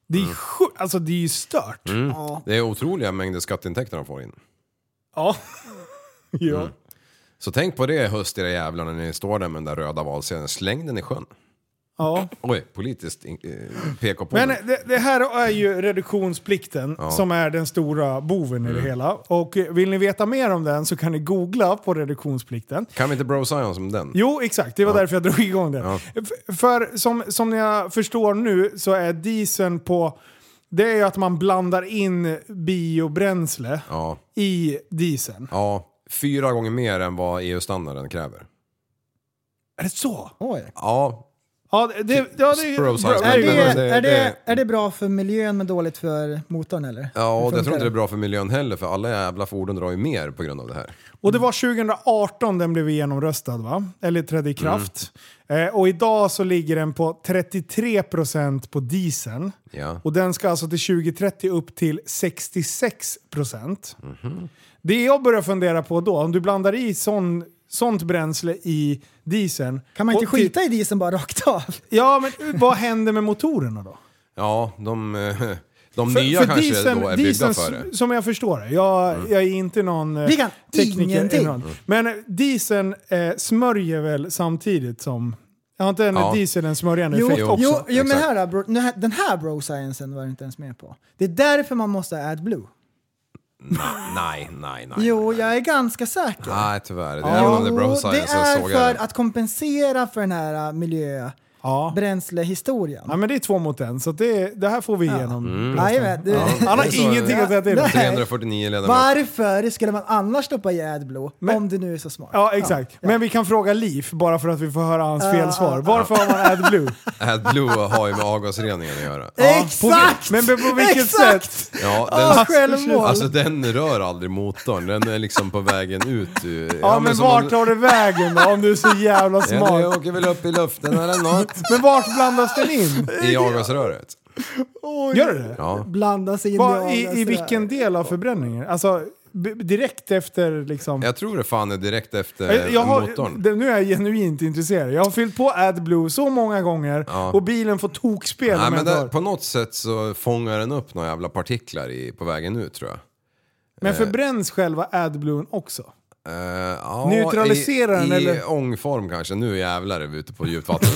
Speaker 5: Det är ju sju, alltså det är ju stört.
Speaker 4: Ja.
Speaker 6: Det är otroliga mängder skatteintäkter de får in.
Speaker 5: Ja. ja.
Speaker 6: Mm. Så tänk på det i höst era jävlar när ni står där med den där röda valsedeln. Släng den i sjön.
Speaker 5: ja.
Speaker 6: Oj, politiskt in- eh, PK på
Speaker 5: Men
Speaker 6: den.
Speaker 5: det, det här är ju reduktionsplikten som är den stora boven i
Speaker 6: Mm.
Speaker 5: det hela. Och eh, vill ni veta mer om den så kan ni googla på reduktionsplikten.
Speaker 6: Kan vi inte bro science om den?
Speaker 5: Jo, exakt. Det var därför jag drog igång det. F- För som, som jag förstår nu så är dieseln på... Det är ju att man blandar in biobränsle
Speaker 6: Ja.
Speaker 5: i dieseln.
Speaker 6: ja. Fyra gånger mer än vad EU-standarden kräver.
Speaker 5: Är det så?
Speaker 4: Oj.
Speaker 6: Ja,
Speaker 5: Ja, det, det, ja, det,
Speaker 6: Bro science,
Speaker 5: det är
Speaker 4: Är
Speaker 5: ju-
Speaker 4: det,
Speaker 6: men det-
Speaker 4: är,
Speaker 6: det-
Speaker 4: det, är det bra för miljön men dåligt för motorn eller?
Speaker 6: ja
Speaker 4: Hur
Speaker 6: och jag
Speaker 4: funkar
Speaker 6: tror inte det är bra för miljön heller för alla jävla fordon drar ju mer på grund av det här.
Speaker 5: Och det var 2018 den blev genomröstad va? Eller trädde i kraft. Eh, och idag så ligger den på 33% på dieseln.
Speaker 6: Ja.
Speaker 5: Och den ska alltså till 2030 upp till 66%. Det jag börjar fundera på då, om du blandar i sån, sånt bränsle i dieseln.
Speaker 4: Kan man inte
Speaker 5: och typ- till-
Speaker 4: skita i dieseln bara rakt av?
Speaker 5: Ja, men vad händer med motorerna då?
Speaker 6: Ja, de... eh, De nya kanske då är byggda för det. Mm.
Speaker 5: Som jag förstår det, jag, jag är inte någon eh,
Speaker 4: Vi kan
Speaker 5: tekniker.
Speaker 4: ingenting.
Speaker 5: eller något. Men eh, dieseln eh, smörjer väl samtidigt som... Jag har inte en
Speaker 6: Ja.
Speaker 5: diesel en smörjande
Speaker 4: Jo,
Speaker 5: effekt
Speaker 4: jo,
Speaker 5: också?
Speaker 4: jo, men
Speaker 6: Exakt.
Speaker 4: här, bro, den här- den här bro sciencen var jag inte ens med på. Det är därför man måste ha AdBlue.
Speaker 6: Nej, nej, nej.
Speaker 4: Jo, jag är ganska säker.
Speaker 6: Nej, tyvärr. Det är
Speaker 4: Jo,
Speaker 6: ja, det bra science
Speaker 4: det är
Speaker 6: såg
Speaker 4: för
Speaker 6: jag
Speaker 4: att kompensera för den här äh,
Speaker 5: Ja.
Speaker 4: miljöbränslehistorien.
Speaker 5: ja, men det är två mot en, så det, det här får vi igenom.
Speaker 6: Mm.
Speaker 4: Nej, men, det-
Speaker 5: Han har
Speaker 6: Det är så-
Speaker 5: ingenting att säga till om.
Speaker 4: Nej.
Speaker 6: 349 ledamöter.
Speaker 4: Varför skulle man annars stoppa i AdBlue om det nu är så smart?
Speaker 5: Ja, exakt. Men vi kan fråga Liv, bara för att vi får höra hans
Speaker 4: Ah.
Speaker 5: felsvar. Varför har man AdBlue?
Speaker 6: AdBlue har ju med avgasreningen att göra.
Speaker 4: Exakt!
Speaker 5: På, men på vilket
Speaker 4: Exakt!
Speaker 5: sätt?
Speaker 6: Ja,
Speaker 4: Ja,
Speaker 6: den,
Speaker 4: självmål.
Speaker 6: alltså den rör aldrig motorn, den är liksom på vägen ut. ur-
Speaker 5: Ja, men
Speaker 6: som
Speaker 5: vart
Speaker 6: om-
Speaker 5: tar det vägen då? Om du är så jävla
Speaker 6: Ja, det
Speaker 5: smart.
Speaker 6: åker väl upp i luften eller något.
Speaker 5: Men vart blandas den in?
Speaker 6: I avgasröret.
Speaker 5: Gör det det?
Speaker 6: Ja.
Speaker 4: Blanda sig in
Speaker 5: Vad-
Speaker 4: i
Speaker 5: I, I
Speaker 4: avgasröret.
Speaker 5: vilken del av förbränningen? Alltså b- direkt efter liksom...
Speaker 6: Jag tror det fan är direkt efter
Speaker 5: Jag- jag har,
Speaker 6: eh, motorn.
Speaker 5: det, nu är jag genuint intresserad. Jag har fyllt på AdBlue så många gånger
Speaker 6: Ja.
Speaker 5: och bilen får tokspel
Speaker 6: Nej,
Speaker 5: om jag
Speaker 6: men där,
Speaker 5: tar.
Speaker 6: på något sätt så fångar den upp några jävla partiklar i, på vägen ut tror jag.
Speaker 5: Men förbränns själva AdBlue också?
Speaker 6: Eh, ja,
Speaker 5: Neutraliserar
Speaker 6: i,
Speaker 5: den,
Speaker 6: i
Speaker 5: eller?
Speaker 6: ångform kanske, nu jävlar är vi ute på djupt vatten.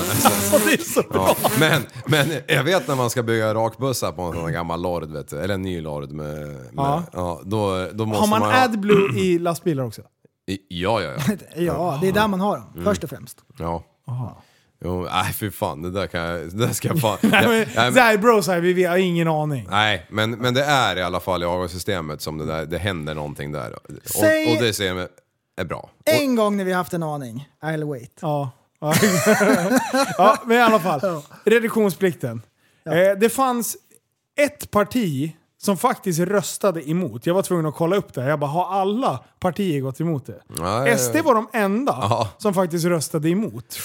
Speaker 6: ja, men, men jag vet när man ska bygga rakbussar på en sån här gammal Lord, vet du, eller en ny Lord. Med, med, ja.
Speaker 5: Ja.
Speaker 6: då, då måste
Speaker 5: Har man
Speaker 6: man ha-
Speaker 5: AdBlue i lastbilar också?
Speaker 6: I- Ja, ja, ja.
Speaker 4: Ja, det är där man har dem, först och främst.
Speaker 6: ja. Jo, nej fy fan, det där kan jag, det där ska jag fan... Jag-
Speaker 5: Nej,
Speaker 6: nej,
Speaker 5: men,
Speaker 6: men-
Speaker 5: så här, bro, så här, vi, vi har ingen aning.
Speaker 6: Nej, men, men det är i alla fall i avgassystemet som det, där, det händer någonting där. Och,
Speaker 4: Säg-
Speaker 6: och det ser jag är bra.
Speaker 4: En gång när vi haft en aning, I'll wait.
Speaker 5: Ja. ja, men i alla fall. Reduktionsplikten. Eh, det fanns ett parti som faktiskt röstade emot. Jag var tvungen att kolla upp det. här. Jag bara, har alla partier gått emot det?
Speaker 6: Nej.
Speaker 5: SD var de enda
Speaker 6: Ja.
Speaker 5: som faktiskt röstade emot.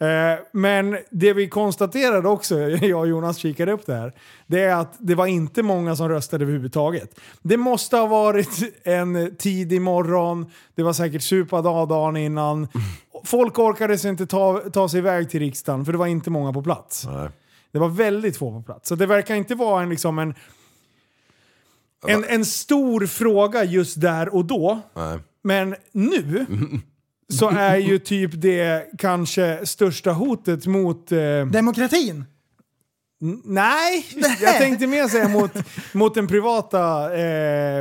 Speaker 5: Eh, Men det vi konstaterade också, jag och Jonas kikade upp det här, det är att det var inte många som röstade överhuvudtaget. Det måste ha varit en tidig morgon, det var säkert supa dag dagen innan. Folk orkade sig inte ta, ta sig iväg till riksdagen för det var inte många på plats. Det var väldigt få på plats. Så det verkar inte vara en, liksom en, en, en stor fråga just där och då.
Speaker 6: Nej.
Speaker 5: Men nu så är ju typ det kanske största hotet mot... Eh,
Speaker 4: Demokratin!
Speaker 5: n- nej, jag tänkte mer säga mot, mot den privata, eh,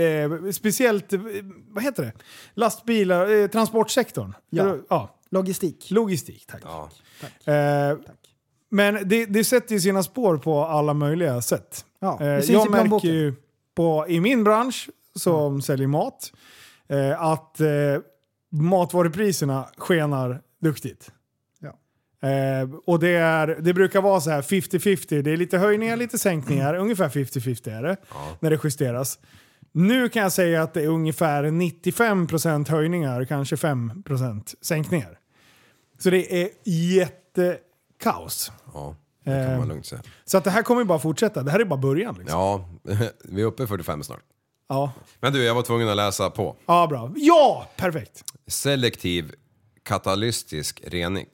Speaker 5: eh, speciellt, eh, vad heter det? Lastbilar, eh, transportsektorn.
Speaker 4: Ja.
Speaker 5: Eller, ja.
Speaker 4: Logistik.
Speaker 5: Logistik, tack.
Speaker 6: Ja.
Speaker 5: Eh, Men det, det sätter ju sina spår på alla möjliga sätt.
Speaker 4: Ja, det
Speaker 5: Eh,
Speaker 4: syns i
Speaker 5: jag märker
Speaker 4: plånboken.
Speaker 5: ju på, i min bransch som säljer mat eh, att eh, matvarupriserna skenar duktigt.
Speaker 4: Ja.
Speaker 5: Eh, och det, är, det brukar vara så här 50-50. Det är lite höjningar, lite sänkningar. Ungefär 50-50 är det när det justeras. Nu kan jag säga att det är ungefär 95% höjningar, kanske 5% sänkningar. Så det är jättekaos.
Speaker 6: Ja, det kan man lugnt säga.
Speaker 5: Så att det här kommer ju bara fortsätta. Det här är bara början. Liksom.
Speaker 6: Ja, vi är uppe i 45 snart.
Speaker 5: Ja.
Speaker 6: Men du, jag var tvungen att läsa på.
Speaker 5: ja, bra. Ja, perfekt.
Speaker 6: Selektiv katalytisk rening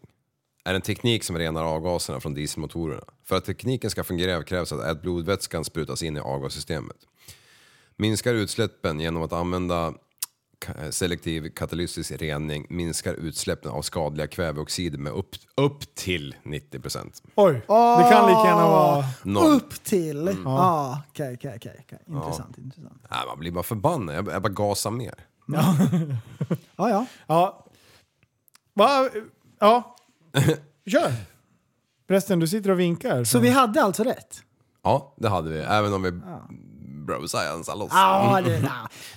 Speaker 6: är en teknik som renar avgaserna från dieselmotorerna. För att tekniken ska fungera krävs att blodvätskan sprutas in i avgassystemet. Minskar utsläppen genom att använda ka- selektiv katalytisk rening minskar utsläppen av skadliga kväveoxider med upp, upp till 90 procent.
Speaker 5: Oj, det kan lika gärna vara...
Speaker 6: Noll. Mm.
Speaker 4: Upp till... Ja, okej, okej, okej. okej. Intressant, intressant.
Speaker 6: Nej, man blir bara förbannad, jag, jag bara gasar mer.
Speaker 4: Ja, ja.
Speaker 5: Ja. Va? Ja. Kör. Förresten, du sitter och vinkar.
Speaker 4: Så
Speaker 6: Mm.
Speaker 4: vi hade alltså rätt?
Speaker 6: Ja, det hade vi, även om vi bro science loss.
Speaker 4: Ja, det, ja,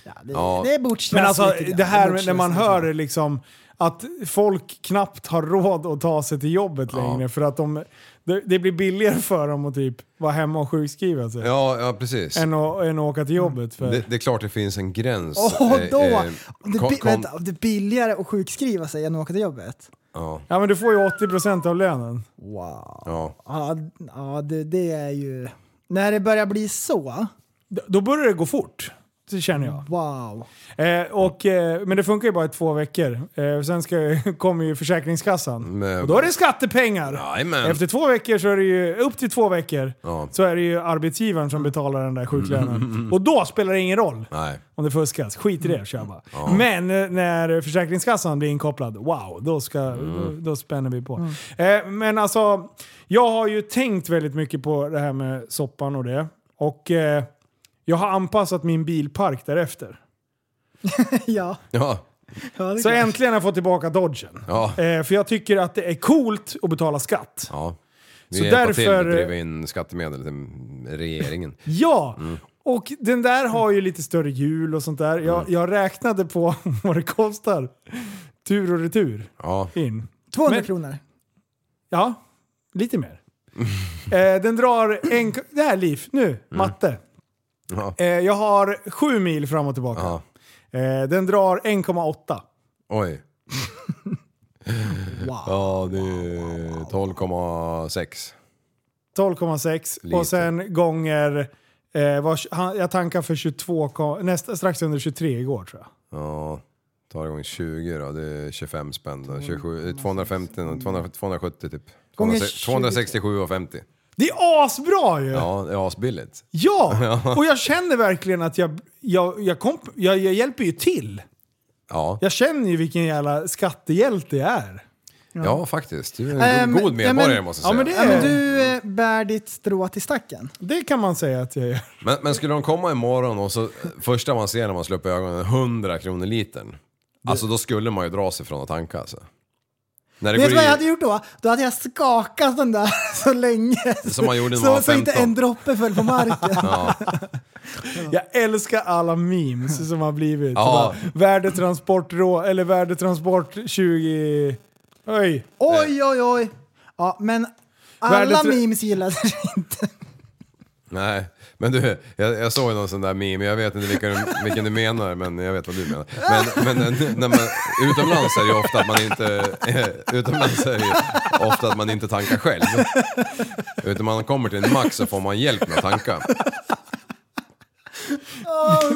Speaker 4: ja, det,
Speaker 6: Ja.
Speaker 4: det är bortstress
Speaker 5: Men alltså
Speaker 4: lite grann.
Speaker 5: det här
Speaker 4: är
Speaker 5: när man
Speaker 4: bortstress
Speaker 5: hör liksom att folk knappt har råd att ta sig till jobbet längre för att de, det, det blir billigare för dem att typ vara hemma och sjukskriva sig.
Speaker 6: Ja, ja precis.
Speaker 5: Än, att, än att åka till jobbet. För.
Speaker 6: Det, det är klart det finns en gräns.
Speaker 4: Åh,
Speaker 6: Eh,
Speaker 4: då!
Speaker 6: eh,
Speaker 4: det,
Speaker 6: kom-
Speaker 4: bi-
Speaker 6: kom-
Speaker 4: vänta, det är billigare att sjukskriva sig än att åka till jobbet?
Speaker 6: Ja,
Speaker 5: Ja men du får ju 80% av lönen.
Speaker 4: Wow.
Speaker 6: ja.
Speaker 4: Ja, ja det, det är ju... När det börjar bli så,
Speaker 5: D- Då börjar det gå fort. Så känner jag.
Speaker 4: Wow.
Speaker 5: Eh, och, eh, men det funkar ju bara i två veckor. Eh, sen ska, kommer ju Försäkringskassan.
Speaker 6: Men-
Speaker 5: Och då är det skattepengar!
Speaker 6: Jajamän.
Speaker 5: Efter två veckor så är det ju, upp till två veckor,
Speaker 6: Ja.
Speaker 5: så är det ju arbetsgivaren som betalar den där sjuklönen. Och då spelar det ingen roll
Speaker 6: Nej.
Speaker 5: om det fuskas. Skit i det, kör bara. Men eh, när Försäkringskassan blir inkopplad, wow, då, ska, då, då spänner vi på. Eh, men alltså, jag har ju tänkt väldigt mycket på det här med soppan och det. Och eh, jag har anpassat min bilpark därefter.
Speaker 4: Ja,
Speaker 6: Ja.
Speaker 4: ja det är
Speaker 5: Så
Speaker 4: klart.
Speaker 5: äntligen har jag fått tillbaka dodgen.
Speaker 6: Ja.
Speaker 5: Eh, för jag tycker att det är coolt att betala skatt.
Speaker 6: ja. Vi
Speaker 5: Så
Speaker 6: hjälper till
Speaker 5: därför-
Speaker 6: att driva in skattemedel till regeringen.
Speaker 5: Ja! Och den där har ju lite större hjul och sånt där. Jag, jag räknade på vad det kostar. Tur och retur
Speaker 6: Ja.
Speaker 5: in.
Speaker 4: 200
Speaker 5: Men-
Speaker 4: kronor.
Speaker 5: Ja, lite mer. eh, den drar en... Det här Liv, nu, matte.
Speaker 6: Mm. Ja.
Speaker 5: Eh, jag har sju mil fram och tillbaka.
Speaker 6: ja.
Speaker 5: Eh, den drar 1,8.
Speaker 6: Oj. Ja, det är 12,6.
Speaker 5: 12,6
Speaker 6: Lite.
Speaker 5: och sen gånger... Eh, var, han, jag tankade för 22, kom- nästa, strax under 23 igår tror jag.
Speaker 6: Ja, tar igång 20 då, det är 25 spänn då. eh, 27, 250, 200, 270 typ.
Speaker 4: Mm. Gånger
Speaker 6: 267,50.
Speaker 5: Det är asbra ju! Ja!
Speaker 6: Ja, det är asbilligt.
Speaker 5: Och jag känner verkligen att jag, jag, jag, komp, jag, jag hjälper ju till.
Speaker 6: Ja,
Speaker 5: Jag känner ju vilken jävla skattehjälte jag är.
Speaker 6: ja faktiskt. Du är en
Speaker 4: Ehm,
Speaker 6: go- god medborgare
Speaker 4: ja, men-
Speaker 5: ja,
Speaker 6: måste jag
Speaker 5: men
Speaker 6: säga.
Speaker 4: Ja, men du eh, bär ditt strå till stacken.
Speaker 5: Det kan man säga att jag gör.
Speaker 6: men, men skulle de komma imorgon och så första man ser när man slår upp ögonen 100 kronor litern. Alltså då skulle man ju dra sig från att tanka alltså. När det
Speaker 4: Vet du vad
Speaker 6: i-
Speaker 4: jag hade gjort då? Då hade jag skakat den där så länge.
Speaker 6: Som man gjorde när man
Speaker 4: så,
Speaker 6: var
Speaker 4: så inte
Speaker 6: 15.
Speaker 4: en droppe föll på marken.
Speaker 5: Jag älskar alla memes som har blivit.
Speaker 6: Ja.
Speaker 5: Ja. Värdetransport, rå, eller värdetransport 20... Oj!
Speaker 4: Oj, oj, oj. Ja, men alla
Speaker 5: Värdet-
Speaker 4: memes gillas inte.
Speaker 6: Nej, men du, jag, jag såg någon sån där meme, jag vet inte vilken, vilken du menar, men jag vet vad du menar. Men, men när- när man, utomlands är det ju ofta att man inte, eh, utomlands är det ju ofta att man inte tankar själv. Utan man kommer till en mack så får man hjälp med att tanka.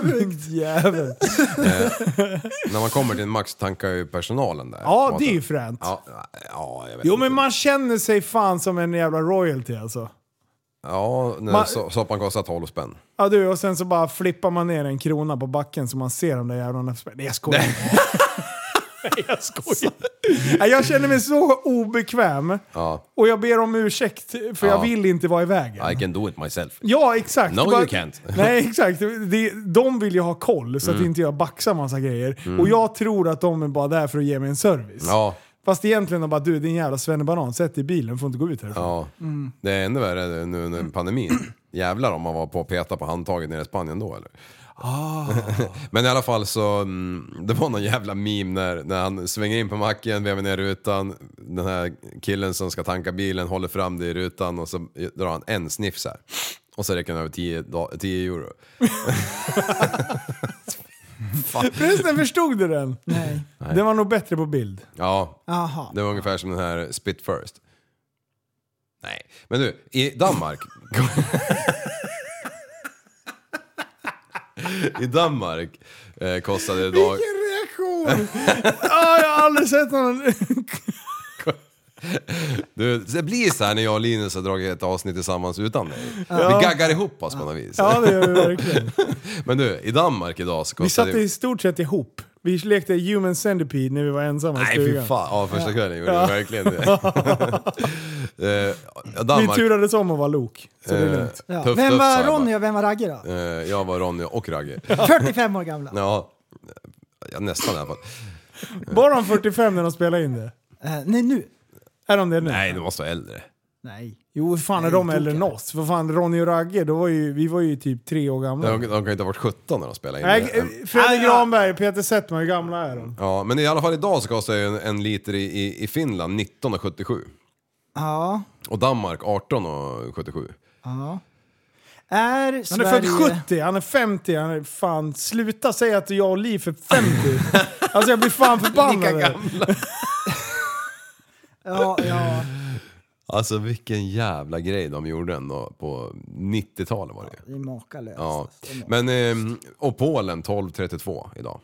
Speaker 5: Sjukt jävel.
Speaker 6: När man kommer till en mack så tankar ju personalen där.
Speaker 5: Ja, det är ju
Speaker 6: Maten.
Speaker 5: fränt.
Speaker 6: Ja, ja, jag vet
Speaker 5: Jo
Speaker 6: inte.
Speaker 5: men man känner sig fan som en jävla royalty alltså.
Speaker 6: Ja, när
Speaker 5: man-
Speaker 6: so- soppan kostar 12 spänn.
Speaker 5: Ja du, och sen så bara flippar man ner en krona på backen så man ser de där jävlarna. Nej jag skojar. Nej, jag skojar. Nej, Jag känner mig så obekväm.
Speaker 6: Ja.
Speaker 5: Och jag ber om ursäkt för
Speaker 6: Ja.
Speaker 5: jag vill inte vara i vägen.
Speaker 6: I can do it myself.
Speaker 5: Ja, exakt.
Speaker 6: No,
Speaker 5: Bara-
Speaker 6: you can't. Mm.
Speaker 5: Nej, exakt. De, de vill ju ha koll så att inte jag baxar massa grejer. Och jag tror att de är bara där för att ge mig en service.
Speaker 6: Ja,
Speaker 5: Fast egentligen de bara du din jävla svennebanan, sätt dig i bilen, får inte gå ut härifrån.
Speaker 6: ja.
Speaker 5: Mm.
Speaker 6: Det är ännu värre nu under pandemin. Jävlar om man var på och peta på handtaget nere i Spanien då eller?
Speaker 5: Ah.
Speaker 6: Men i alla fall så, mm, det var någon jävla meme när, när han svänger in på macken, vevar ner rutan, den här killen som ska tanka bilen håller fram det i rutan och så drar han en sniff så här. Och så räcker den över 10, da- 10 euro.
Speaker 5: Förresten, förstod du den?
Speaker 4: Nej.
Speaker 5: Den var nog bättre på bild.
Speaker 6: Ja,
Speaker 4: Jaha.
Speaker 6: det var ungefär som den här Spit First. Nej, men du, i Danmark... I Danmark eh, kostade det idag...
Speaker 5: Vilken reaktion! ah, jag har aldrig sett någon...
Speaker 6: Du, det blir så här när jag och Linus har dragit ett avsnitt tillsammans utan dig. Vi gaggar ihop oss på något vis.
Speaker 5: ja, det gör vi verkligen.
Speaker 6: Men du, i Danmark idag så
Speaker 5: Vi
Speaker 6: kostade
Speaker 5: satt
Speaker 6: det...
Speaker 5: i stort sett ihop. Vi lekte human centipede när vi var ensamma i
Speaker 6: Nej
Speaker 5: stugan.
Speaker 6: fy fan, ja första kvällen gjorde vi verkligen det. eh,
Speaker 5: Vi
Speaker 6: Danmark,
Speaker 5: turades om att vara lok. Så det är
Speaker 6: eh,
Speaker 5: lugnt.
Speaker 4: Ja.
Speaker 6: tuff,
Speaker 4: vem
Speaker 6: tuff, sa
Speaker 4: var
Speaker 6: jag bara.
Speaker 4: Ronny och vem var Ragge då?
Speaker 6: Eh, jag var Ronny och Ragge.
Speaker 4: 45 år gamla.
Speaker 6: Ja, ja nästan i alla fall.
Speaker 5: Var de 45 när de spelade in det?
Speaker 4: Eh, nej, nu.
Speaker 5: Är de det nu?
Speaker 6: Nej, du måste vara äldre.
Speaker 4: Nej.
Speaker 5: Jo, fan är de äldre än oss? För fan, Ronny och Ragge, då var ju, vi var ju typ tre år gamla.
Speaker 6: De, de kan ju inte ha varit 17 när de spelade in
Speaker 5: Nej,
Speaker 6: det.
Speaker 5: eh, Fredrik Granberg, Peter Settman, hur gamla är de?
Speaker 6: Ja, men i alla fall idag så kostar ju en, en liter i, i, i Finland 19,77.
Speaker 4: Ja.
Speaker 6: Och Danmark
Speaker 4: Är
Speaker 6: 18,77.
Speaker 5: Han är
Speaker 4: Sverige...
Speaker 5: född 70, han är 50, han är fan... Sluta säga att jag och Li är för 50! alltså jag blir fan förbannad.
Speaker 6: gamla.
Speaker 4: Ja, ja.
Speaker 6: Alltså vilken jävla grej de gjorde ändå på 90-talet var det ju.
Speaker 4: Det är makalöst.
Speaker 6: Ja.
Speaker 4: alltså. Det är
Speaker 6: Men, ehm, och Polen 12.32 idag.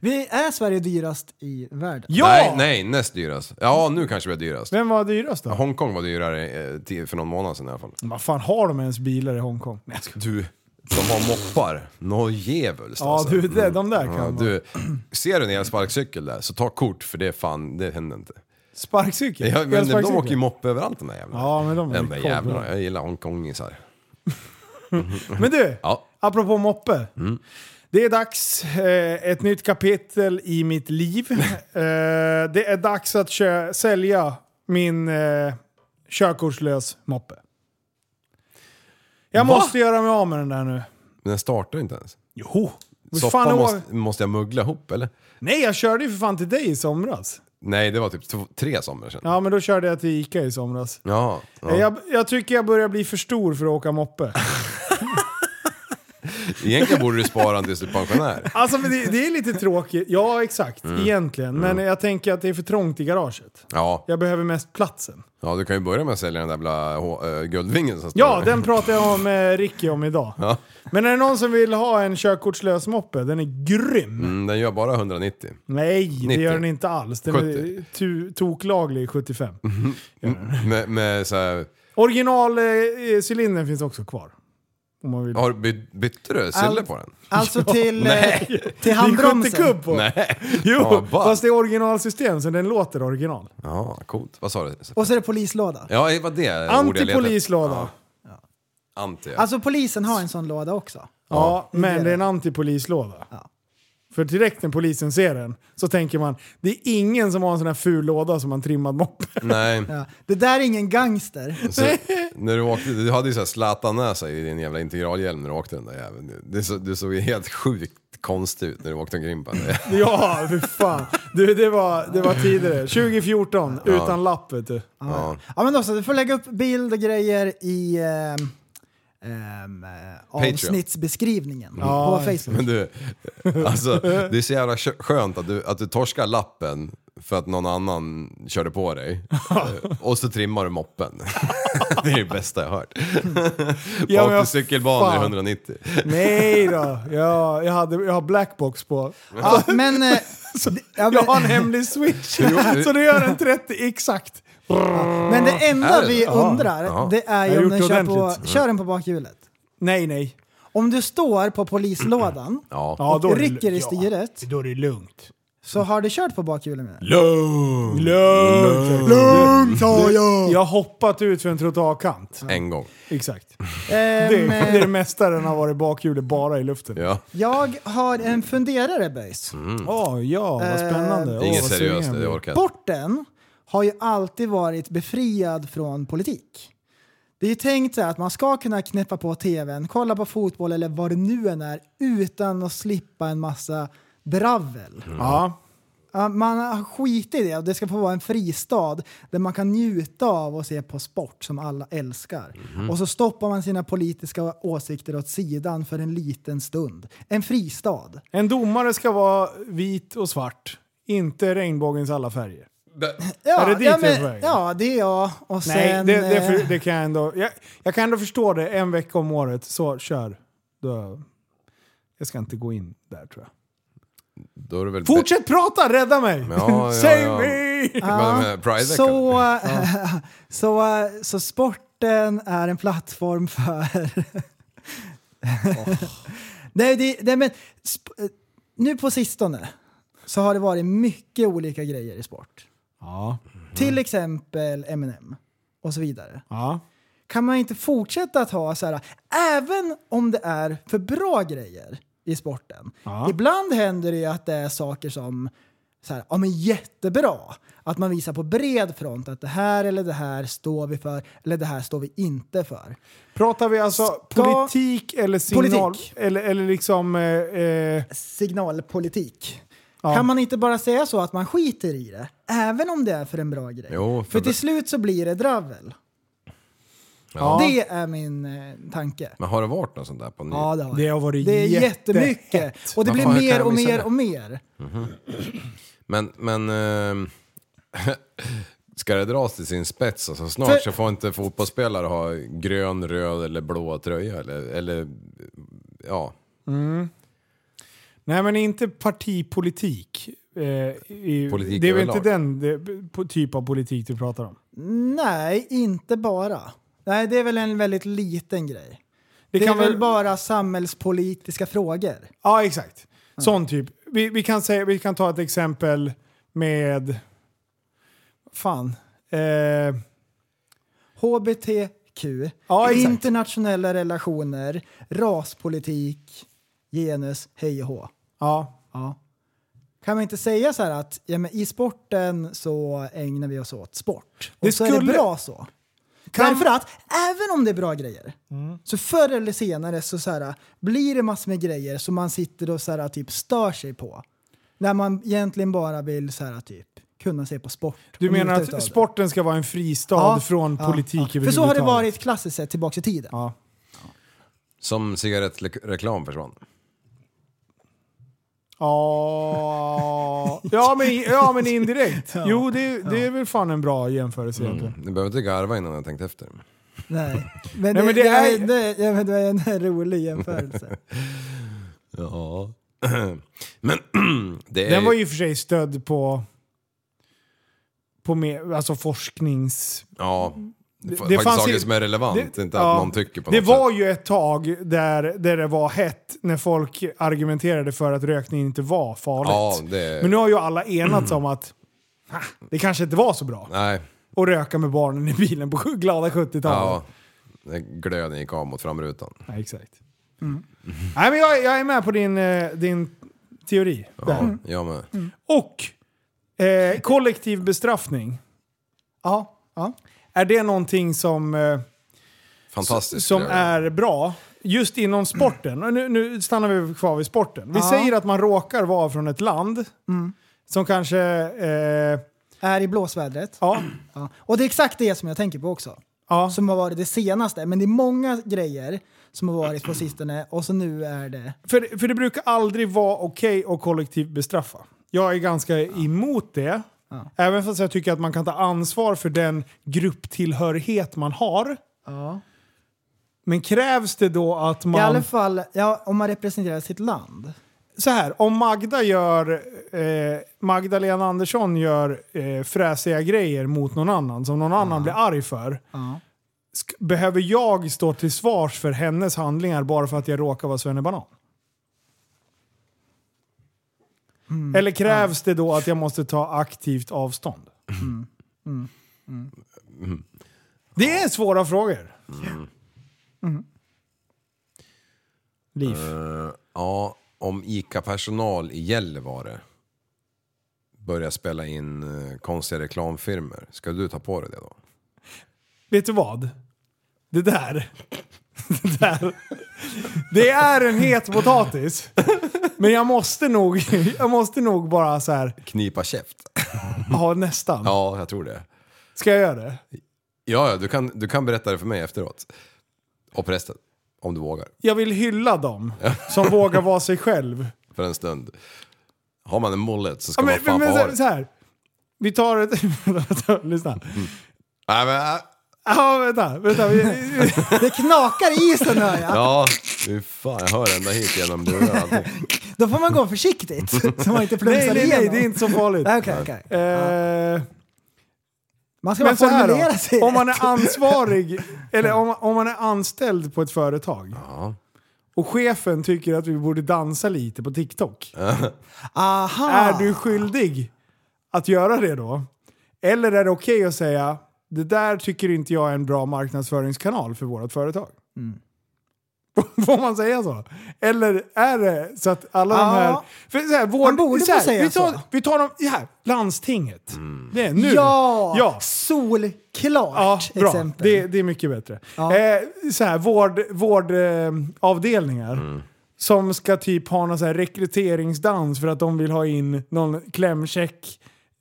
Speaker 4: Vi är Sverige dyrast i världen.
Speaker 5: Ja!
Speaker 6: Nej, nej, näst dyrast. Ja, nu kanske vi är dyrast.
Speaker 5: Vem var dyrast då?
Speaker 6: Hongkong var dyrare eh, till- för någon månad sedan i alla fall.
Speaker 5: Vad fan har de ens bilar i Hongkong? Nej, jag skojar.
Speaker 6: Typ. Du, de har moppar. Nå djävulskt
Speaker 5: Ja, du, det, de där kan
Speaker 6: Mm. Ja,
Speaker 5: man.
Speaker 6: du, ser du en elsparkcykel där, så ta kort för det är fan, det händer inte.
Speaker 5: Sparkcykel?
Speaker 6: Ja, men de
Speaker 5: Elsparkcykel.
Speaker 6: åker ju moppe överallt de där jävlarna.
Speaker 5: Ja, men de är
Speaker 6: de där
Speaker 5: coola.
Speaker 6: jävlarna. Jag gillar hongkongisar.
Speaker 5: Men du,
Speaker 6: Ja.
Speaker 5: apropå moppe.
Speaker 6: Mm.
Speaker 5: Det är dags, eh, ett nytt kapitel i mitt liv. eh, det är dags att kö- sälja min eh, körkortslös moppe. Jag måste göra mig av med den där nu.
Speaker 6: Men den startar inte ens.
Speaker 5: Jo! Vad fan
Speaker 6: Soppan
Speaker 5: har-
Speaker 6: måste, måste jag muggla ihop eller?
Speaker 5: Nej, jag körde ju för fan till dig i somras.
Speaker 6: Nej, det var typ två, tre somrar sedan.
Speaker 5: Ja, men då körde jag till Ica i somras.
Speaker 6: Ja, ja.
Speaker 5: Jag, jag tycker jag börjar bli för stor för att åka moppe.
Speaker 6: Egentligen borde du spara den tills du är pensionär.
Speaker 5: Alltså men det, det är lite tråkigt. Ja exakt,
Speaker 6: Mm.
Speaker 5: egentligen. Men jag tänker att det är för trångt i garaget.
Speaker 6: Ja.
Speaker 5: Jag behöver mest platsen.
Speaker 6: ja, du kan ju börja med att sälja den där jävla H- eh, guldvingen som står
Speaker 5: Ja,
Speaker 6: där.
Speaker 5: den pratade jag med Ricky om idag.
Speaker 6: Ja.
Speaker 5: Men är det någon som vill ha en körkortslös moppe? Den är grym!
Speaker 6: Mm, den gör bara 190.
Speaker 5: Nej, det
Speaker 6: 90.
Speaker 5: gör den inte alls. Den
Speaker 6: 70.
Speaker 5: är tu- toklaglig i 75.
Speaker 6: Med, med så här,
Speaker 5: Originalcylindern eh, cylindern finns också kvar. Om man vill.
Speaker 6: har, du by, bytte du sille på den?
Speaker 4: Alltså till, eh,
Speaker 6: Nej!
Speaker 4: till
Speaker 5: Det är 70
Speaker 4: handbromsen.
Speaker 5: kubb på!
Speaker 6: Nej!
Speaker 5: Jo,
Speaker 6: Ja, bara.
Speaker 5: fast det är originalsystem så den låter original.
Speaker 6: Ja, coolt. Vad sa du?
Speaker 4: Och så är det polislåda.
Speaker 6: Ja, det var det ordet jag letade efter.
Speaker 5: Antipolislåda.
Speaker 6: Ja, anti. ja.
Speaker 4: Alltså polisen har en sån låda också.
Speaker 5: Ja, men det är en antipolislåda. För direkt när polisen ser den så tänker man, det är ingen som har en sån här ful låda som har en trimmad moppe.
Speaker 6: Nej.
Speaker 4: Ja. Det där är ingen gangster.
Speaker 6: Så, när du, åkte, du hade ju såhär Zlatan-näsa i din jävla integralhjälm när du åkte den där jäveln. Det, så, du såg ju helt sjukt konstig ut när du åkte omkring på den. där.
Speaker 5: Ja, för fan. Du, det var, det var tidigare. 2014, utan lapp vet du.
Speaker 6: Ja.
Speaker 4: Ja men också, du får lägga upp bild och grejer i ehm, ehm, eh, avsnittsbeskrivningen
Speaker 5: Ja,
Speaker 4: på
Speaker 5: just
Speaker 4: Facebook.
Speaker 6: Men du, alltså det är så jävla kö- skönt att du, att du torskar lappen för att någon annan körde på dig. Eh, Och så trimmar du moppen. Det är det bästa jag hört.
Speaker 5: Ja,
Speaker 6: Ja,
Speaker 5: men
Speaker 6: Åkte
Speaker 5: vad
Speaker 6: cykelbanor i
Speaker 5: fan.
Speaker 6: 190.
Speaker 5: Nej då. Ja, jag, hade, jag har blackbox på.
Speaker 4: Ja, men, eh, d- ja,
Speaker 5: Jag har en
Speaker 4: men,
Speaker 5: hemlig switch.
Speaker 6: Jo.
Speaker 5: Så det gör en 30 exakt.
Speaker 4: men det
Speaker 6: Är
Speaker 4: enda
Speaker 6: det
Speaker 4: vi
Speaker 6: det?
Speaker 4: undrar
Speaker 6: Ja.
Speaker 4: det är
Speaker 5: Jag har
Speaker 4: ju om den
Speaker 5: gjort det
Speaker 4: kör, på,
Speaker 5: ordentligt.
Speaker 4: kör den på bakhjulet.
Speaker 5: Nej, nej.
Speaker 4: Om du står på polislådan
Speaker 6: Ja.
Speaker 5: Ja, då är
Speaker 4: och
Speaker 5: det
Speaker 4: rycker
Speaker 5: lu-
Speaker 4: i styret
Speaker 5: Ja, då är det lugnt.
Speaker 4: så har du kört på bakhjulet med den.
Speaker 6: Lugn!
Speaker 5: Lugnt. Lugnt har jag. Jag har hoppat ut för en trottoarkant.
Speaker 6: En gång.
Speaker 5: Exakt. Det,
Speaker 4: Ehm,
Speaker 5: är- det är det mesta den har varit bakhjulet bara i luften.
Speaker 6: Ja.
Speaker 4: jag har en funderare böjs.
Speaker 6: Mm.
Speaker 5: Åh, ja, vad spännande.
Speaker 6: Det är inget
Speaker 5: Åh, vad sugen
Speaker 6: seriöst,
Speaker 5: jag
Speaker 6: det
Speaker 5: blir.
Speaker 6: orkar jag inte.
Speaker 4: Sporten har ju alltid varit befriad från politik. Det är ju tänkt så här att man ska kunna knäppa på tvn, kolla på fotboll eller vad det nu än är utan att slippa en massa dravel.
Speaker 5: Ja.
Speaker 4: Ja, Man har skitit i det och det ska få vara en fristad där man kan njuta av och se på sport som alla älskar. Och så stoppar man sina politiska åsikter åt sidan för en liten stund. En fristad.
Speaker 5: En domare ska vara vit och svart. Inte regnbågens alla färger.
Speaker 4: Ja,
Speaker 5: Är det dit
Speaker 4: ja,
Speaker 5: vi är på
Speaker 4: men-
Speaker 5: väg?
Speaker 4: ja, det är jag. Och
Speaker 5: Nej,
Speaker 4: sen,
Speaker 5: det, det,
Speaker 4: eh,
Speaker 5: för, det kan jag ändå... Jag, jag kan ändå förstå det en vecka om året. Så kör. Då, jag ska inte gå in där tror jag.
Speaker 6: Då är det väl
Speaker 5: Fortsätt prata, rädda mig!
Speaker 6: Ja, ja,
Speaker 5: Save
Speaker 6: ja.
Speaker 5: me!
Speaker 6: Men, men, Prideveckan.
Speaker 4: Så, så, eh, så sporten är en plattform för... nej, det, nej, men sp- eh, nu på sistone så har det varit mycket olika grejer i sport.
Speaker 5: Ja.
Speaker 4: Till exempel M&M och så vidare.
Speaker 5: ja.
Speaker 4: Kan man inte fortsätta att ha så här, även om det är för bra grejer i sporten.
Speaker 5: Ja.
Speaker 4: Ibland händer det ju att det är saker som så här, ja men jättebra. Att man visar på bred front att det här eller det här står vi för eller det här står vi inte för.
Speaker 5: Pratar vi alltså
Speaker 4: Ska-
Speaker 5: politik eller signal?
Speaker 4: Politik.
Speaker 5: Eller, eller liksom... Eh, eh,
Speaker 4: Signalpolitik.
Speaker 5: Ja.
Speaker 4: Kan man inte bara säga så att man skiter i det? Även om det är för en bra grej.
Speaker 6: Jo,
Speaker 4: för
Speaker 6: för-
Speaker 4: till slut så blir det dravel.
Speaker 5: ja. det,
Speaker 4: Det är min eh, tanke.
Speaker 6: Men har det varit något sånt där på ny...
Speaker 4: Ja, det, har
Speaker 5: har varit
Speaker 4: Det är jättemycket.
Speaker 5: jättehett.
Speaker 4: Och det
Speaker 6: Vad
Speaker 4: blir
Speaker 6: fan, hur kan
Speaker 4: mer
Speaker 6: jag
Speaker 4: och
Speaker 6: missa
Speaker 4: mer
Speaker 6: det?
Speaker 4: och mer.
Speaker 6: Men, men... ehm, Ska det dras till sin spets? Alltså, snart
Speaker 4: För-
Speaker 6: så får inte fotbollsspelare ha grön, röd eller blå tröja. Eller, eller ja.
Speaker 5: Nej men inte partipolitik. Eh, i,
Speaker 6: Politik
Speaker 5: det är väl
Speaker 6: överlag.
Speaker 5: inte den det, på, typ av politik du pratar om?
Speaker 4: Nej, inte bara. Nej, det är väl en väldigt liten grej. Det,
Speaker 5: kan
Speaker 4: är väl
Speaker 5: väl-
Speaker 4: bara samhällspolitiska frågor.
Speaker 5: Ja exakt. Sån typ. Vi, vi, kan säga, vi kan ta ett exempel med... Fan. Eh,
Speaker 4: HBTQ,
Speaker 5: Ja, exakt.
Speaker 4: internationella relationer, raspolitik, genus, hej och hå.
Speaker 5: ja.
Speaker 4: Ja. Kan man inte säga så här att ja, men i sporten så ägnar vi oss åt sport? Och
Speaker 5: Det
Speaker 4: så är det
Speaker 5: skulle-
Speaker 4: bra så. Därför att även om det är bra grejer
Speaker 5: Mm.
Speaker 4: så förr eller senare så, så här, blir det massor med grejer som man sitter och så här, typ stör sig på. När man egentligen bara vill så här, typ, kunna se på sport.
Speaker 5: Du
Speaker 4: och
Speaker 5: menar
Speaker 4: njuta utav
Speaker 5: att
Speaker 4: det.
Speaker 5: sporten ska vara en fristad
Speaker 4: Ja,
Speaker 5: från
Speaker 4: ja,
Speaker 5: politik
Speaker 4: ja.
Speaker 5: överhuvudtaget?
Speaker 4: För så har det varit klassiskt sett tillbaka i tiden.
Speaker 5: Ja.
Speaker 6: Som cigarettreklam försvann.
Speaker 5: Ja, ja, men, ja men indirekt. Jo, det, det är väl fan en bra jämförelse egentligen.
Speaker 6: Ni Mm. behöver inte garva innan jag tänkt efter.
Speaker 4: Nej. Men det,
Speaker 5: Nej, men
Speaker 4: det,
Speaker 5: det
Speaker 4: är...
Speaker 5: är-
Speaker 4: det, ja, men det är en rolig jämförelse.
Speaker 6: Ja. Men det är
Speaker 5: Den var ju i och för sig stödd på, på mer, alltså forsknings...
Speaker 6: Ja. Det,
Speaker 5: det
Speaker 6: faktiskt
Speaker 5: fanns
Speaker 6: saker
Speaker 5: ju-
Speaker 6: som är relevant,
Speaker 5: det-
Speaker 6: inte att
Speaker 5: ja.
Speaker 6: någon tycker på
Speaker 5: Det
Speaker 6: något
Speaker 5: var
Speaker 6: sätt.
Speaker 5: ju ett tag där, där det var hett när folk argumenterade för att rökning inte var farligt.
Speaker 6: Ja, det-
Speaker 5: Men nu har ju alla enats om att "Ah, det kanske inte var så bra
Speaker 6: Nej,
Speaker 5: att röka med barnen i bilen på sju- glada 70-talet.
Speaker 6: ja. När Glöden gick av mot framrutan.
Speaker 5: Ja, exakt. Mm. Nej, men jag, jag är med på din, eh, din teori.
Speaker 6: Ja,
Speaker 5: Där.
Speaker 6: jag med.
Speaker 5: Mm. Och eh, kollektiv bestraffning. Ja, ja. Är det någonting som, eh,
Speaker 6: Fantastiskt.
Speaker 5: som
Speaker 6: skulle jag vilja.
Speaker 5: är bra just inom sporten? Och Nu, nu stannar vi kvar vid sporten. Vi
Speaker 4: Ja. Mm.
Speaker 5: säger att man råkar vara från ett land som kanske... Eh,
Speaker 4: är i blåsvädret.
Speaker 5: ja,
Speaker 4: Ja. Och det är exakt det som jag tänker på också.
Speaker 5: ja.
Speaker 4: Som har varit det senaste. Men det är många grejer som har varit på sistone och så nu är det...
Speaker 5: För, för det brukar aldrig vara okej att kollektivt bestraffa. Jag är ganska emot det. Även fast jag tycker att man kan ta ansvar för den grupptillhörighet man har. Men krävs det då att
Speaker 4: I alla
Speaker 5: man...
Speaker 4: fall ja, om man representerar sitt land.
Speaker 5: Så här, om Magda gör... Eh, Magdalena Andersson gör eh, fräsiga grejer mot någon annan som någon annan blir arg för. Sk- behöver jag stå till svars för hennes handlingar bara för att jag råkar vara svennebanan? Eller krävs det då att jag måste ta aktivt avstånd? Det är svåra frågor. Liv.
Speaker 6: Eh, Ja, om ICA-personal i Gällivare börjar spela in eh, konstiga reklamfilmer, ska du ta på dig det då?
Speaker 5: Vet du vad? Det där. Det där. Det är en het potatis. Men jag måste nog, jag måste nog bara så här,
Speaker 6: Knipa käft?
Speaker 5: ja nästan.
Speaker 6: Ja, jag tror det.
Speaker 5: Ska jag göra det?
Speaker 6: Ja, ja du, kan, du kan berätta det för mig efteråt. Och prästen, om du vågar.
Speaker 5: Jag vill hylla dem som vågar vara sig själv.
Speaker 6: För en stund. Har man en mullet så ska
Speaker 5: Ja, men,
Speaker 6: man fan
Speaker 5: men, men
Speaker 6: få ha
Speaker 5: så,
Speaker 6: det.
Speaker 5: så här. Vi tar ett... vänta, lyssna.
Speaker 6: Nej, men, äh,
Speaker 5: Ja, vänta. vänta vi, vi,
Speaker 4: Det knakar i isen hör jag.
Speaker 6: ja, fy fan, jag hör ända hit genom lurarna. allting.
Speaker 4: Då får man gå försiktigt så man inte
Speaker 5: nej,
Speaker 4: plumsar
Speaker 5: nej,
Speaker 4: igenom.
Speaker 5: nej, det är inte så farligt.
Speaker 4: Okej, okej.
Speaker 5: Eh,
Speaker 4: Man ska bara
Speaker 5: Men så här
Speaker 4: formulera sig
Speaker 5: då, om man
Speaker 4: rätt.
Speaker 5: är ansvarig, eller om, om man är anställd på ett företag och chefen tycker att vi borde dansa lite på TikTok.
Speaker 4: Aha!
Speaker 5: Är du skyldig att göra det då? Eller är det okej att säga det där tycker inte jag är en bra marknadsföringskanal för vårt företag?
Speaker 4: Mm.
Speaker 5: Får man säga så? Eller är det så att alla de
Speaker 4: Ja.
Speaker 5: här... För så här, vår,
Speaker 4: Man borde
Speaker 5: så här,
Speaker 4: få säga
Speaker 5: vi tar,
Speaker 4: så.
Speaker 5: Vi tar dem... Ja, här, landstinget. Det är nu.
Speaker 4: Ja!
Speaker 5: ja.
Speaker 4: Solklart
Speaker 5: Ja, bra.
Speaker 4: exempel.
Speaker 5: Det, det är mycket bättre. Eh, så här, vård, vårdavdelningar eh, avdelningar som ska typ ha någon så här rekryteringsdans för att de vill ha in någon klämkäck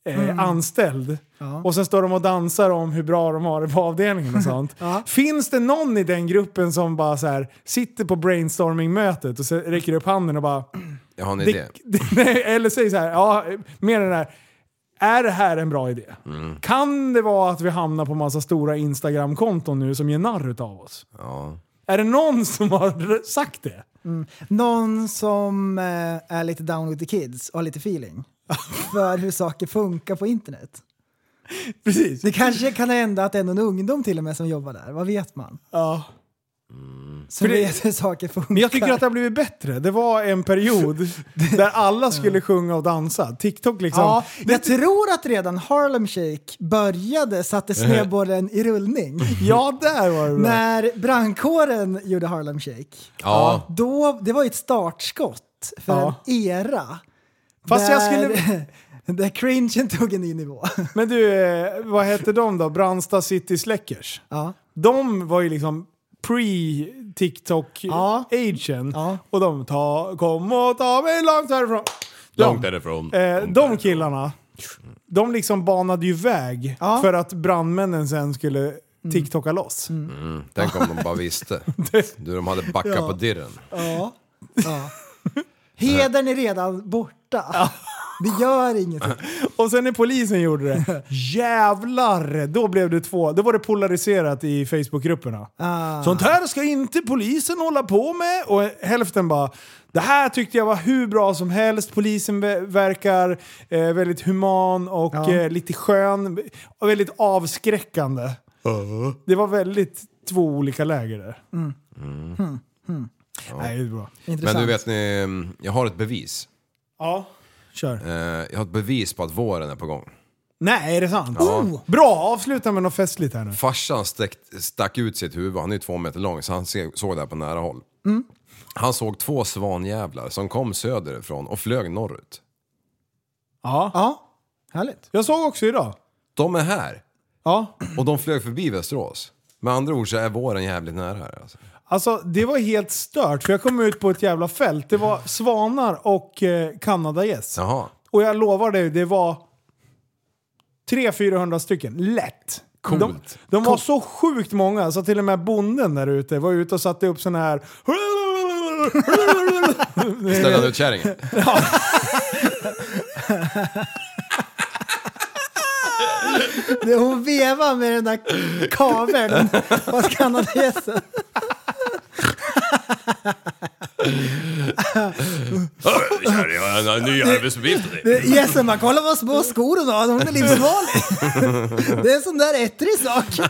Speaker 5: eh, anställd. Och sen står de och dansar om hur bra de har det på avdelningen och sånt. Finns det någon i den gruppen som bara så här, sitter på brainstorming-mötet och så räcker upp handen och bara
Speaker 6: Jag har en idé.
Speaker 5: det, det, nej, eller säg så här, ja, mer den här. Är det här en bra idé?
Speaker 6: Mm.
Speaker 5: Kan det vara att vi hamnar på massa stora Instagram-konton nu som gör narr utav oss?
Speaker 6: Ja.
Speaker 5: Är det någon som har sagt det?
Speaker 4: Mm. Någon som eh, är lite down with the kids och har lite feeling för hur saker funkar på internet.
Speaker 5: Precis.
Speaker 4: Det kanske kan hända att det är någon ungdom till och med som jobbar där, vad vet man?
Speaker 5: Ja.
Speaker 4: Som
Speaker 5: För det-
Speaker 4: vet hur saker funkar.
Speaker 5: Men jag tycker att det har blivit bättre. Det var en period där alla skulle sjunga och dansa. TikTok liksom.
Speaker 4: Ja,
Speaker 5: det,
Speaker 4: jag tror att redan Harlem Shake började, satte snöbollen i rullning.
Speaker 5: ja där var det bra.
Speaker 4: När brandkåren gjorde Harlem Shake,
Speaker 6: Ja.
Speaker 4: då, det var ju ett startskott för
Speaker 5: Ja.
Speaker 4: en era.
Speaker 5: Fast
Speaker 4: där,
Speaker 5: jag skulle-
Speaker 4: där cringen tog en ny nivå.
Speaker 5: Men du, eh, vad hette de då? Brandsta City Släckers.
Speaker 4: Ja.
Speaker 5: De var ju liksom
Speaker 4: Ja.
Speaker 5: pre-TikTok-agen.
Speaker 4: Ja.
Speaker 5: Och de ta, kom och ta mig långt härifrån. De,
Speaker 6: Långt därifrån.
Speaker 5: Eh, de killarna, de liksom banade ju väg
Speaker 4: Ja. Mm.
Speaker 5: för att brandmännen sen skulle TikToka loss.
Speaker 6: Tänk om de bara visste. Du, de hade backat på dirren.
Speaker 4: Ja. ja. Hedern är redan borta. Det gör ingenting.
Speaker 5: Och sen när polisen gjorde det, jävlar! Då blev det två. Då var det polariserat i Facebookgrupperna. Sånt här ska inte polisen hålla på med. Och hälften bara, det här tyckte jag var hur bra som helst. Polisen ve- verkar eh, väldigt human och eh, lite skön. Och väldigt avskräckande. Det var väldigt två olika läger där. Mm. Nej, det är bra.
Speaker 4: Intressant.
Speaker 6: Men du vet, ni, jag har ett bevis.
Speaker 5: Ja, kör.
Speaker 6: Eh, Jag har ett bevis på att våren är på gång.
Speaker 5: Nej, är det sant? Oh, bra, avsluta med något festligt här nu.
Speaker 6: Farsan stack, stack ut sitt huvud, han är ju två meter lång så han se, såg det här på nära håll.
Speaker 5: Mm.
Speaker 6: Han såg två svanjävlar som kom söderifrån och flög norrut.
Speaker 5: Ja.
Speaker 4: Ja, härligt.
Speaker 5: Jag såg också idag.
Speaker 6: De är här!
Speaker 5: Ja.
Speaker 6: Och de flög förbi Västerås. Med andra ord så är våren jävligt nära här. Alltså.
Speaker 5: Alltså det var helt stört för jag kom ut på ett jävla fält. Det var svanar och eh, kanadagäss.
Speaker 6: Jaha.
Speaker 5: Och jag lovar dig, det var 300-400 stycken. Lätt.
Speaker 6: Coolt.
Speaker 5: De, de var så sjukt många så till och med bonden där ute var ute och satte upp sådana här...
Speaker 6: Ställde han ut kärringen?
Speaker 4: Det hon vevar med den där kaveln hos kanadensaren.
Speaker 6: Kärring, jag har en ny arbetsuppgift till dig.
Speaker 4: Gässen bara, kolla vad små skor hon har, hon är livsfarlig. Det är en sån där ettrig sak.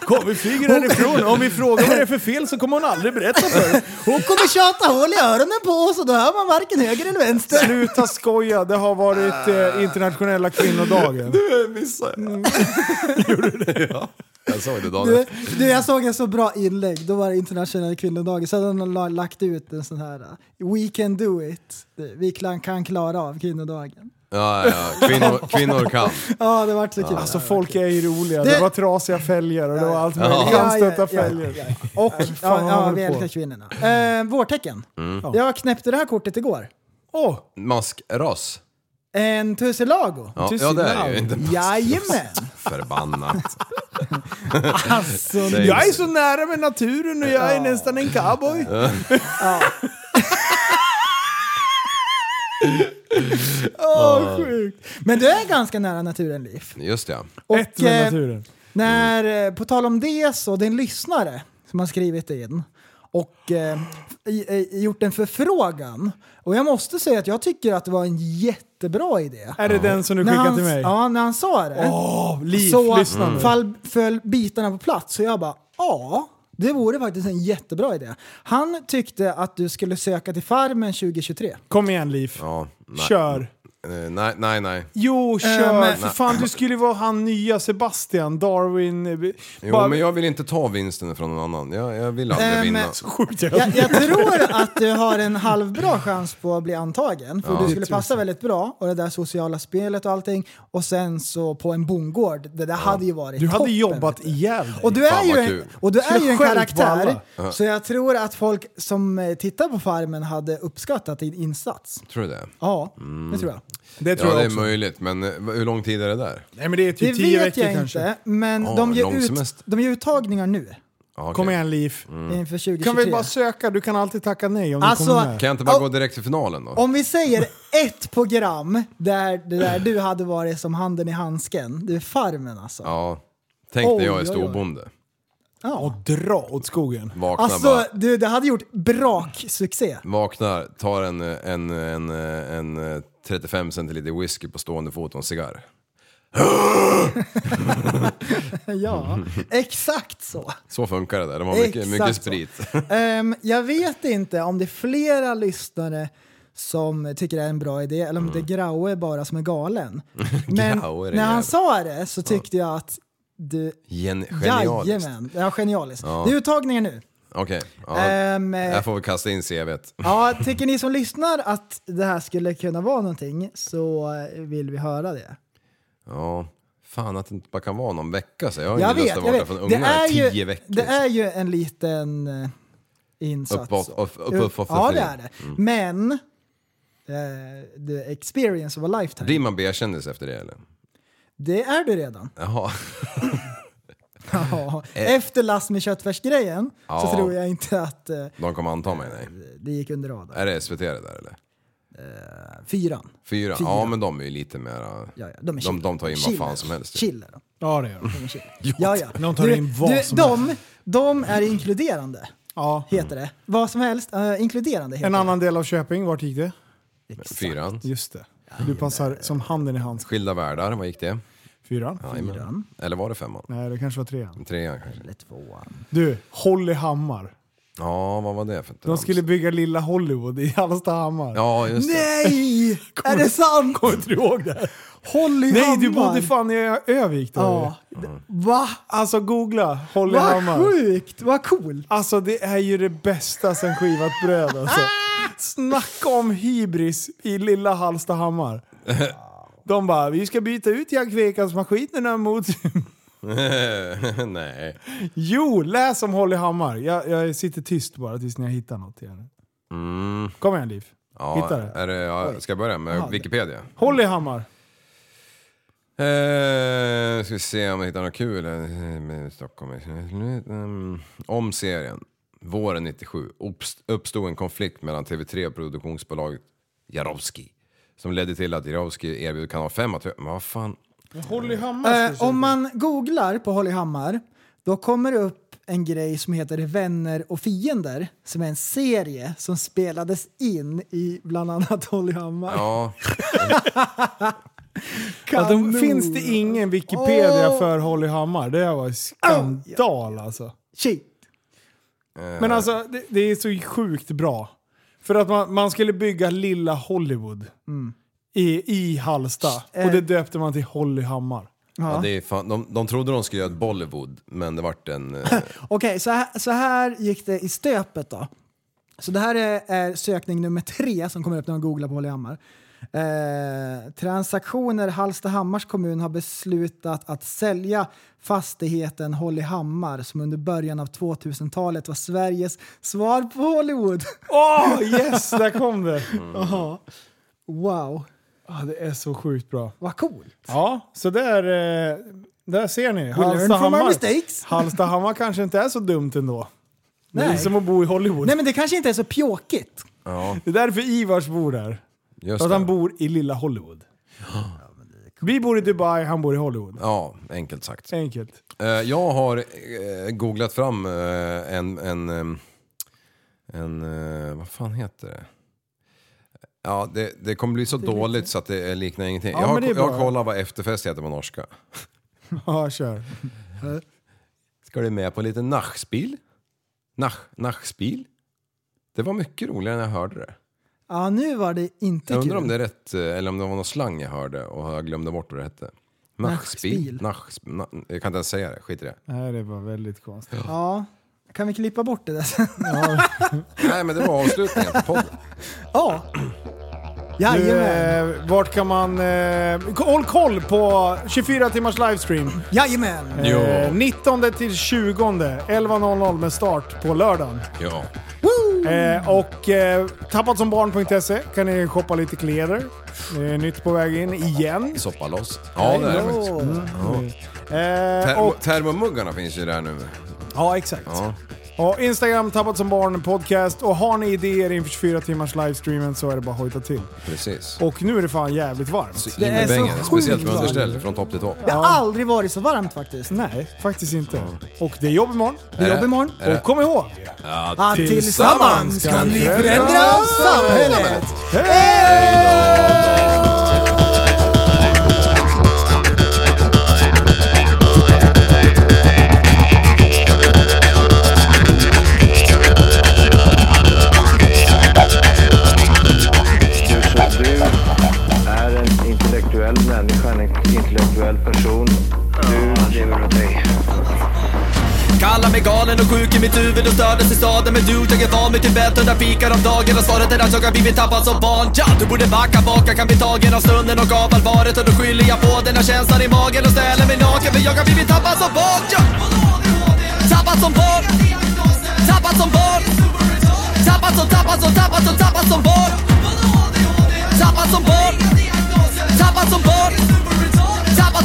Speaker 5: Kom vi flyger härifrån. Om vi frågar vad det är för fel så kommer hon aldrig berätta för oss.
Speaker 4: Hon kommer tjata hål i öronen på oss och då hör man varken höger eller vänster.
Speaker 5: Sluta skoja, det har varit
Speaker 6: Ah.
Speaker 5: eh, internationella kvinnodagen.
Speaker 6: Missade jag. Gjorde du det? Ja. Jag såg det dagen
Speaker 4: Du,
Speaker 6: efter.
Speaker 4: du, jag såg en så bra inlägg, då var det internationella kvinnodagen, så hade de la- lagt ut en sån här uh, We can do it, vi kan, kan klara av kvinnodagen.
Speaker 6: Ja, ja, ja. Kvinnor, kvinnor kan.
Speaker 4: Ja, det vart så kul.
Speaker 5: Alltså folk är ju roliga. Det,
Speaker 4: Det-
Speaker 5: var trasiga fälgar och det var allt möjligt.
Speaker 6: Ja,
Speaker 5: Anstötta fälgar.
Speaker 4: Och
Speaker 5: vad
Speaker 4: ja, ja,
Speaker 5: håller
Speaker 4: vi
Speaker 5: du på?
Speaker 4: älskar kvinnorna. Eh, vårtecken. Jag knäppte det här kortet igår.
Speaker 5: Åh!
Speaker 6: Maskras.
Speaker 4: En tussilago.
Speaker 6: Ja, ja, det är det ju. Inte
Speaker 4: Jajamän!
Speaker 6: förbannat.
Speaker 4: Alltså,
Speaker 6: Säg
Speaker 5: jag är så nära med naturen och jag är nästan en cowboy.
Speaker 4: åh, sjukt. Men du är ganska nära naturen, Liv.
Speaker 6: Just det.
Speaker 4: Och,
Speaker 5: Ett med
Speaker 4: eh,
Speaker 5: naturen.
Speaker 4: När, eh, på tal om det så, det är en lyssnare som har skrivit in och eh, i, i, gjort en förfrågan. Och jag måste säga att jag tycker att det var en jättebra idé.
Speaker 5: Är det den som du
Speaker 4: När
Speaker 5: skickade
Speaker 4: han,
Speaker 5: till mig?
Speaker 4: ja, när han sa det
Speaker 5: Åh, liv,
Speaker 4: så
Speaker 5: lyssna nu.
Speaker 4: fall, föll bitarna på plats. Så jag bara, ja, det vore faktiskt en jättebra idé. Han tyckte att du skulle söka till Farmen 2023.
Speaker 5: Kom igen Liv.
Speaker 6: Ja, nej.
Speaker 5: Kör.
Speaker 6: Eh, Nej, nej, nej.
Speaker 5: Jo, kör.
Speaker 4: men-
Speaker 5: För fan, du skulle ju vara han nya Sebastian, Darwin... eh,
Speaker 6: Jo,
Speaker 5: bara-
Speaker 6: men jag vill inte ta vinsten från någon annan. Jag, jag vill aldrig
Speaker 4: Eh, men-
Speaker 6: vinna.
Speaker 5: Sjukt jävla-
Speaker 4: Jag, jag tror att du har en halvbra chans på att bli antagen. För du skulle passa väldigt bra och det där sociala spelet och allting. Och sen så på en bondgård. Det där hade ju varit
Speaker 5: Du hade
Speaker 4: toppen.
Speaker 5: jobbat ihjäl dig.
Speaker 4: Och du är
Speaker 6: Fan,
Speaker 4: ju
Speaker 6: vad
Speaker 4: en,
Speaker 6: kul.
Speaker 4: och du är ju en
Speaker 5: Skälp på
Speaker 4: karaktär.
Speaker 5: alla.
Speaker 4: Så jag tror att folk som eh, tittar på Farmen hade uppskattat din insats.
Speaker 6: Tror du det?
Speaker 4: Ja,
Speaker 5: Mm.
Speaker 4: det tror jag.
Speaker 5: Det tror
Speaker 6: Ja, det
Speaker 5: jag
Speaker 6: är
Speaker 5: också.
Speaker 6: möjligt. Men eh, hur lång tid är det där?
Speaker 5: Nej men det är
Speaker 4: Det
Speaker 5: typ tio
Speaker 4: vet
Speaker 5: veckor
Speaker 4: jag
Speaker 5: kanske.
Speaker 4: inte, men
Speaker 6: Ja,
Speaker 4: de,
Speaker 6: en
Speaker 4: ger
Speaker 6: lång
Speaker 4: ut,
Speaker 6: semester.
Speaker 5: Mm.
Speaker 4: de ger uttagningar nu.
Speaker 6: Ja, okej. Mm.
Speaker 5: Kom igen Liv.
Speaker 4: inför 2023.
Speaker 5: Kan vi bara söka? Du kan alltid tacka nej om
Speaker 4: Alltså,
Speaker 5: du kommer med.
Speaker 6: Kan jag inte bara
Speaker 4: Oh.
Speaker 6: gå direkt till finalen då?
Speaker 4: Om vi säger ett program där, det där du hade varit som handen i handsken, du är Farmen alltså.
Speaker 6: Ja. Tänk när jag
Speaker 4: Oj,
Speaker 6: är
Speaker 4: oj, oj.
Speaker 6: storbonde.
Speaker 4: Ja.
Speaker 5: Dra åt skogen.
Speaker 6: Vaknar bara.
Speaker 4: Alltså du, det hade gjort braksuccé.
Speaker 6: Vaknar, tar en, eh, en, en, eh, en, eh, 35 centiliter whisky på stående fot och en cigarr.
Speaker 4: Ja, exakt så.
Speaker 6: Så funkar det där. De har mycket,
Speaker 4: Exakt
Speaker 6: mycket
Speaker 4: så.
Speaker 6: sprit.
Speaker 4: Ehm, jag vet inte om det är flera lyssnare som tycker det är en bra idé eller om det är Graue bara som är galen. Men
Speaker 6: Mm. Graue, det är
Speaker 4: när han
Speaker 6: jävla-
Speaker 4: sa det så tyckte jag att du...
Speaker 6: Gen- Genialiskt.
Speaker 4: Jajamän, ja, genialiskt. Det är uttagningen nu.
Speaker 6: Okej, ja,
Speaker 4: Ehm, eh,
Speaker 6: här får vi kasta in CVt.
Speaker 4: Ja, tycker ni som lyssnar att det här skulle kunna vara någonting så vill vi höra det.
Speaker 6: Ja, fan att det inte bara kan vara någon vecka så. Jag har
Speaker 4: Jag
Speaker 6: ingen lust
Speaker 4: vet,
Speaker 6: att
Speaker 4: jag
Speaker 6: vara
Speaker 4: vet.
Speaker 6: från
Speaker 4: Det
Speaker 6: ungarna
Speaker 4: är,
Speaker 6: i tio
Speaker 4: ju,
Speaker 6: veckor.
Speaker 4: det är ju en liten eh, insats.
Speaker 6: Uppåt, upp, upp, Mm. upp, upp, upp,
Speaker 4: ja,
Speaker 6: upp.
Speaker 4: det är det. Men eh, the experience of a lifetime.
Speaker 6: Blir man B-kändis efter det eller?
Speaker 4: det är du redan.
Speaker 6: Jaha.
Speaker 4: Ja. Efter last med köttfärsgrejen
Speaker 6: Eh. Ja.
Speaker 4: så tror jag inte att eh,
Speaker 6: De kommer anta mig, nej.
Speaker 4: det gick under radarn.
Speaker 6: Är det SVT det där eller?
Speaker 4: Fyran. Fyra.
Speaker 6: Fyra? Ja, men de är ju lite mera...
Speaker 4: Ja, ja, de, är
Speaker 6: de,
Speaker 4: chill.
Speaker 6: de tar in
Speaker 4: Chill är
Speaker 6: vad fan
Speaker 4: de.
Speaker 6: som helst. ju.
Speaker 4: Chill är de.
Speaker 5: Ja det gör de.
Speaker 4: De är chill. Ja, ja.
Speaker 5: De tar in vad som
Speaker 4: de, de är inkluderande,
Speaker 5: Ja.
Speaker 4: heter det. Vad som helst, eh, inkluderande heter
Speaker 5: En annan del av Köping, vart gick det?
Speaker 6: Fyran.
Speaker 5: Just det. Du passar som handen i handsken.
Speaker 6: Skilda världar, vad gick det?
Speaker 5: Fyran?
Speaker 6: Jajamän. Eller var det femman?
Speaker 5: Nej, det kanske var trean.
Speaker 6: Trean kanske?
Speaker 4: det. Tvåan.
Speaker 5: Du, Holly Hammar.
Speaker 6: Ja, vad var det för
Speaker 5: De
Speaker 6: trams?
Speaker 5: skulle bygga lilla Hollywood i Hallstahammar.
Speaker 6: Ja, just det.
Speaker 4: Nej! är det sant? Kommer inte du ihåg det? Holly
Speaker 5: Nej,
Speaker 4: Hammar.
Speaker 5: du bodde fan i Ö- Övik då.
Speaker 4: Ja. Va?
Speaker 5: Alltså googla Holly
Speaker 4: Vad
Speaker 5: Hammar.
Speaker 4: sjukt! Vad coolt!
Speaker 5: Alltså det är ju det bästa sen skivat bröd alltså. Snacka om hybris i lilla Hallstahammar. De bara, vi ska byta ut Jack Vekans maskinerna mot...
Speaker 6: Nej.
Speaker 5: Jo, läs om Holly Hammar. Jag, jag sitter tyst bara tills ni har hittat något igen. Kom igen Liv.
Speaker 6: Ja, eh.
Speaker 5: Hitta det.
Speaker 6: är det ja, ska jag börja med Wikipedia?
Speaker 5: Holly Hammar.
Speaker 6: Eh, ska vi se om jag hittar något kul eh, med Stockholm. Mm, Om serien. Våren 97 uppst- uppstod en konflikt mellan TV3 och produktionsbolaget Jarowski. Som ledde till att Jarowski erbjöd kanal 5 att... Men vad fan?
Speaker 5: Holly Hammar.
Speaker 4: Eh, om man googlar på Holly Hammar, då kommer det upp en grej som heter Vänner och fiender, som är en serie som spelades in i bland annat Holly Hammar.
Speaker 6: Ja,
Speaker 5: Alltså, finns det ingen Wikipedia för Holly Hammar? Det här var ju skandal alltså.
Speaker 4: Shit.
Speaker 5: Men alltså det, det är så sjukt bra. För att man, man skulle bygga lilla Hollywood i, i Halsta och det döpte man till Holly Hammar.
Speaker 6: ja. det är fan, de, de trodde de skulle göra ett Bollywood, men det vart en... eh,
Speaker 4: Okej, så, här, så här gick det i stöpet då. Så det här är, är sökning nummer tre som kommer upp när man googlar på Holly Hammar. Eh, transaktioner Hallstahammars kommun har beslutat att sälja fastigheten Hollyhammar som under början av 2000-talet var Sveriges svar på Hollywood.
Speaker 5: Åh yes, där kom det!
Speaker 4: Jaha. Wow,
Speaker 5: Ah, det är så sjukt bra.
Speaker 4: vad coolt.
Speaker 5: Ja, så där, eh, där ser ni.
Speaker 4: learn from our mistakes.
Speaker 5: Hallstahammar kanske inte är så dumt ändå. Nej. Det är
Speaker 4: Nej.
Speaker 5: som att bo i Hollywood.
Speaker 4: Nej men det kanske inte är så pjåkigt.
Speaker 6: Ja,
Speaker 5: Det är därför Ivars bor där.
Speaker 6: just
Speaker 5: För att han
Speaker 6: det.
Speaker 5: bor i lilla Hollywood. Vi bor i Dubai, han bor i Hollywood.
Speaker 6: Ja, enkelt sagt.
Speaker 5: Enkelt.
Speaker 6: Eh, Jag har eh, googlat fram eh, en, en, ehm, en, eh, vad fan heter det? Ja, det, det kommer bli så dåligt så att det eh, liknar ingenting. jag, har,
Speaker 5: men det är
Speaker 6: jag har
Speaker 5: bra.
Speaker 6: kollat vad efterfest heter på norska.
Speaker 5: Ja, kör.
Speaker 6: Ska du med på lite nachspiel? Nach, nachspiel? Det var mycket roligare när jag hörde det.
Speaker 4: Ja, nu var det inte
Speaker 6: Jag undrar
Speaker 4: kul.
Speaker 6: om det är rätt, eh, eller om det var någon slang jag hörde och jag glömde bort vad det hette. Nachspiel?
Speaker 4: Nachspiel.
Speaker 6: Nachspiel. Na, jag kan inte ens säga det, skit i det.
Speaker 5: Nej, det var väldigt konstigt.
Speaker 4: Ja, kan vi klippa bort det där sen?
Speaker 6: Nej men det var avslutningen på podden.
Speaker 4: Ja.
Speaker 5: Du,
Speaker 4: Jajamän.
Speaker 5: eh, vart kan man... Eh, håll koll på 24 timmars livestream.
Speaker 4: Jajamän!
Speaker 5: Eh, 19 till 20. 11.00 med start på lördagen.
Speaker 6: Ja.
Speaker 5: Eh, och eh, tappatsambarn.se kan ni shoppa lite kläder. Det är nytt på väg in igen.
Speaker 6: Soppa Mm. loss. Ja, det är det faktiskt.
Speaker 4: Åh.
Speaker 5: Eh,
Speaker 6: Termo,
Speaker 5: och
Speaker 6: termomuggarna finns ju där nu.
Speaker 5: Ja, exakt.
Speaker 6: Ja.
Speaker 5: Ja, Instagram, Tappat som barn podcast. Och har ni idéer inför 24 timmars livestreamen så är det bara att hojta till.
Speaker 6: Precis.
Speaker 5: Och nu är det fan jävligt varmt.
Speaker 6: Det
Speaker 4: är
Speaker 6: är
Speaker 4: så
Speaker 6: bängen,
Speaker 4: sjukt
Speaker 6: speciellt med
Speaker 4: varmt.
Speaker 6: underställ från topp till tå.
Speaker 4: Det har aldrig varit så varmt faktiskt. Mm.
Speaker 5: Nej, faktiskt inte. Och det är jobb imorgon.
Speaker 4: Det är jobb imorgon.
Speaker 6: det-
Speaker 5: Och kom ihåg!
Speaker 4: Att tillsammans kan vi förändra samhället.
Speaker 10: Du, så, du är en intellektuell människa, en intellektuell person. Du lever av dig.
Speaker 1: Kallar mig galen och sjuk i mitt huvud och stördes i staden Men du, jag är van vid Tibet och där fikar om dagen Och svaret är att jag har blivit tappad som barn ja, Du borde backa bak, jag kan bli tagen av stunden och av allvaret Och då skyller jag på den här känslan i magen och ställer mig naken För jag har blivit tappad som barn ja. Tappad som barn Tappad som barn Tappad som, tappad som, tappad som, tappad som barn Tappad som barn Tappad som barn Tappad